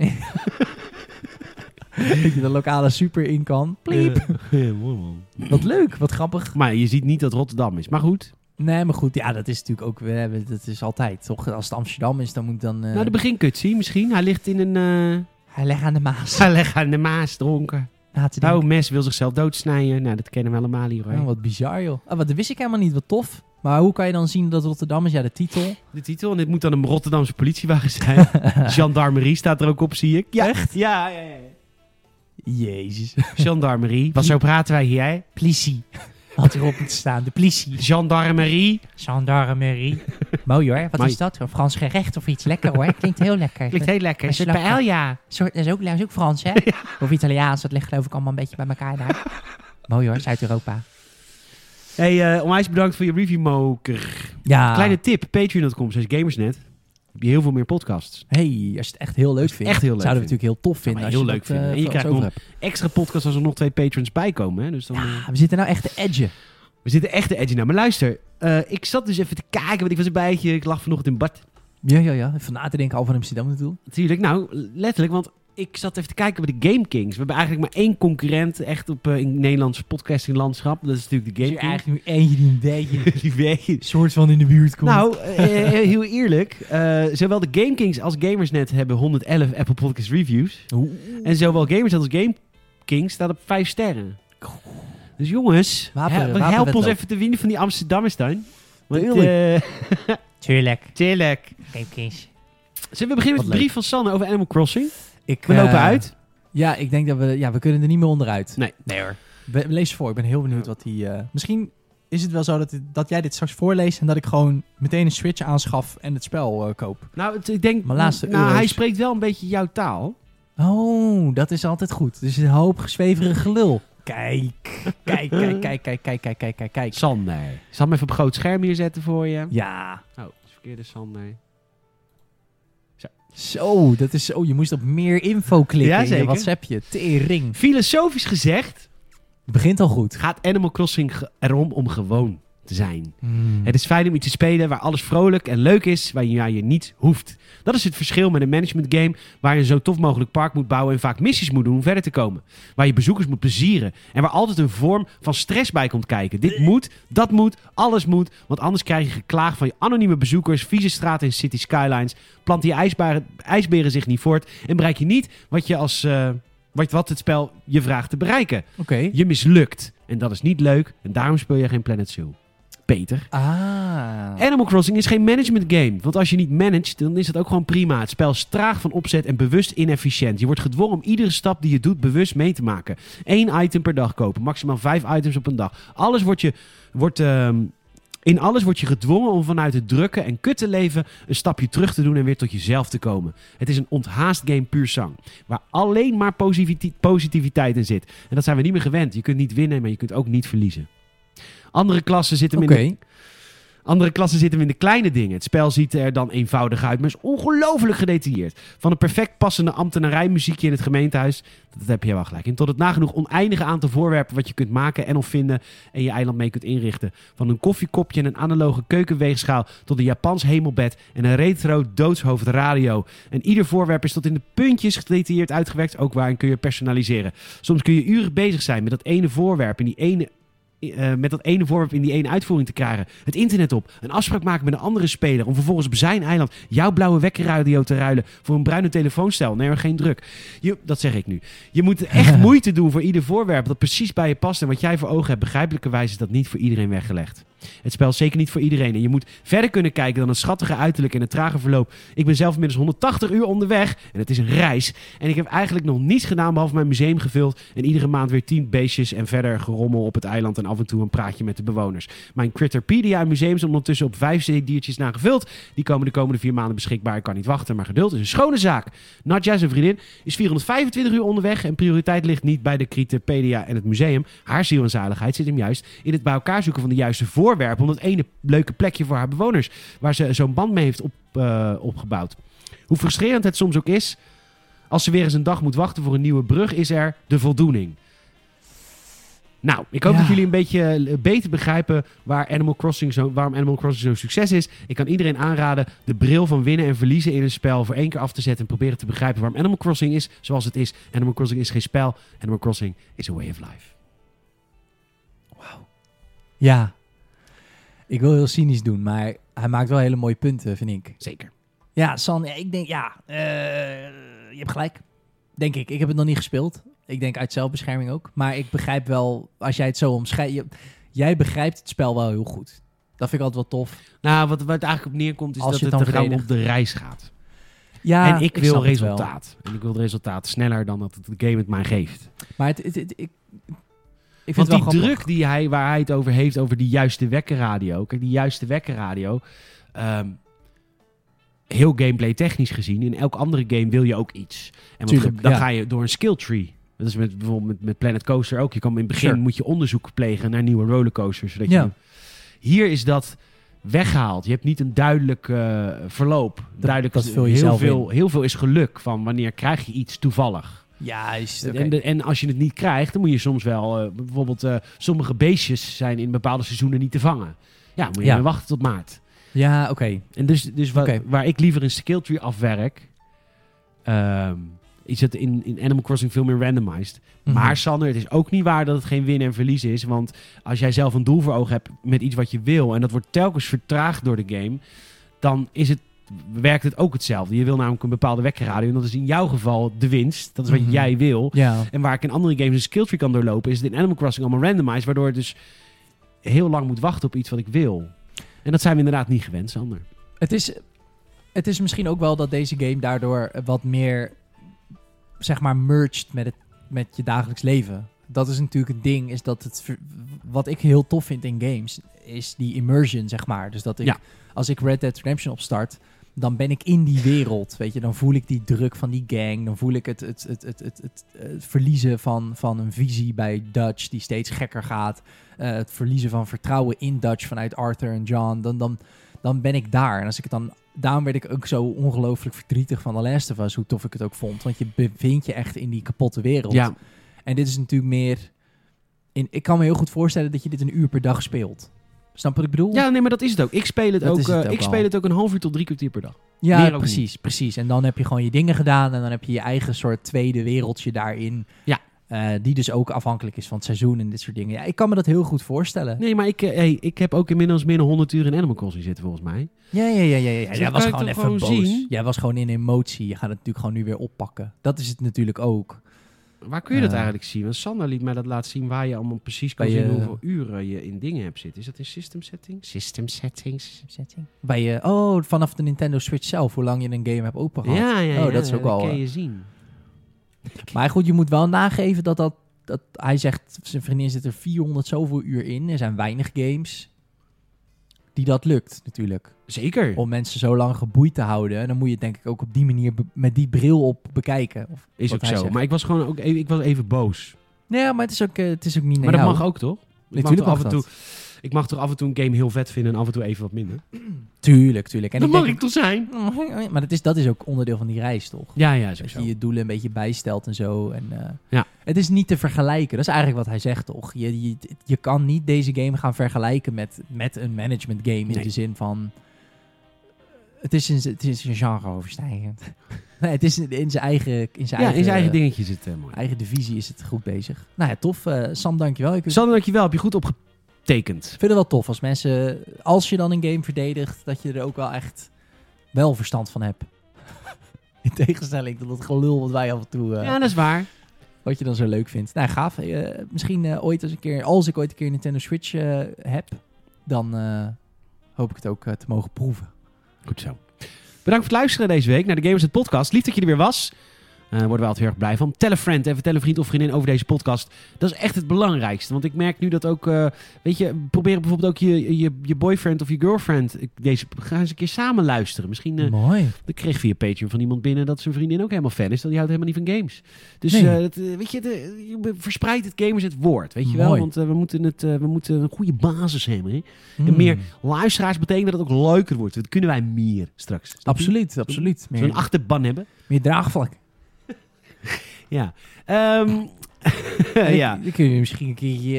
Speaker 2: dat je de lokale super in kan. Pliep.
Speaker 1: Eh, Ja, ja, mooi man.
Speaker 2: Wat leuk, wat grappig.
Speaker 1: Maar je ziet niet dat Rotterdam is. Maar goed.
Speaker 2: Nee, maar goed, ja, dat is natuurlijk ook, we hebben, dat is altijd, toch? Als het Amsterdam is, dan moet dan... eh
Speaker 1: Nou, de beginkutsie misschien. Hij ligt in een... eh
Speaker 2: Hij legt aan de Maas.
Speaker 1: hij ligt aan de maas dronken.
Speaker 2: Na te
Speaker 1: Nou,
Speaker 2: denken.
Speaker 1: mes wil zichzelf doodsnijden. Nou, dat kennen we allemaal hier.
Speaker 2: Oh,
Speaker 1: Hoor.
Speaker 2: wat bizar, joh. Ah, wat, dat wist ik helemaal niet, wat tof. Maar hoe kan je dan zien dat Rotterdam is? Ja, de titel.
Speaker 1: De titel. En dit moet dan een Rotterdamse politiewagen zijn. Gendarmerie staat er ook op, zie ik. Ja, echt? Ja, ja, ja.
Speaker 2: Jezus.
Speaker 1: Gendarmerie. Wat zo praten wij hier, hè?
Speaker 2: Politie. Had erop moeten staan, de politie.
Speaker 1: Gendarmerie.
Speaker 2: Gendarmerie. Mooi hoor, wat
Speaker 1: Mooi.
Speaker 2: is dat? Een Frans gerecht of iets lekker hoor. Klinkt heel lekker.
Speaker 1: Klinkt heel lekker.
Speaker 2: Met
Speaker 1: Zit bij
Speaker 2: slakken.
Speaker 1: Elja.
Speaker 2: Soort, dat, is ook, dat is ook Frans, hè? Of Italiaans, dat ligt geloof ik allemaal een beetje bij elkaar daar. Mooi hoor, Zuid-Europa.
Speaker 1: Hey, eh onwijs bedankt voor je review, Moker.
Speaker 2: Ja.
Speaker 1: Kleine tip. Patreon.com slash gamersnet. Heb je heel veel meer podcasts.
Speaker 2: Hey, als je het echt heel leuk vindt,
Speaker 1: echt heel leuk
Speaker 2: zouden we
Speaker 1: vindt.
Speaker 2: natuurlijk heel tof vinden.
Speaker 1: maar
Speaker 2: als
Speaker 1: heel
Speaker 2: je
Speaker 1: leuk
Speaker 2: dat, eh,
Speaker 1: vinden. En je
Speaker 2: voor
Speaker 1: krijgt
Speaker 2: ons
Speaker 1: nog-
Speaker 2: over hebt.
Speaker 1: Extra podcasts als er nog twee patrons bij komen. Hè? Dus dan, eh,
Speaker 2: Ah, we zitten nou echt te edgen.
Speaker 1: We zitten echt de edgy naar. Maar luister, eh, ik zat dus even te kijken, want ik was een bijtje. Ik lag vanochtend in bad.
Speaker 2: Ja, ja, ja. Even na te denken over Amsterdam naartoe.
Speaker 1: Natuurlijk, nou, letterlijk, want ik zat even te kijken bij de Game Kings. We hebben eigenlijk maar één concurrent echt op eh in het Nederlandse podcastinglandschap. Dat is natuurlijk de
Speaker 2: Is
Speaker 1: Game
Speaker 2: er
Speaker 1: Kings.
Speaker 2: eigenlijk nu eentje die een beetje
Speaker 1: Die weet.
Speaker 2: soort van in de buurt komt?
Speaker 1: Nou, eh, eh, heel eerlijk, eh, zowel de Game Kings als Gamersnet hebben 111 Apple Podcast Reviews.
Speaker 2: Hmm.
Speaker 1: En zowel Gamersnet als Game Kings staat op 5 sterren. Dus jongens,
Speaker 2: Wapen-
Speaker 1: hè, help
Speaker 2: wapenwedloop.
Speaker 1: ons even te winnen van die Amsterdammers, Tuin. Want,
Speaker 2: Tuurlijk.
Speaker 1: eh,
Speaker 2: tuurlijk.
Speaker 1: Tuurlijk.
Speaker 2: Gamekings.
Speaker 1: Zullen we beginnen met
Speaker 2: Wat
Speaker 1: de brief van Sanne over Animal Crossing?
Speaker 2: Ik,
Speaker 1: We
Speaker 2: eh,
Speaker 1: lopen uit.
Speaker 2: Ja, ik denk dat we... Ja, we kunnen er niet meer onderuit.
Speaker 1: Nee. Nee hoor.
Speaker 2: We- Lees voor. Ik ben heel benieuwd wat die... eh, misschien is het wel zo dat, dat jij dit straks voorleest... en dat ik gewoon meteen een Switch aanschaf en het spel eh, koop.
Speaker 1: Nou, het- ik denk...
Speaker 2: Mijn laatste
Speaker 1: nou,
Speaker 2: euro's.
Speaker 1: hij spreekt wel een beetje jouw taal.
Speaker 2: Oh, dat is altijd goed. Dus een hoop gezweverig gelul. Kijk, kijk, kijk, kijk, kijk, kijk, kijk, kijk, kijk, kijk.
Speaker 1: Sander. Ik zal hem even op groot scherm hier zetten voor je.
Speaker 2: Ja.
Speaker 1: Oh, dat is verkeerde Sander.
Speaker 2: Zo, dat is zo. Je moest op meer info klikken
Speaker 1: Ja,
Speaker 2: in je
Speaker 1: zeker.
Speaker 2: WhatsAppje. Tering.
Speaker 1: Filosofisch gezegd
Speaker 2: Het begint al goed.
Speaker 1: gaat Animal Crossing ge- erom om gewoon te zijn.
Speaker 2: Mm. Hmm.
Speaker 1: Het is fijn om iets te spelen waar alles vrolijk en leuk is, waar je, waar je niet hoeft. Dat is het verschil met een management game waar je een zo tof mogelijk park moet bouwen en vaak missies moet doen om verder te komen. Waar je bezoekers moet plezieren en waar altijd een vorm van stress bij komt kijken. Dit moet, dat moet, alles moet, want anders krijg je geklaag van je anonieme bezoekers, vieze straten en city skylines, planten je ijsbaren, ijsberen zich niet voort en bereik je niet wat je als... eh, wat, wat het spel je vraagt te bereiken.
Speaker 2: Oké.
Speaker 1: Je mislukt. En dat is niet leuk. En daarom speel je geen Planet Zoo. Peter.
Speaker 2: Ah.
Speaker 1: Animal Crossing is geen management game. Want als je niet managt, dan is dat ook gewoon prima. Het spel is traag van opzet en bewust inefficiënt. Je wordt gedwongen om iedere stap die je doet bewust mee te maken. Eén item per dag kopen. Maximaal vijf items op een dag. Alles wordt je... Wordt, ehm, In alles word je gedwongen om vanuit het drukke en kutte leven een stapje terug te doen en weer tot jezelf te komen. Het is een onthaast game puur zang, waar alleen maar posiviti- positiviteit in zit. En dat zijn we niet meer gewend. Je kunt niet winnen, maar je kunt ook niet verliezen. Andere klassen zitten hem
Speaker 2: Oké.
Speaker 1: in de andere klassen zitten hem in de kleine dingen. Het spel ziet er dan eenvoudig uit, maar is ongelooflijk gedetailleerd. Van een perfect passende ambtenarijmuziekje in het gemeentehuis, dat heb je wel gelijk in, tot het nagenoeg oneindige aantal voorwerpen wat je kunt maken en of vinden en je eiland mee kunt inrichten. Van een koffiekopje en een analoge keukenweegschaal tot een Japans hemelbed en een retro doodshoofd radio. En ieder voorwerp is tot in de puntjes gedetailleerd uitgewerkt, ook waarin kun je personaliseren. Soms kun je uren bezig zijn met dat ene voorwerp en die ene eh, met dat ene voorwerp in die ene uitvoering te krijgen. Het internet op. Een afspraak maken met een andere speler. Om vervolgens op zijn eiland jouw blauwe wekkerradio te ruilen. Voor een bruine telefoonstel. Nee, hoor, geen druk. Je, dat zeg ik nu. Je moet echt moeite doen voor ieder voorwerp dat precies bij je past. En wat jij voor ogen hebt. Begrijpelijkerwijs is dat niet voor iedereen weggelegd. Het spel is zeker niet voor iedereen. En je moet verder kunnen kijken dan het schattige uiterlijk en het trage verloop. Ik ben zelf inmiddels 180 uur onderweg. En het is een reis. En ik heb eigenlijk nog niets gedaan behalve mijn museum gevuld. En iedere maand weer 10 beestjes en verder gerommel op het eiland. En af en toe een praatje met de bewoners. Mijn Critterpedia en museum is ondertussen op 5 diertjes na gevuld. Die komen de komende vier maanden beschikbaar. Ik kan niet wachten, maar geduld is een schone zaak. Nadja, zijn vriendin, is 425 uur onderweg. En prioriteit ligt niet bij de Critterpedia en het museum. Haar ziel en zaligheid zit hem juist in het bij elkaar zoeken van de juiste voorwerpen. Om dat ene leuke plekje voor haar bewoners. Waar ze zo'n band mee heeft op, eh, opgebouwd. Hoe frustrerend het soms ook is. Als ze weer eens een dag moet wachten voor een nieuwe brug, is er de voldoening. Nou, ik hoop
Speaker 2: Ja.
Speaker 1: dat jullie een beetje eh, beter begrijpen waar Animal Crossing zo, waarom Animal Crossing zo'n succes is. Ik kan iedereen aanraden de bril van winnen en verliezen in een spel voor één keer af te zetten en proberen te begrijpen waarom Animal Crossing is zoals het is. Animal Crossing is geen spel. Animal Crossing is a way of life.
Speaker 2: Ja. Ik wil heel cynisch doen, maar hij maakt wel hele mooie punten, vind ik.
Speaker 1: Zeker.
Speaker 2: Ja, San, ja, ik denk, ja, eh, je hebt gelijk. Denk ik. Ik heb het nog niet gespeeld. Ik denk uit zelfbescherming ook. Maar ik begrijp wel, als jij het zo omschrijft... je- Jij begrijpt het spel wel heel goed. Dat vind ik altijd wel tof.
Speaker 1: Nou, wat, wat het eigenlijk op neerkomt is
Speaker 2: Als je
Speaker 1: dat
Speaker 2: het
Speaker 1: het
Speaker 2: dan
Speaker 1: er om op
Speaker 2: verdedigt.
Speaker 1: de reis gaat.
Speaker 2: Ja,
Speaker 1: en ik
Speaker 2: snap
Speaker 1: wil
Speaker 2: het wel.
Speaker 1: resultaat. En ik wil het resultaat sneller dan dat het de game het mij geeft.
Speaker 2: Maar het, het, het- ik, ik
Speaker 1: Want
Speaker 2: vind het wel
Speaker 1: die
Speaker 2: grappig.
Speaker 1: druk die hij, waar hij het over heeft, over die juiste wekkerradio. Kijk, die juiste wekkerradio. ehm, heel gameplay technisch gezien, in elk andere game wil je ook iets. En wat
Speaker 2: Tuurlijk,
Speaker 1: ge- dan
Speaker 2: ja.
Speaker 1: ga je door een skill tree. Dat is met, bijvoorbeeld met, met Planet Coaster ook. Je kan in het begin
Speaker 2: Sure.
Speaker 1: moet je onderzoek plegen naar nieuwe rollercoasters. Zodat
Speaker 2: Ja.
Speaker 1: je, hier is dat weggehaald. Je hebt niet een duidelijk eh, verloop. duidelijk,
Speaker 2: dat vul je
Speaker 1: heel,
Speaker 2: zelf
Speaker 1: veel, heel veel is geluk van wanneer krijg je iets toevallig.
Speaker 2: Juist, oké.
Speaker 1: En, de- en als je het niet krijgt, dan moet je soms wel... eh, bijvoorbeeld, eh, sommige beestjes zijn in bepaalde seizoenen niet te vangen. Ja, dan moet je
Speaker 2: Ja.
Speaker 1: maar wachten tot maart.
Speaker 2: Ja, oké.
Speaker 1: En dus, dus wa-
Speaker 2: Oké.
Speaker 1: waar ik liever een skill tree afwerk... ehm, is het in, in Animal Crossing veel meer randomized.
Speaker 2: Mhm.
Speaker 1: Maar Sander, het is ook niet waar dat het geen winnen en verliezen is. Want als jij zelf een doel voor ogen hebt met iets wat je wil... en dat wordt telkens vertraagd door de game... dan is het, werkt het ook hetzelfde. Je wil namelijk een bepaalde wekkerradio. En dat is in jouw geval de winst. Dat is wat
Speaker 2: Mhm.
Speaker 1: jij wil.
Speaker 2: Ja.
Speaker 1: En waar ik in andere games een skill tree kan doorlopen, is het in Animal Crossing allemaal randomized. Waardoor het dus heel lang moet wachten op iets wat ik wil. En dat zijn we inderdaad niet gewend, Sander.
Speaker 2: Het is, het is misschien ook wel dat deze game daardoor wat meer, zeg maar, merged met, het, met je dagelijks leven. Dat is natuurlijk het ding, is dat het, ver- wat ik heel tof vind in games, is die immersion, zeg maar. Dus dat ik,
Speaker 1: Ja.
Speaker 2: als ik Red Dead Redemption opstart, dan ben ik in die wereld, weet je. Dan voel ik die druk van die gang, dan voel ik het, het, het, het, het, het, het verliezen van, van een visie bij Dutch, die steeds gekker gaat. Eh, het verliezen van vertrouwen in Dutch vanuit Arthur en John. Dan, dan, dan ben ik daar. En als ik het dan. Daarom werd ik ook zo ongelooflijk verdrietig van The Last of Us, hoe tof ik het ook vond. Want je bevindt je echt in die kapotte wereld.
Speaker 1: Ja,
Speaker 2: En dit is natuurlijk meer. In, ik kan me heel goed voorstellen dat je dit een uur per dag speelt. Snap wat ik bedoel?
Speaker 1: ja nee, maar dat is het ook. Ik speel het,
Speaker 2: Dat
Speaker 1: ook,
Speaker 2: is het
Speaker 1: eh,
Speaker 2: ook
Speaker 1: ik
Speaker 2: al.
Speaker 1: speel het ook een half uur tot drie kwartier per dag.
Speaker 2: Ja,
Speaker 1: Meer ook
Speaker 2: precies, precies. En dan heb je gewoon je dingen gedaan en dan heb je je eigen soort tweede wereldje daarin.
Speaker 1: Ja.
Speaker 2: Eh, die dus ook afhankelijk is van het seizoen en dit soort dingen. Ja, ik kan me dat heel goed voorstellen.
Speaker 1: Nee, maar ik, eh, hey, ik heb ook inmiddels meer dan 100 uur in Animal Crossing zitten, volgens mij.
Speaker 2: Ja, ja, ja, ja. ja.
Speaker 1: Dus
Speaker 2: Jij
Speaker 1: dat
Speaker 2: was
Speaker 1: kan ik
Speaker 2: gewoon even
Speaker 1: toch
Speaker 2: boos.
Speaker 1: gewoon zien?
Speaker 2: Jij was gewoon in emotie. Je gaat het natuurlijk gewoon nu weer oppakken. Dat is het natuurlijk ook.
Speaker 1: Waar kun je dat
Speaker 2: Eh.
Speaker 1: eigenlijk zien? Want Sander liet mij dat laten zien waar je allemaal precies kan
Speaker 2: Bij eh,
Speaker 1: zien
Speaker 2: je-
Speaker 1: hoeveel uren je in dingen hebt zitten. Is dat in system settings? System settings.
Speaker 2: Bij je, oh, vanaf de Nintendo Switch zelf, hoe lang je een game hebt open gehad.
Speaker 1: Ja, ja, ja.
Speaker 2: Oh, dat is ook wel,
Speaker 1: kan
Speaker 2: eh,
Speaker 1: je zien.
Speaker 2: Maar goed, je moet wel nageven dat dat, dat hij zegt, zijn vriendin zit er 400 zoveel uur in. Er zijn weinig games. die dat lukt natuurlijk.
Speaker 1: Zeker.
Speaker 2: Om mensen zo lang geboeid te houden. Dan moet je het denk ik ook op die manier be- met die bril op bekijken. Of
Speaker 1: is
Speaker 2: wat
Speaker 1: ook
Speaker 2: hij
Speaker 1: zo.
Speaker 2: zegt.
Speaker 1: Maar ik was gewoon ook even, ik was even boos.
Speaker 2: Nee, maar het is ook, eh, het is ook niet naar
Speaker 1: Maar dat
Speaker 2: jou.
Speaker 1: mag ook toch? Ik mag,
Speaker 2: Natuurlijk
Speaker 1: toch af en
Speaker 2: mag
Speaker 1: toe, ik mag toch af en toe een game heel vet vinden en af en toe even wat minder.
Speaker 2: Tuurlijk, tuurlijk. En
Speaker 1: dat
Speaker 2: ik
Speaker 1: mag
Speaker 2: denk
Speaker 1: ik toch zijn?
Speaker 2: ook- Maar dat is, dat is ook onderdeel van die reis, toch?
Speaker 1: Ja, ja, is ook
Speaker 2: Dat
Speaker 1: zo.
Speaker 2: je je doelen een beetje bijstelt en zo. En, eh,
Speaker 1: Ja.
Speaker 2: Het is niet te vergelijken. Dat is eigenlijk wat hij zegt, toch? Je, je, je kan niet deze game gaan vergelijken met, met een management game. In
Speaker 1: Nee.
Speaker 2: de zin van... eh, Het is een, het is een genre overstijgend. nee, het is in zijn eigen... In zijn
Speaker 1: Ja,
Speaker 2: eigen,
Speaker 1: in zijn eigen dingetje zit het eh, mooi.
Speaker 2: eigen divisie is het goed bezig. Nou ja, tof. eh, Sam, dankjewel. Ik
Speaker 1: Sander, dankjewel. Heb je goed opgetekend.
Speaker 2: vind het wel tof als mensen... Als je dan een game verdedigt, dat je er ook wel echt wel verstand van hebt. in tegenstelling tot dat gelul wat wij af en toe... eh,
Speaker 1: Ja, dat is waar.
Speaker 2: Wat je dan zo leuk vindt. Nou, gaaf. Eh, misschien eh, ooit eens een keer, als ik ooit een keer een Nintendo Switch eh, heb, dan eh, hoop ik het ook eh, te mogen proeven.
Speaker 1: Goed zo. Bedankt voor het luisteren deze week naar de Gamers het Podcast. Lief dat je er weer was. Eh, Daar worden we altijd heel erg blij van. Tel een friend en vertel een vriend of vriendin over deze podcast. Dat is echt het belangrijkste. Want ik merk nu dat ook... eh, weet je, probeer bijvoorbeeld ook je, je, je boyfriend of je girlfriend... ik- Deze, ga eens een keer samen luisteren. Misschien... eh,
Speaker 2: Mooi.
Speaker 1: ik kreeg via Patreon van iemand binnen dat zijn vriendin ook helemaal fan is. Dat die houdt helemaal niet van games. Dus
Speaker 2: Nee.
Speaker 1: eh, dat, eh, weet je, de- je verspreidt het gamers het woord. Weet je wel?
Speaker 2: Mooi.
Speaker 1: Want eh, we, moeten het, eh, we moeten een goede basis hebben. Hè? En meer
Speaker 2: Hmm.
Speaker 1: luisteraars betekent dat het ook leuker wordt. Dat kunnen wij meer straks. Snap je?
Speaker 2: Absoluut, absoluut.
Speaker 1: Als we
Speaker 2: Meer,
Speaker 1: een achterban hebben.
Speaker 2: meer draagvlak.
Speaker 1: Ja. Ehm, ja.
Speaker 2: Dan- Dan kun je misschien een keertje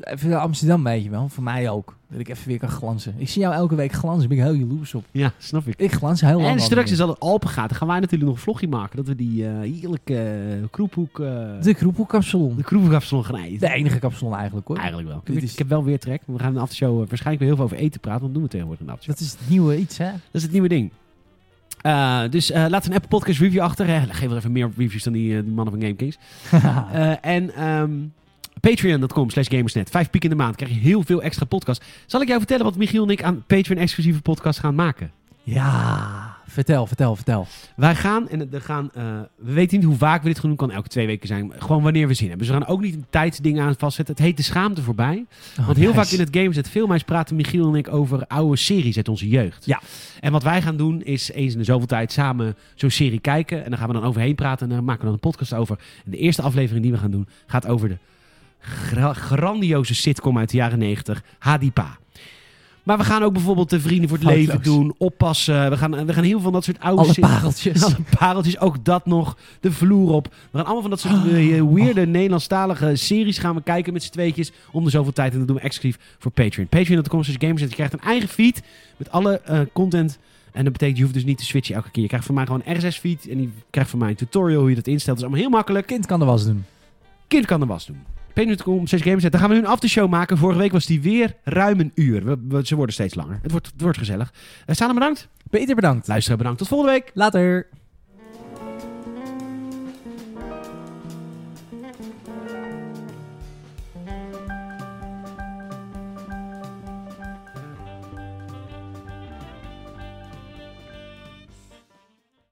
Speaker 2: eh, even naar Amsterdam, weet je wel. Voor mij ook. Dat ik even weer kan glanzen. Ik zie jou elke week glanzen. Ben ik heel jaloers op.
Speaker 1: ja, snap ik.
Speaker 2: Ik glans heel lang.
Speaker 1: En straks
Speaker 2: is
Speaker 1: is dat het Alpen gaat. Dan gaan wij natuurlijk nog een vlogje maken. Dat we die eh, heerlijke eh, kroephoek... eh,
Speaker 2: De Kroepelkapsalon.
Speaker 1: de kroephoekafsalon gaan eten.
Speaker 2: De enige kapsalon eigenlijk hoor.
Speaker 1: Eigenlijk wel. Ik,
Speaker 2: Dit is-
Speaker 1: ik heb wel weer trek. We gaan in de aftershow eh, waarschijnlijk weer heel veel over eten praten. Want dat doen we tegenwoordig in de aftershow.
Speaker 2: Dat is het nieuwe iets hè.
Speaker 1: Dat is het nieuwe ding. Eh, dus eh, laat een Apple Podcast review achter. Hè. Geef er even meer reviews dan die, eh, die mannen van GameKings. Eh, en ehm, patreon.com slash gamersnet. Vijf piek in de maand krijg je heel veel extra podcast. Zal ik jou vertellen wat Michiel en ik aan Patreon-exclusieve podcast gaan maken?
Speaker 2: ja, vertel, vertel, vertel.
Speaker 1: Wij gaan, en er gaan, eh, we weten niet hoe vaak we dit gaan doen. kan elke twee weken zijn. maar Gewoon wanneer we zin hebben. Dus we gaan ook niet een tijdsding aan vastzetten. Het heet de schaamte voorbij.
Speaker 2: Oh,
Speaker 1: Want heel vaak in het gameset filmhuis praten Michiel en ik over oude series uit onze jeugd.
Speaker 2: Ja.
Speaker 1: En wat wij gaan doen is eens in de zoveel tijd samen zo'n serie kijken. En daar gaan we dan overheen praten en daar maken we dan een podcast over. En de eerste aflevering die we gaan doen gaat over de gra- grandioze sitcom uit de jaren 90, Hadipa. Maar we gaan ook bijvoorbeeld de Vrienden voor het
Speaker 2: Foutloos.
Speaker 1: Leven doen, oppassen. We gaan, we gaan heel veel van dat soort oude
Speaker 2: Alle
Speaker 1: series-
Speaker 2: pareltjes.
Speaker 1: alle pareltjes, ook dat nog. De vloer op. We gaan allemaal van dat soort eh, weirde Nederlandstalige series gaan we kijken met z'n tweetjes. Om de zoveel tijd. En dat doen we exclusief voor Patreon. Patreon.com slash games. Je krijgt een eigen feed met alle eh, content. En dat betekent, je hoeft dus niet te switchen elke keer. Je krijgt van mij gewoon een RSS-feed. En je krijgt van mij een tutorial hoe je dat instelt. Dat is allemaal heel makkelijk.
Speaker 2: Kind kan de was doen.
Speaker 1: Kind kan de was doen. Patreon.com slash games. Dan gaan we nu een aftershow maken. Vorige week was die weer ruim een uur. We- we- ze worden steeds langer. Het wordt, het wordt gezellig. Uh, Sana bedankt.
Speaker 2: Peter, bedankt.
Speaker 1: Luisteraar bedankt. Tot volgende week.
Speaker 2: Later.